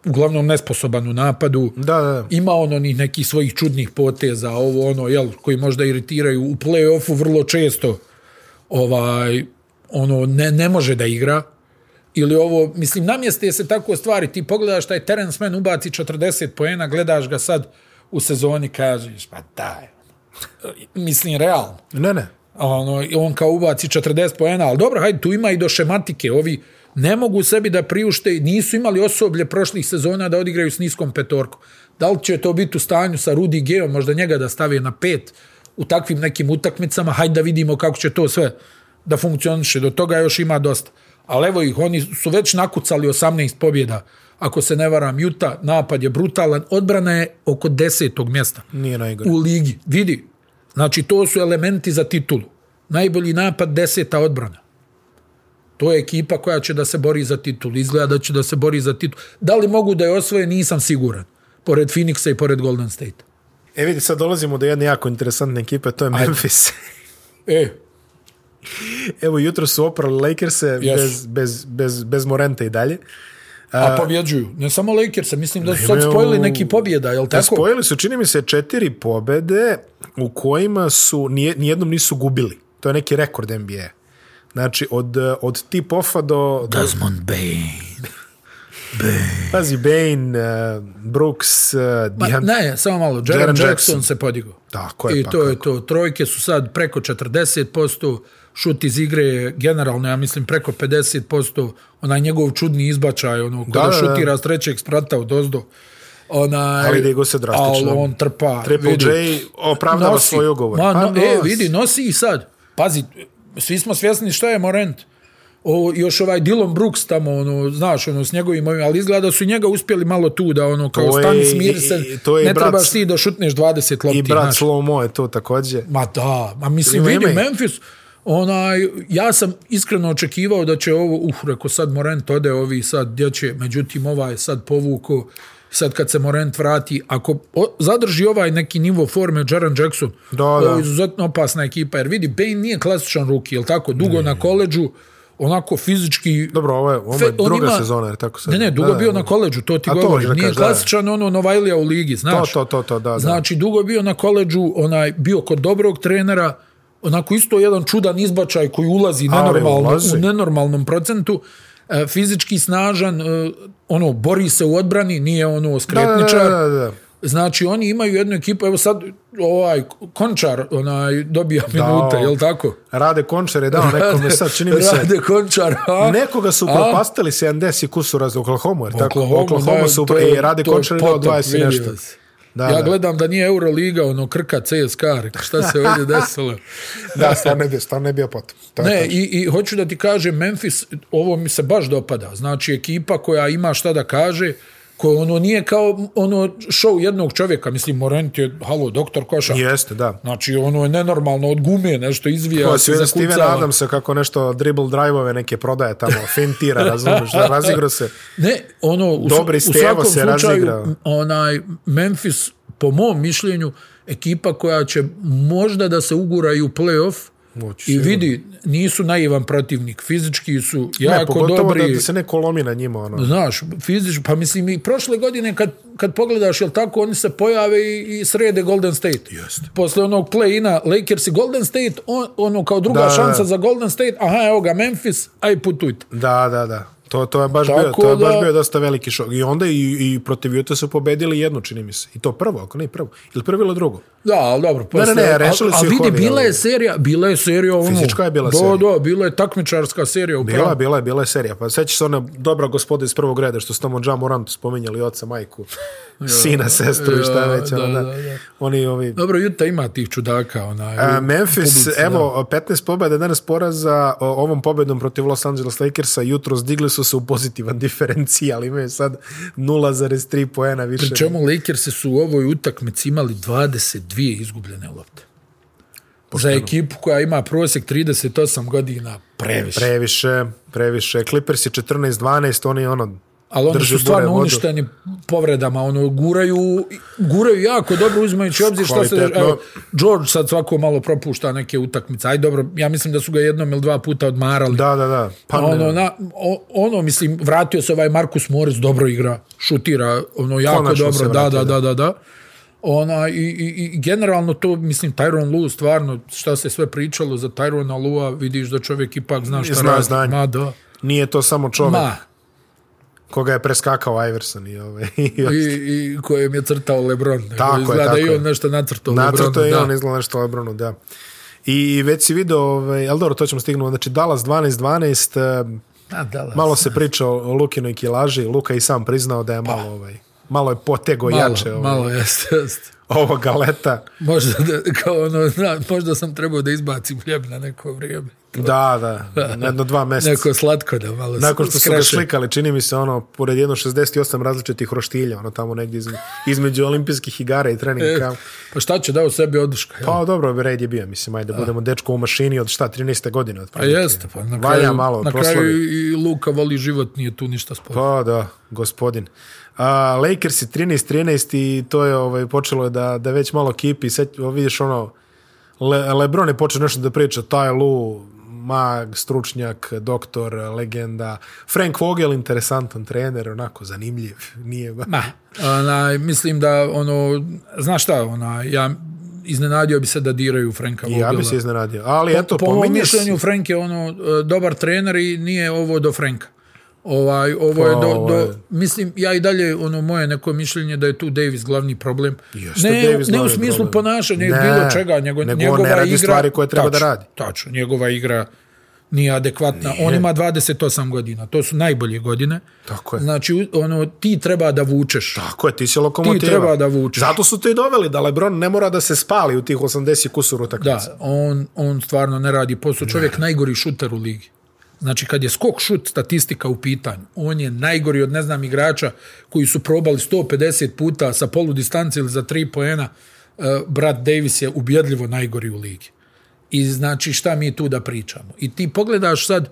B: uglavnom nesposoban u napadu,
A: Da, da, da.
B: ima on onih nekih svojih čudnih poteza, ovo ono, jel, koji možda iritiraju u play-offu vrlo često, ovaj, ono, ne, ne može da igra, ili ovo, mislim, namjeste se tako stvari, ti pogledaš taj Terence Mann ubaci 40 poena, gledaš ga sad u sezoni, kažeš, pa daj, ono. mislim, realno,
A: Ne, ne.
B: ono, i on kao ubaci 40 poena, ali dobro, hajde, tu ima i do šematike, ovi ne mogu sebi da priušte, nisu imali osoblje prošlih sezona da odigraju s niskom petorkom. Da li će to biti u stanju sa Rudi Geo, možda njega da stave na pet u takvim nekim utakmicama, hajde da vidimo kako će to sve da funkcioniše, do toga još ima dosta. Ali evo ih, oni su već nakucali 18 pobjeda, ako se ne varam, Juta, napad je brutalan, odbrana je oko desetog mjesta
A: Nije najgore.
B: u ligi. Vidi, znači to su elementi za titulu. Najbolji napad, deseta odbrana. To je ekipa koja će da se bori za titulu. Izgleda da će da se bori za titulu. Da li mogu da je osvoje, nisam siguran. Pored Phoenixa i pored Golden State.
A: E vidi, sad dolazimo do jedne jako interesantne ekipe, to je Memphis.
B: E,
A: Evo, jutro su oprali Lakers-e
B: Jesu.
A: bez, bez, bez, bez Morenta i dalje.
B: a pobjeđuju. Ne samo Lakers, mislim da su sad
A: imaju-
B: spojili neki pobjeda, jel
A: Tako.
B: E, tako?
A: Spojili su, čini mi se, četiri pobede u kojima su, nije- nijednom nisu gubili. To je neki rekord NBA. Znači, od, eh, od tip-offa do... do
B: Desmond Bain.
A: pazi, Bane, eh, Brooks, eh,
B: Ma,
A: Dejan-
B: ne, samo malo. Jaren,
A: Jaren
B: Jackson.
A: Jackson.
B: se podigao.
A: Tako je,
B: I
A: pa
B: to je to. Trojke su sad preko 40%, šut iz igre je generalno, ja mislim, preko 50%, onaj njegov čudni izbačaj, ono, kada
A: da, da.
B: šutira s trećeg sprata od ozdo, onaj...
A: Ali ide go se drastično.
B: Ali on trpa.
A: Triple
B: vidi.
A: J opravdava
B: Nosi.
A: svoj ugovor.
B: Ma,
A: Pa
B: no, e,
A: nosi.
B: vidi, nosi i sad. Pazi, svi smo svjesni šta je Morent. O, još ovaj Dylan Brooks tamo, ono, znaš, ono, s njegovim ovim, ali izgleda da su njega uspjeli malo tu da, ono, kao
A: To je-
B: stani smir se,
A: i- i- to je
B: ne
A: brat-
B: trebaš ti da šutneš 20 lopti.
A: I brat
B: znaš.
A: Slow Mo je to također.
B: Ma da, ma mislim,
A: Ili
B: vidi,
A: MMA.
B: Memphis, onaj, ja sam iskreno očekivao da će ovo, uh, reko sad Morent ode, ovi sad, gdje će, međutim, ovaj sad povuko, sad kad se Morent vrati, ako o, zadrži ovaj neki nivo forme Jaren Jackson,
A: Da,
B: ovo
A: da.
B: je izuzetno opasna ekipa, jer vidi, Bane nije klasičan ruki, jel tako, dugo na koleđu, onako fizički...
A: Dobro, ovo je, ovo
B: Fe-
A: je
B: on
A: druga
B: ima-
A: sezona, jer tako se...
B: Ne, ne, dugo
A: Da,
B: bio
A: da.
B: na koleđu, to ti
A: A to
B: govorim.
A: hoćeš da
B: Nije
A: kažeš, da, da.
B: klasičan ono Novajlija u ligi, znaš.
A: To, to, to, da, da.
B: Znači, dugo bio na koleđu, onaj, bio kod dobrog trenera, onako isto jedan čudan izbačaj koji ulazi,
A: Ali
B: nenormalno,
A: ulazi.
B: u nenormalnom procentu, e, fizički snažan, e, ono, bori se u odbrani, nije ono
A: Da, da,
B: skretničar.
A: da, da, da.
B: Znači, oni imaju jednu ekipu, evo sad, ovaj, Končar, onaj, dobija minute, jel tako?
A: Rade Končar je dao nekome sad, čini mi se...
B: Rade Končar, a?
A: Nekoga su
B: A?
A: propastili 70 i kusura za Oklahoma, jer tako?
B: Oklahoma,
A: Dakle, Oklahoma,
B: da,
A: su...
B: to je-
A: e, Rade
B: to je
A: Končar je dao
B: potop,
A: 20 i
B: vidio
A: nešto.
B: se.
A: Da,
B: ja
A: da.
B: gledam da nije Euroliga, ono, krka CSKA, rekao, šta se ovdje desilo?
A: Da, stvarno je bio, stvarno je bio potom. To je
B: Ne, i, i hoću da ti kažem, Memphis, ovo mi se baš dopada. Znači, ekipa koja ima šta da kaže, koja ono nije kao ono show jednog čovjeka. Mislim, Morent je, halo, doktor koša.
A: to. Jeste, da.
B: Znači, ono je nenormalno od gume, nešto izvija.
A: Ko
B: se
A: si vidio
B: zakucava.
A: Steven Adamsa kako nešto dribble drive-ove neke prodaje tamo, fentira, razumiješ, da razigro se.
B: Ne, ono, u,
A: Dobri
B: u
A: Stevo
B: svakom
A: se
B: slučaju,
A: razigrao.
B: m, onaj, Memphis, po mom mišljenju, ekipa koja će možda da se ugura i u play-off,
A: Moći,
B: I vidi, nisu naivan protivnik, fizički su
A: Ne,
B: jako
A: pogotovo
B: dobri.
A: da, da se ne kolomi na njima, ono.
B: Znaš, fizički, pa mislim i prošle godine kad, kad pogledaš, jel tako, oni se pojave i, i srede Golden State. Jeste. Posle onog play-ina Lakers i Golden State, on, ono kao druga
A: Da,
B: da,
A: da,
B: šansa
A: da.
B: za Golden State, aha, evo ga, Memphis, aj putujte.
A: Da, da, da. To, to je baš bio,
B: Tako
A: to je baš
B: da-
A: bio dosta veliki šok. I onda i, i protiv Juta su pobedili jedno, čini mi se. I to prvo, ako ne i prvo. Ili prvo ili drugo.
B: Da, ali dobro, posle,
A: ne, ne, rešili su
B: ali,
A: ih
B: vidi,
A: ovi,
B: bila
A: ali-
B: je serija, bila je serija ono.
A: Fizička je bila
B: do,
A: serija.
B: Do, bila je takmičarska serija, upravo.
A: Bila, bila, bila je serija. Pa sećaš se ona dobra gospoda iz prvog reda što su tamo Džam Morantu spominjali oca, majku, sina, sestru i šta
B: ja,
A: već.
B: da,
A: ono, da,
B: da, da.
A: Oni ovi...
B: Dobro, Juta ima tih čudaka, onaj.
A: A, E, Memphis, evo, 15 pobjeda danas poraza o, ovom pobjedom protiv Los Angeles Lakersa. Jutro zdigli su se u pozitivan diferencijal. Imaju sad 0,3 poena više.
B: Pri čemu Lakersi su u ovoj utakmici imali 22 izgubljene lopte. Za ekipu koja ima prosjek 38 godina, previše. Pre,
A: Previše, previše. Clippers je 14-12, oni ono...
B: Ali oni
A: drže
B: su stvarno
A: bure vodu.
B: uništeni povredama, ono, guraju, guraju jako dobro uzimajući u obzir što se...
A: Kvalitetno.
B: Evo, George sad svako malo propušta neke utakmice. Aj dobro, ja mislim da su ga jednom ili dva puta odmarali.
A: Da, da, da. Pa ne,
B: ono, na, o- ono, mislim, vratio se ovaj Markus Morris, dobro igra, šutira, ono, jako
A: Konačno se
B: dobro, da,
A: vratio,
B: da, da, da, da. Ona, i, i, i generalno to, mislim, Tyron Lue, stvarno, šta se sve pričalo za Tyrona Lua, vidiš da čovjek ipak zna šta
A: Zna
B: radi.
A: znanje.
B: Ma, da.
A: nije to samo čovek
B: Ma,
A: koga je preskakao Iverson i ove. I,
B: i, i kojem je crtao Lebron. nego
A: Tako je,
B: izgleda
A: tako
B: i
A: je.
B: on nešto nacrtao
A: Nacrto je i
B: Lebronu,
A: on
B: da.
A: izgleda nešto Lebronu, da. I već si video, ovaj, ali dobro, to ćemo stignuti. Znači, Dallas 12-12, eh,
B: A, da, da.
A: malo se priča o o Lukinoj kilaži. Luka i sam priznao da je malo, ovaj, malo je potego
B: Pa. malo,
A: jače ovaj,
B: malo, jeste, jeste.
A: ovoga leta.
B: Možda, da, kao ono, na, možda sam trebao da izbacim hljeb na neko vrijeme.
A: Da, da, na jedno dva meseca.
B: Neko slatko da malo
A: Nakon što su ga
B: skreše.
A: slikali, čini mi se ono, pored jedno 68 različitih roštilja, ono tamo negdje izme, između olimpijskih igara i trening
B: E,
A: kampa.
B: pa šta će da u sebi oduška? Pa,
A: Pa dobro, red je bio, mislim, ajde, budemo dečko u mašini od šta, 13. godine. Od
B: pa jeste, pa na
A: Valja
B: kraju,
A: malo,
B: na
A: proslavi.
B: kraju i Luka voli život, nije tu ništa sporno.
A: Pa da, gospodin. A, Lakers je 13-13 i to je ovaj, počelo je da, da već malo kipi. Sad, o, vidiš ono, Le, Lebron je počeo nešto da priča, Ty Lu, mag, stručnjak, doktor, legenda. Frank Vogel, interesantan trener, onako zanimljiv. Nije ba...
B: Ma, onaj, mislim da, ono, znaš šta, onaj, ja iznenadio bi se da diraju Franka Vogela.
A: Ja bi se iznenadio. Ali eto,
B: po mom
A: pominješ...
B: mišljenju Frank je ono e, dobar trener i nije ovo do Franka. Ovaj ovo je
A: Pa,
B: do,
A: ovo je-
B: do mislim ja i dalje ono moje neko mišljenje da je tu Davis glavni problem.
A: Jeste
B: ne,
A: Davis
B: ne u
A: glavni
B: smislu
A: problem.
B: ponašanja ili
A: Ne,
B: bilo čega, nego,
A: nego on
B: njegova
A: ne radi
B: igra
A: stvari koje treba da radi.
B: Tačno, njegova igra nije adekvatna. Nije. On ima 28 godina. To su najbolje godine.
A: Tako je.
B: Znači u- ono ti treba da vučeš.
A: Tako je, ti si lokomotiva.
B: Ti treba da vučeš.
A: Zato su te i doveli, da Lebron ne mora da se spali u tih 80 kusur utakmica.
B: Da, on, on stvarno ne radi posao. Čovjek ne. najgori šuter u ligi. Znači, kad je skok šut statistika u pitanju, on je najgori od, ne znam, igrača koji su probali 150 puta sa polu distance ili za tri poena. E, Brat Davis je ubjedljivo najgori u ligi. I znači, šta mi tu da pričamo? I ti pogledaš sad,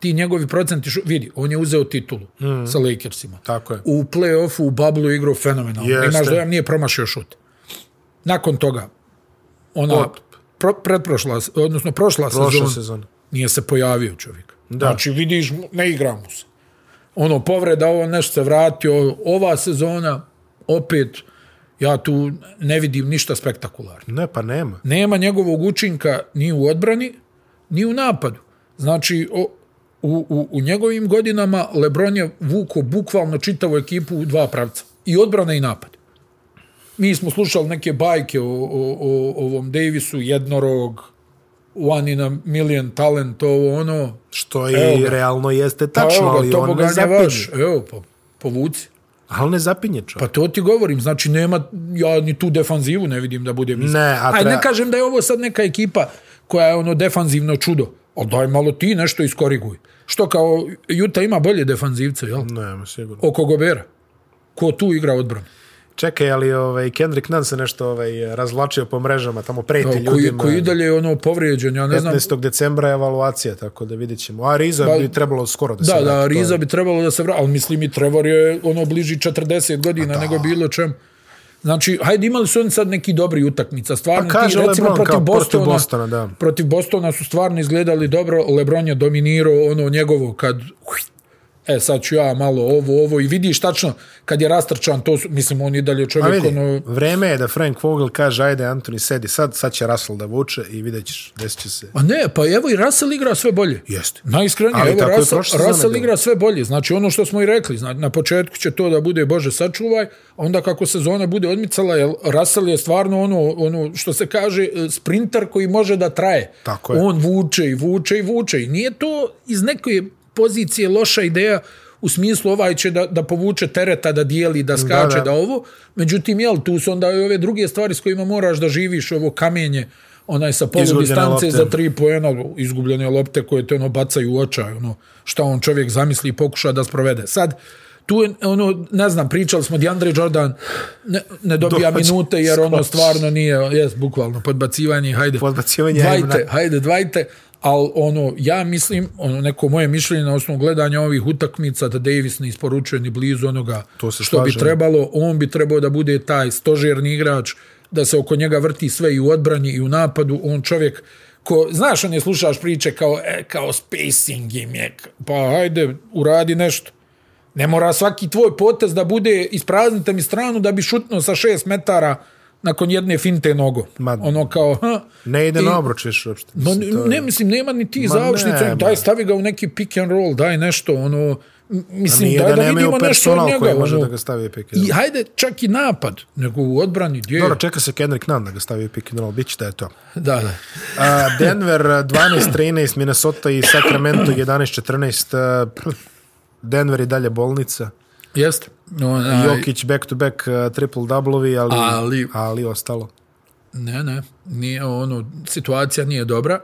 B: ti njegovi procenti, šu- vidi, on je uzeo titulu mm. sa Lakersima.
A: Tako je.
B: U play-offu, u bablu igrao fenomenalno.
A: Jeste.
B: Imaš dojam, nije promašio šut. Nakon toga, ona
A: Otp.
B: pro, pretprošla, se- odnosno prošla,
A: Prošla
B: sezona,
A: sezona.
B: nije se pojavio čovjek.
A: Da.
B: Znači, vidiš, ne igra mu se. Ono, povreda, ovo nešto se vratio, ova sezona, opet, ja tu ne vidim ništa spektakularno.
A: Ne, pa nema.
B: Nema njegovog učinka ni u odbrani, ni u napadu. Znači, o, u, u, u njegovim godinama Lebron je vuko bukvalno čitavu ekipu u dva pravca. I odbrana i napad. Mi smo slušali neke bajke o, o, o ovom Davisu, jednorog, one in a million talent, ovo ono.
A: Što je
B: Evo ga.
A: realno jeste
B: Pa
A: tačno,
B: evo
A: ali
B: ga, to
A: on
B: Boga
A: ne
B: ne
A: zapinje.
B: vaš. Evo, pa, povuci.
A: Ali ne zapinje čovjek.
B: Pa to ti govorim, znači nema, ja ni tu defanzivu ne vidim da budem iskren.
A: Ne, a
B: Ajde,
A: treba-
B: ne kažem da je ovo sad neka ekipa koja je ono defanzivno čudo, ali daj malo ti nešto iskoriguj. Što kao, Juta ima bolje defanzivce, jel?
A: Pa... Nema, sigurno.
B: Oko Gobera. Ko tu igra odbranu?
A: Čekaj, ali ovaj, Kendrick Nunn se nešto ovaj, razvlačio po mrežama, tamo preti
B: Koji,
A: ljudima. Koji,
B: koji i dalje je ono povrijeđen, ja ne znam. Pa,
A: 15. decembra je evaluacija, tako da vidjet ćemo. A Riza bi trebalo skoro da, se
B: Da,
A: vrati, to
B: da,
A: je- Pa
B: Riza bi trebalo da se vrati, ali mislim i Trevor je ono bliži 40 godina nego bilo čem. Znači, hajde, imali su oni sad neki dobri utakmica. Stvarno,
A: Pa kaže
B: ti, recimo,
A: LeBron,
B: protiv
A: kao protiv
B: Bostona,
A: Bostona, da.
B: Protiv Bostona su stvarno izgledali dobro. Lebron je dominirao ono njegovo kad... E, sad ću ja malo ovo, ovo. I vidiš tačno, kad je rastrčan, to su, mislim, on je dalje
A: A
B: čovjek, ono...
A: Pa vidi, vreme je da Frank Vogel kaže, ajde, Antoni, sedi sad, sad će Russell da vuče i vidjet ćeš, desit će se.
B: A ne, pa evo i Russell igra sve bolje.
A: Jeste.
B: Najiskrenije,
A: Ali tako
B: evo
A: je
B: Russell,
A: prošle sezone
B: Russell
A: bilo.
B: igra sve bolje. Znači ono što smo i rekli, znači, na početku će to da bude Bože sačuvaj, a onda kako sezona bude odmicala, jer Russell je stvarno ono, ono što se kaže e, sprinter koji može da traje.
A: Tako je.
B: On vuče i vuče i vuče. I nije to iz neke pozicije loša ideja u smislu ovaj će da, da povuče tereta, da dijeli, da skače,
A: da.
B: da, da. ovo. Međutim, jel, tu su onda i ove druge stvari s kojima moraš da živiš, ovo kamenje, onaj sa polu
A: Izgubljene
B: distance
A: lopte.
B: za tri poena, izgubljene lopte koje te ono bacaju u očaj, ono, šta on čovjek zamisli i pokuša da sprovede. Sad, tu je, ono, ne znam, pričali smo, DeAndre Jordan ne, ne dobija
A: Dođe,
B: minute, jer ono
A: skoči.
B: stvarno nije, jes, bukvalno, podbacivanje, hajde.
A: Podbacivanje, ajmo
B: Dvajte,
A: na-
B: hajde, dvajte, ali ono, ja mislim, ono, neko moje mišljenje na osnovu gledanja ovih utakmica, da Davis ne isporučuje ni blizu onoga
A: To se
B: što bi
A: slažem.
B: trebalo, on bi trebao da bude taj stožerni igrač, da se oko njega vrti sve i u odbrani i u napadu, on čovjek ko, znaš, on je slušaš priče kao, e, kao spacing im je, pa hajde, uradi nešto. Ne mora svaki tvoj potez da bude ispraznite mi stranu da bi šutnuo sa šest metara nakon jedne finte nogo.
A: Ma-
B: ono kao, ha,
A: Ne ide
B: I-
A: na obruč više uopšte.
B: Ma,
A: Mislim, to
B: ne,
A: je-
B: mislim, nema ni ti
A: Ma
B: završnice,
A: nema.
B: daj, stavi ga u neki pick and roll, daj nešto, ono, m-
A: A
B: mislim,
A: nije
B: daj
A: da
B: da
A: nemaju
B: vidimo nešto od
A: personal
B: njega.
A: koji može
B: ono.
A: da ga stavi u pick and roll.
B: I hajde, čak i napad, nego u odbrani, gdje je?
A: Dobro, čeka se Kendrick Nunn da ga stavi u pick and roll, bit će da je to.
B: Da, da.
A: A, Denver a, 12-13, Minnesota i Sacramento 11-14. a, pff, Denver i dalje bolnica.
B: Jeste. Onaj,
A: Jokić back to back a, triple doubleovi, ali,
B: Ali-
A: ali ostalo.
B: Ne, ne, nije, ono, situacija nije dobra,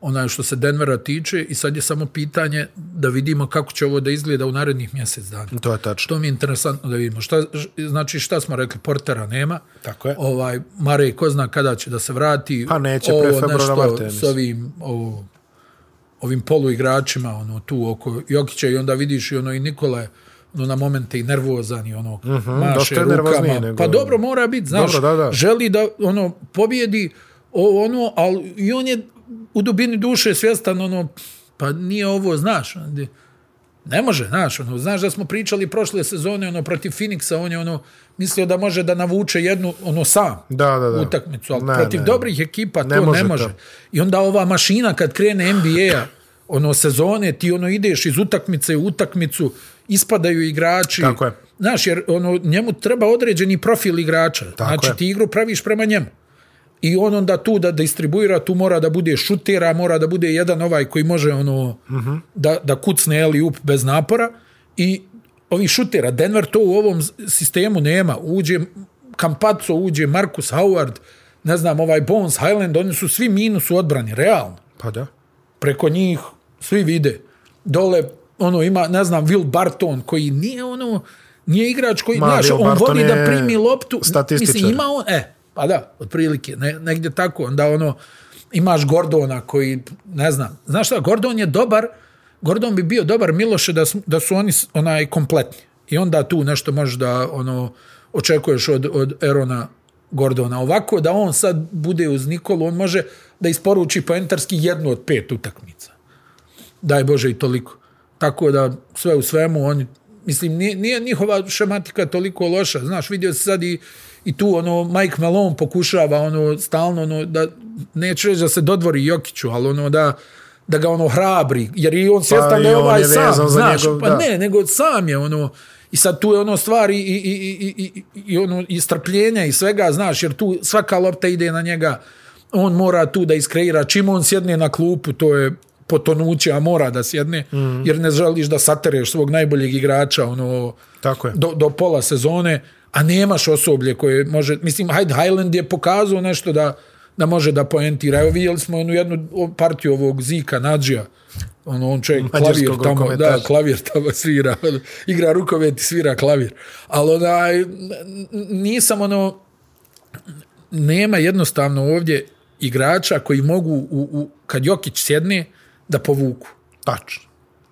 B: onaj što se Denvera tiče i sad je samo pitanje da vidimo kako će ovo da izgleda u narednih mjesec dana.
A: To je tačno.
B: Znači, To mi je interesantno da vidimo. Šta, ž- znači, šta smo rekli, portera nema.
A: Tako je.
B: Ovaj, Mare, ko zna kada će da se vrati.
A: Pa neće, pre februara, marta, ja
B: s
A: mislim.
B: ovim, ovo, ovim poluigračima, ono, tu oko Jokića i onda vidiš i ono i Nikola je ono, na momente i nervozan i ono, mm -hmm, maše
A: Mhm, dosta je nervozniji
B: rukama.
A: nego-
B: Pa dobro, mora biti, znaš,
A: Dobro, da, da.
B: želi da ono pobjedi ovo ono, ali i on je u dubini duše svjestan ono, pa nije ovo, znaš, ono, ne može, znaš, ono, znaš da smo pričali prošle sezone ono protiv Phoenixa, on je ono mislio da može da navuče jednu ono sam
A: Da, da, da.
B: utakmicu, ali
A: Ne,
B: protiv
A: ne.
B: dobrih ekipa to
A: Ne
B: ne
A: može
B: može.
A: to.
B: I onda ova mašina kad krene NBA-a, ono sezone, ti ono ideš iz utakmice u utakmicu, ispadaju igrači.
A: Tako je.
B: Znaš, jer ono, njemu treba određeni profil igrača. Tako znači,
A: je.
B: ti igru praviš prema njemu. I on onda tu da distribuira, tu mora da bude šutera, mora da bude jedan ovaj koji može ono, uh -huh. da, da kucne eli up bez napora. I ovi šutera, Denver to u ovom s- sistemu nema. Uđe Campazzo, uđe Marcus Howard, ne znam, ovaj Bones Highland, oni su svi minus u odbrani, realno
A: Pa da.
B: preko njih svi vide. Dole, ono, ima, ne znam, Will Barton, koji nije, ono, nije igrač koji,
A: Ma,
B: znaš,
A: Will
B: on
A: Barton
B: voli da
A: je
B: primi loptu.
A: statističar.
B: Mislim, ima on, e, pa da, otprilike, ne, negdje tako, onda, ono, imaš Gordona koji, ne znam, znaš šta, Gordon je dobar, Gordon bi bio dobar Miloše da su, da su oni, s- onaj, kompletni. I onda tu nešto možeš da, ono, očekuješ od, od Erona Gordona. Ovako da on sad bude uz Nikolu, on može da isporuči poentarski jednu od pet utakmica daj Bože i toliko. Tako da sve u svemu oni mislim nije, nije njihova šematika toliko loša. Znaš, vidio se sad i, i tu ono Mike Malone pokušava ono stalno ono da neću reći da se dodvori Jokiću, ali ono da da ga ono hrabri, jer i on svjestan
A: Pa i
B: da je
A: on
B: ovaj
A: je vezan
B: sam,
A: za
B: znaš,
A: njegov-
B: pa
A: da.
B: ne, nego sam je ono, i sad tu je ono stvari i, i, i, i, i, i ono i strpljenja i svega, znaš, jer tu svaka lopta ide na njega, on mora tu da iskreira, čim on sjedne na klupu, to je potonuće, a mora da sjedne, mm. jer ne želiš da satereš svog najboljeg igrača, ono,
A: Tako je.
B: do, do pola sezone, a nemaš osoblje koje može, mislim, hajde, Highland je pokazao nešto da, da može da poentira. Evo vidjeli smo onu jednu o- partiju ovog Zika, Nadžija, ono, on čovjek klavir
A: Mađarskog
B: tamo, da,
A: rukometaša.
B: klavir tamo svira, ono, igra rukomet i svira klavir. Ali onaj, n- n- nisam ono, nema jednostavno ovdje igrača koji mogu, u, u, kad Jokić sjedne, da povuku.
A: Tačno.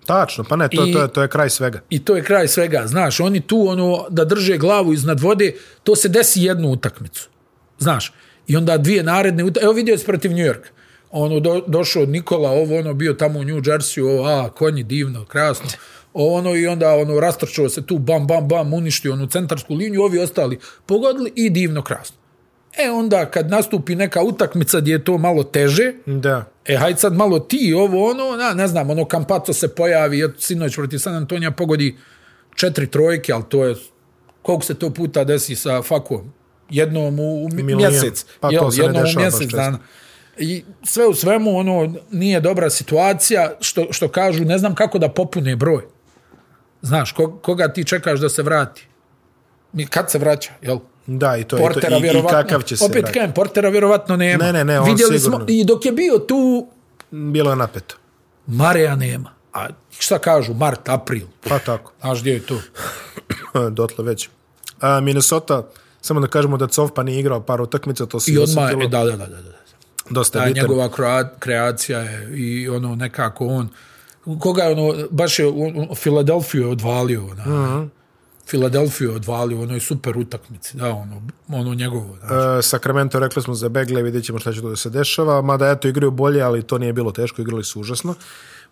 A: Tačno, pa ne, to, I...
B: I-
A: to, je, to je kraj svega.
B: I to je kraj svega, znaš, oni tu ono da drže glavu iznad vode, to se desi jednu utakmicu. Znaš, i onda dvije naredne utakmice, evo vidio se protiv New York. Ono do, došao od Nikola, ovo ono bio tamo u New Jersey, ovo a konji divno, krasno. Ovo ono i onda ono rastrčao se tu bam bam bam uništio onu centarsku liniju, ovi ostali pogodili i divno krasno. E onda kad nastupi neka utakmica gdje je to malo teže,
A: Da.
B: E, hajde sad malo ti, ovo, ono, na, ne znam, ono, Kampaco se pojavi, eto, sinoć protiv San Antonija pogodi četiri trojke, ali to je, koliko se to puta desi sa fakom? Jednom u, u
A: Milion.
B: Milijen. mjesec.
A: Pa to
B: jel,
A: se ne
B: jednom u
A: dešava baš
B: mjesec
A: često.
B: dana. I sve u svemu, ono, nije dobra situacija, što, što kažu, ne znam kako da popune broj. Znaš, ko, koga ti čekaš da se vrati? Mi- Kad se vraća, jel?
A: Da, i to je to.
B: Portera
A: I, i
B: vjerovatno,
A: kakav će se
B: opet
A: vratiti.
B: kajem, Portera vjerovatno nema.
A: Ne, ne, ne, on
B: Vidjeli
A: sigurno.
B: smo, i dok je bio tu,
A: Bilo je napeto.
B: Mareja nema. A šta kažu, mart, april.
A: Pa tako.
B: Znaš gdje je to?
A: Dotle već. A, Minnesota, samo da kažemo da Covpa nije igrao par utakmica, to se
B: I odmah,
A: osjetilo
B: e, da, da, da, da. da.
A: dosta
B: Ta
A: bitan.
B: njegova kroa- kreacija je i ono nekako on, koga je ono, baš je, on, on, Filadelfiju je odvalio, ona. Mm -hmm. Filadelfiju je odvalio, ono je super utakmici, da, ono, ono njegovo. Da.
A: E, Sacramento, rekli smo za Begle, vidjet ćemo šta će to da se dešava, mada eto igraju bolje, ali to nije bilo teško, igrali su užasno.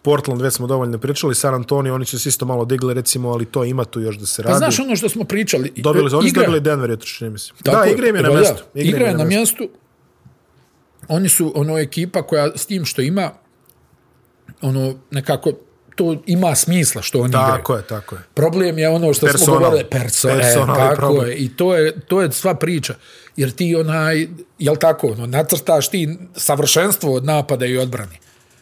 A: Portland, već smo dovoljno pričali, San Antonio, oni su se isto malo digli, recimo, ali to ima tu još da se radi.
B: Pa znaš ono što smo pričali?
A: Dobili, oni su
B: Igra-
A: dobili Denver, jutro čini mi se.
B: Tako
A: da,
B: je,
A: igra im je na
B: pa da,
A: mjestu.
B: Igra,
A: im
B: je na mjestu. Oni su ono ekipa koja s tim što ima ono nekako to ima smisla što oni igraju.
A: Tako je, tako je.
B: Problem je ono što
A: Personal.
B: smo govorili, perso, e,
A: Personalni
B: tako
A: problem.
B: je, i to je, to je sva priča. Jer ti onaj, jel tako, ono, nacrtaš ti savršenstvo od napada i odbrane.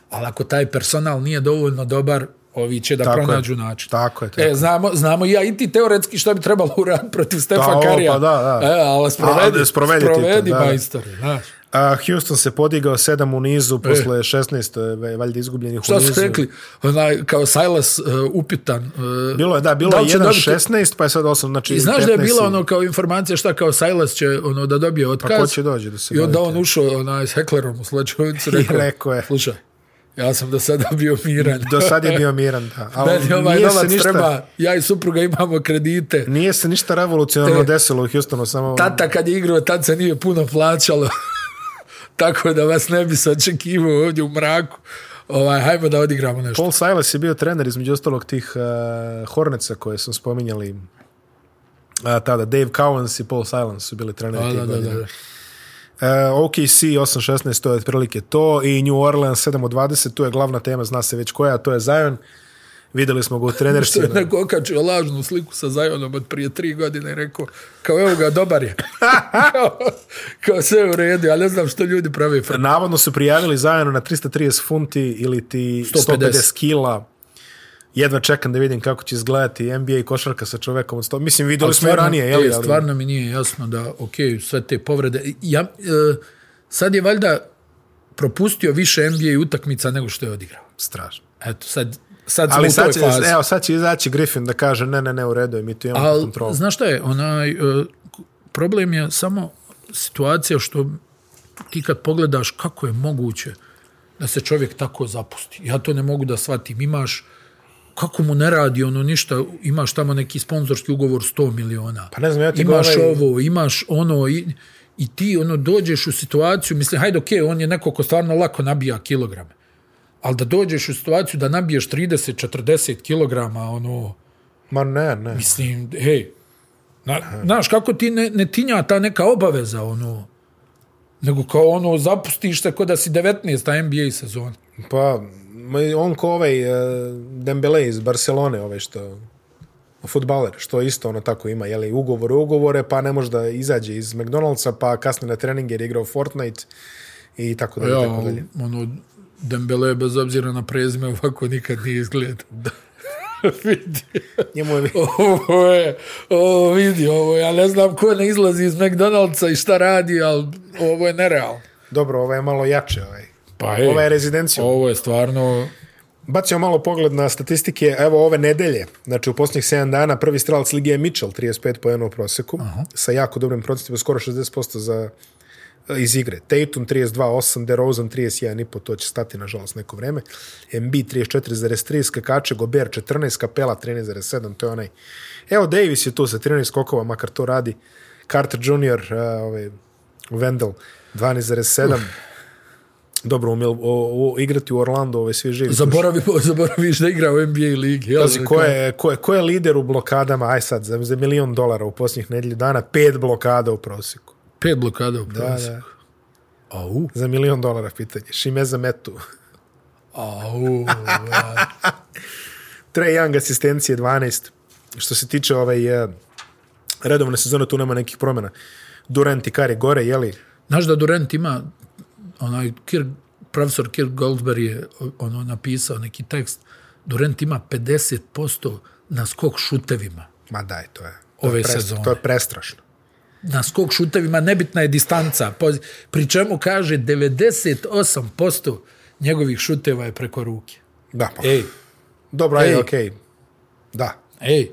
B: Ali ako taj personal nije dovoljno dobar, ovi će da
A: Tako je.
B: pronađu način.
A: Tako je, tako
B: E, znamo, znamo i ja i ti teoretski šta bi trebalo uraditi protiv Stefa
A: o, pa
B: Karija.
A: da, da.
B: E, ali sprovedi,
A: Ali sprovedi ti to,
B: sprovedi
A: da, da.
B: majstore, znaš.
A: A Houston se podigao 7 u nizu posle 16 e, valjda izgubljenih u
B: Šta
A: nizu.
B: su rekli? Onaj, kao Silas uh, upitan. Uh,
A: Bilo je, da, bilo
B: Da
A: je
B: li će dobiti-
A: 1-16, pa je sad 8, znači
B: I znaš da je
A: 15
B: bila
A: i- Pa
B: ono kao informacija šta kao Silas će ono da dobije otkaz.
A: ko će doći da se
B: I onda
A: bavite?
B: on ušao onaj s heklerom u slačovicu
A: I
B: rekao,
A: rekao je.
B: slušaj, ja sam do sada bio miran.
A: Do sad je bio miran, da. Ali
B: Meni ovaj
A: nije se
B: novac
A: ništa-
B: treba, ja i supruga imamo kredite.
A: Nije se ništa revolucionarno
B: Te-
A: desilo u Houstonu, samo...
B: E. Tata kad je igrao, tad se nije puno plaćalo. Tako da vas ne bi sačekivao ovdje u mraku. Ovaj, hajmo da odigramo nešto.
A: Paul Silas je bio trener između ostalog tih uh, Horneca koje smo spominjali uh, tada. Dave Cowens i Paul Silas su bili treneri
B: Da,
A: tih
B: da, da,
A: godina.
B: da.
A: Uh, OKC 8-16, to je otprilike to. I New Orleans 7-20, tu je glavna tema, zna se već koja, to je Zion. Videli smo ga u
B: Što
A: trenerštvu.
B: je neko okačio lažnu sliku sa Zajonom od prije tri godine i rekao, kao evo ga, dobar je. kao, kao sve je u redu, ja ne znam što ljudi prave. fra-
A: Navodno su prijavili Zajanu na 330 funti ili ti 150,
B: 150.
A: 150 kila. Jedva čekam da vidim kako će izgledati NBA košarka sa čovekom od 100. Mislim, videli smo i ranije, jel?
B: e,
A: ali-
B: Stvarno mi nije jasno da, ok, sve te povrede. Ja, e, sad je valjda propustio više NBA utakmica nego što je odigrao.
A: Strašno.
B: Eto, sad, sad smo
A: Ali
B: u
A: sad
B: toj
A: će,
B: fazi.
A: evo, sad će izaći Griffin da kaže ne, ne, ne, u redu je, mi tu imamo Al,
B: Ali,
A: kontrolu.
B: znaš šta je, onaj, e, problem je samo situacija što ti kad pogledaš kako je moguće da se čovjek tako zapusti. Ja to ne mogu da shvatim. Imaš, kako mu ne radi ono ništa, imaš tamo neki sponzorski ugovor 100 miliona.
A: Pa ne znam, ja ti
B: Imaš
A: govorim-
B: ovo, imaš ono i, i ti ono dođeš u situaciju, mislim, hajde, okej, on je neko ko stvarno lako nabija kilograme. Ali da dođeš u situaciju da nabiješ 30-40 kilograma, ono,
A: Ma ne, ne.
B: Mislim, hej, na, znaš, kako ti ne, ne tinja ta neka obaveza, ono, nego kao ono, zapustiš se kod da si 19. NBA sezona.
A: Pa, ma, on ko ovaj uh, Dembele iz Barcelone, ovaj što futbaler, što isto ono tako ima, jeli, ugovor ugovore, pa ne može da izađe iz McDonald'sa, pa kasne na trening jer je igrao Fortnite i tako dalje,
B: Ja,
A: ja, tako dalje.
B: ono, Dembele, bez obzira na prezime, ovako nikad nije izgleda. Da. vidi,
A: Njemu je,
B: ovo je, ovo vidi, ovo je, ja ne znam ko ne izlazi iz McDonald'sa i šta radi, ali ovo je nerealno.
A: dobro, ovaj je malo jače, ovaj.
B: Pa hej,
A: Ova je rezidencija.
B: ovo je stvarno,
A: Bacio malo pogled na statistike, evo ove nedelje, znači u posljednjih 7 dana, prvi strelac Lige je Mitchell, 35 po u proseku, Aha. sa jako dobrim procentima, skoro 60% za e, iz igre. Tatum 32.8, DeRozan 31.5, to će stati nažalost neko vreme. MB 34.3, skakače Gober 14, Kapela 13.7, to je onaj... Evo, Davis je tu sa 13 skokova, makar to radi. Carter Jr., uh, ovaj, Wendell 12.7. Dobro, umjel, o, o, igrati u Orlando, ove svi živi.
B: Zaboravi, zaboraviš da igra u NBA ligi. Jel?
A: Pazi, ko je, ko, je, ko je lider u blokadama, aj sad, za, za milion dolara u posljednjih nedelju dana, pet blokada u prosjeku.
B: Pet blokada u
A: Da,
B: prosjeku.
A: da.
B: Au,
A: Za milion dolara pitanje. Šime za metu.
B: au.
A: Trae Young asistencije 12. Što se tiče ovaj, eh, redovne sezone, tu nema nekih promjena. Durant i Kari gore, jeli?
B: Znaš da Durant ima, onaj, Kirk, profesor Kirk Goldberg je o- ono, napisao neki tekst, Durant ima 50% na skok šutevima.
A: Ma daj, to je. to
B: Ove
A: je prestra-
B: sezone.
A: To je prestrašno.
B: Na skok šutevima nebitna je distanca, poz- pri čemu kaže 98% njegovih šuteva je preko ruke.
A: Da, pa.
B: Ej,
A: Dobro, ajde,
B: E, ej.
A: okej. Da.
B: ej,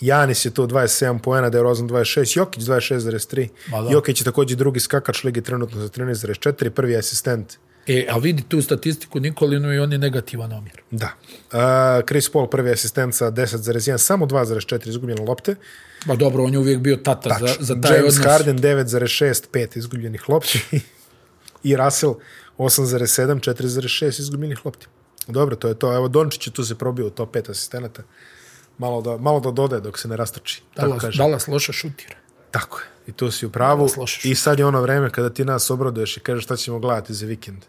A: Janis je to 27 poena, da je Rozan 26, Jokić 26,3.
B: Ma da.
A: Jokić je također drugi skakač lige trenutno za 13,4, prvi asistent.
B: e, a vidi tu statistiku Nikolinu i on je negativan omjer.
A: Da. Uh, Chris Paul prvi asistent sa 10,1, samo 2,4 izgubljene lopte. Znači,
B: Ba dobro, on je uvijek bio tata za, za taj
A: James
B: odnos.
A: Harden 9,6, 5 izgubljenih lopti. I Russell 8,7, 4,6 izgubljenih lopti. Dobro, to je to. Evo, Dončić je tu se probio u top 5 asistenata. Malo da, malo da dodaje dok se ne rastrči. Tako
B: Dallas,
A: kaže.
B: Dallas loša šutira.
A: Tako je. I tu si u pravu.
B: Slušaš.
A: I sad je ono vreme kada ti nas obraduješ i kažeš šta ćemo gledati za vikend.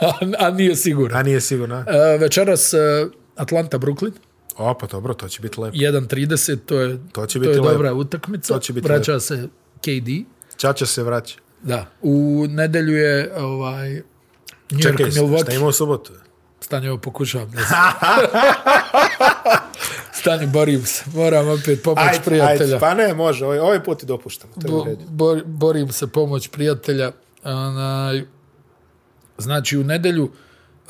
B: a, a nije siguran.
A: A nije sigurno. a?
B: E, večeras e, Atlanta-Brooklyn,
A: O, pa dobro, to će biti lepo.
B: 1.30, to je,
A: To će
B: to
A: biti
B: je
A: lepo.
B: dobra utakmica.
A: To će biti
B: Vraća se KD.
A: Čača se vraća.
B: Da. U nedelju je ovaj, New York
A: Čekaj, šta
B: Milwaukee.
A: ima u subotu?
B: Stani, ovo pokušavam. Da se... Stani, borim se. Moram opet pomoć prijatelja.
A: Pa ne, može. Ovaj, ovaj put ti dopuštamo. To je u
B: Bo,
A: redu.
B: bo, borim se pomoć prijatelja. Onaj, znači, u nedelju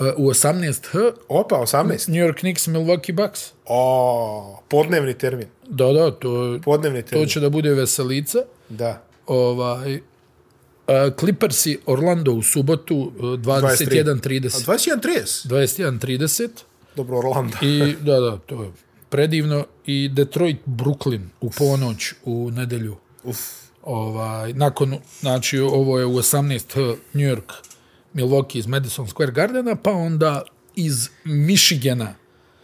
B: e, u 18h
A: Opa, 18.
B: New York Knicks Milwaukee Bucks.
A: O, podnevni termin.
B: Da, da, to,
A: Podnevni
B: to
A: termin.
B: će da bude veselica.
A: Da.
B: Ovaj, a, Clippersi Orlando u subotu
A: A
B: e, 21.30.
A: 21.30.
B: 21.30
A: Dobro, Orlando.
B: i da, da, to je predivno. I Detroit Brooklyn u ponoć u nedelju.
A: Uf.
B: Ovaj, nakon, znači ovo je u 18 H, New York Milwaukee iz Madison Square Gardena, pa onda iz Michigana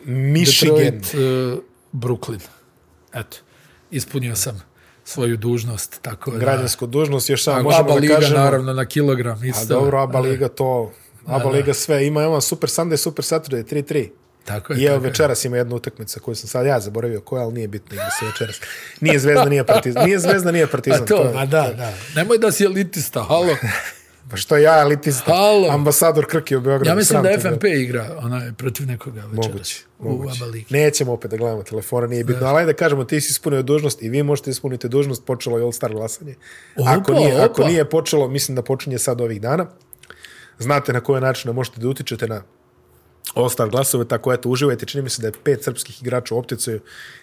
A: Michigan.
B: Detroit, uh, Brooklyn. Eto, ispunio sam svoju dužnost, tako da...
A: Građansku dužnost, još samo možemo
B: Aba
A: da
B: Liga,
A: kažemo.
B: naravno, na kilogram. Isto.
A: A dobro, Aba Liga to... Aba Liga sve. Ima, ima Super Sunday, Super Saturday, 3-3.
B: Tako je,
A: I evo
B: E, tako je.
A: večeras ima jedna utakmica koju sam sad ja zaboravio koja, ali nije bitno ima se večeras. Nije Zvezda, nije Partizan. Nije Zvezda, nije Partizan.
B: A to,
A: je-
B: ma da, da. Nemoj da si elitista, halo.
A: Pa što ja, elitista,
B: Halo.
A: ambasador Krke u Beogradu.
B: Ja mislim
A: sram
B: da
A: te bilo.
B: FNP igra onaj, protiv nekoga večeras.
A: Moguće,
B: U
A: moguće.
B: Aba Ligi.
A: Nećemo opet da gledamo telefona, nije bitno. Ali ajde da kažemo, ti si ispunio dužnost i vi možete ispuniti dužnost, počelo je All-Star glasanje. ako,
B: Opa,
A: nije, ako
B: opa.
A: nije počelo, mislim da počinje sad ovih dana. Znate na koje načine možete da utičete na All-Star glasove, tako eto, uživajte. Čini mi se da je pet srpskih igrača u opticaju.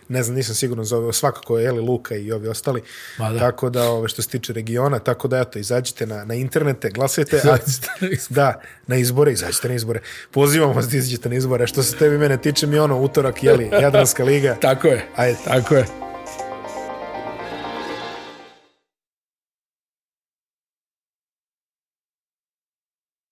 A: Ne znam, nisam siguran za ove, svakako je Eli Luka i ovi ostali.
B: Ma da.
A: Tako da, ove, što se tiče regiona, tako da eto, izađite na, na internete, glasajte. a-
B: Znači,
A: Da, na izbore, izađite na izbore. Pozivamo vas da izađete na izbore. Što se tebi i mene tiče, mi ono, utorak, jeli, Jadranska liga.
B: Tako je.
A: Ajde.
B: Tako je.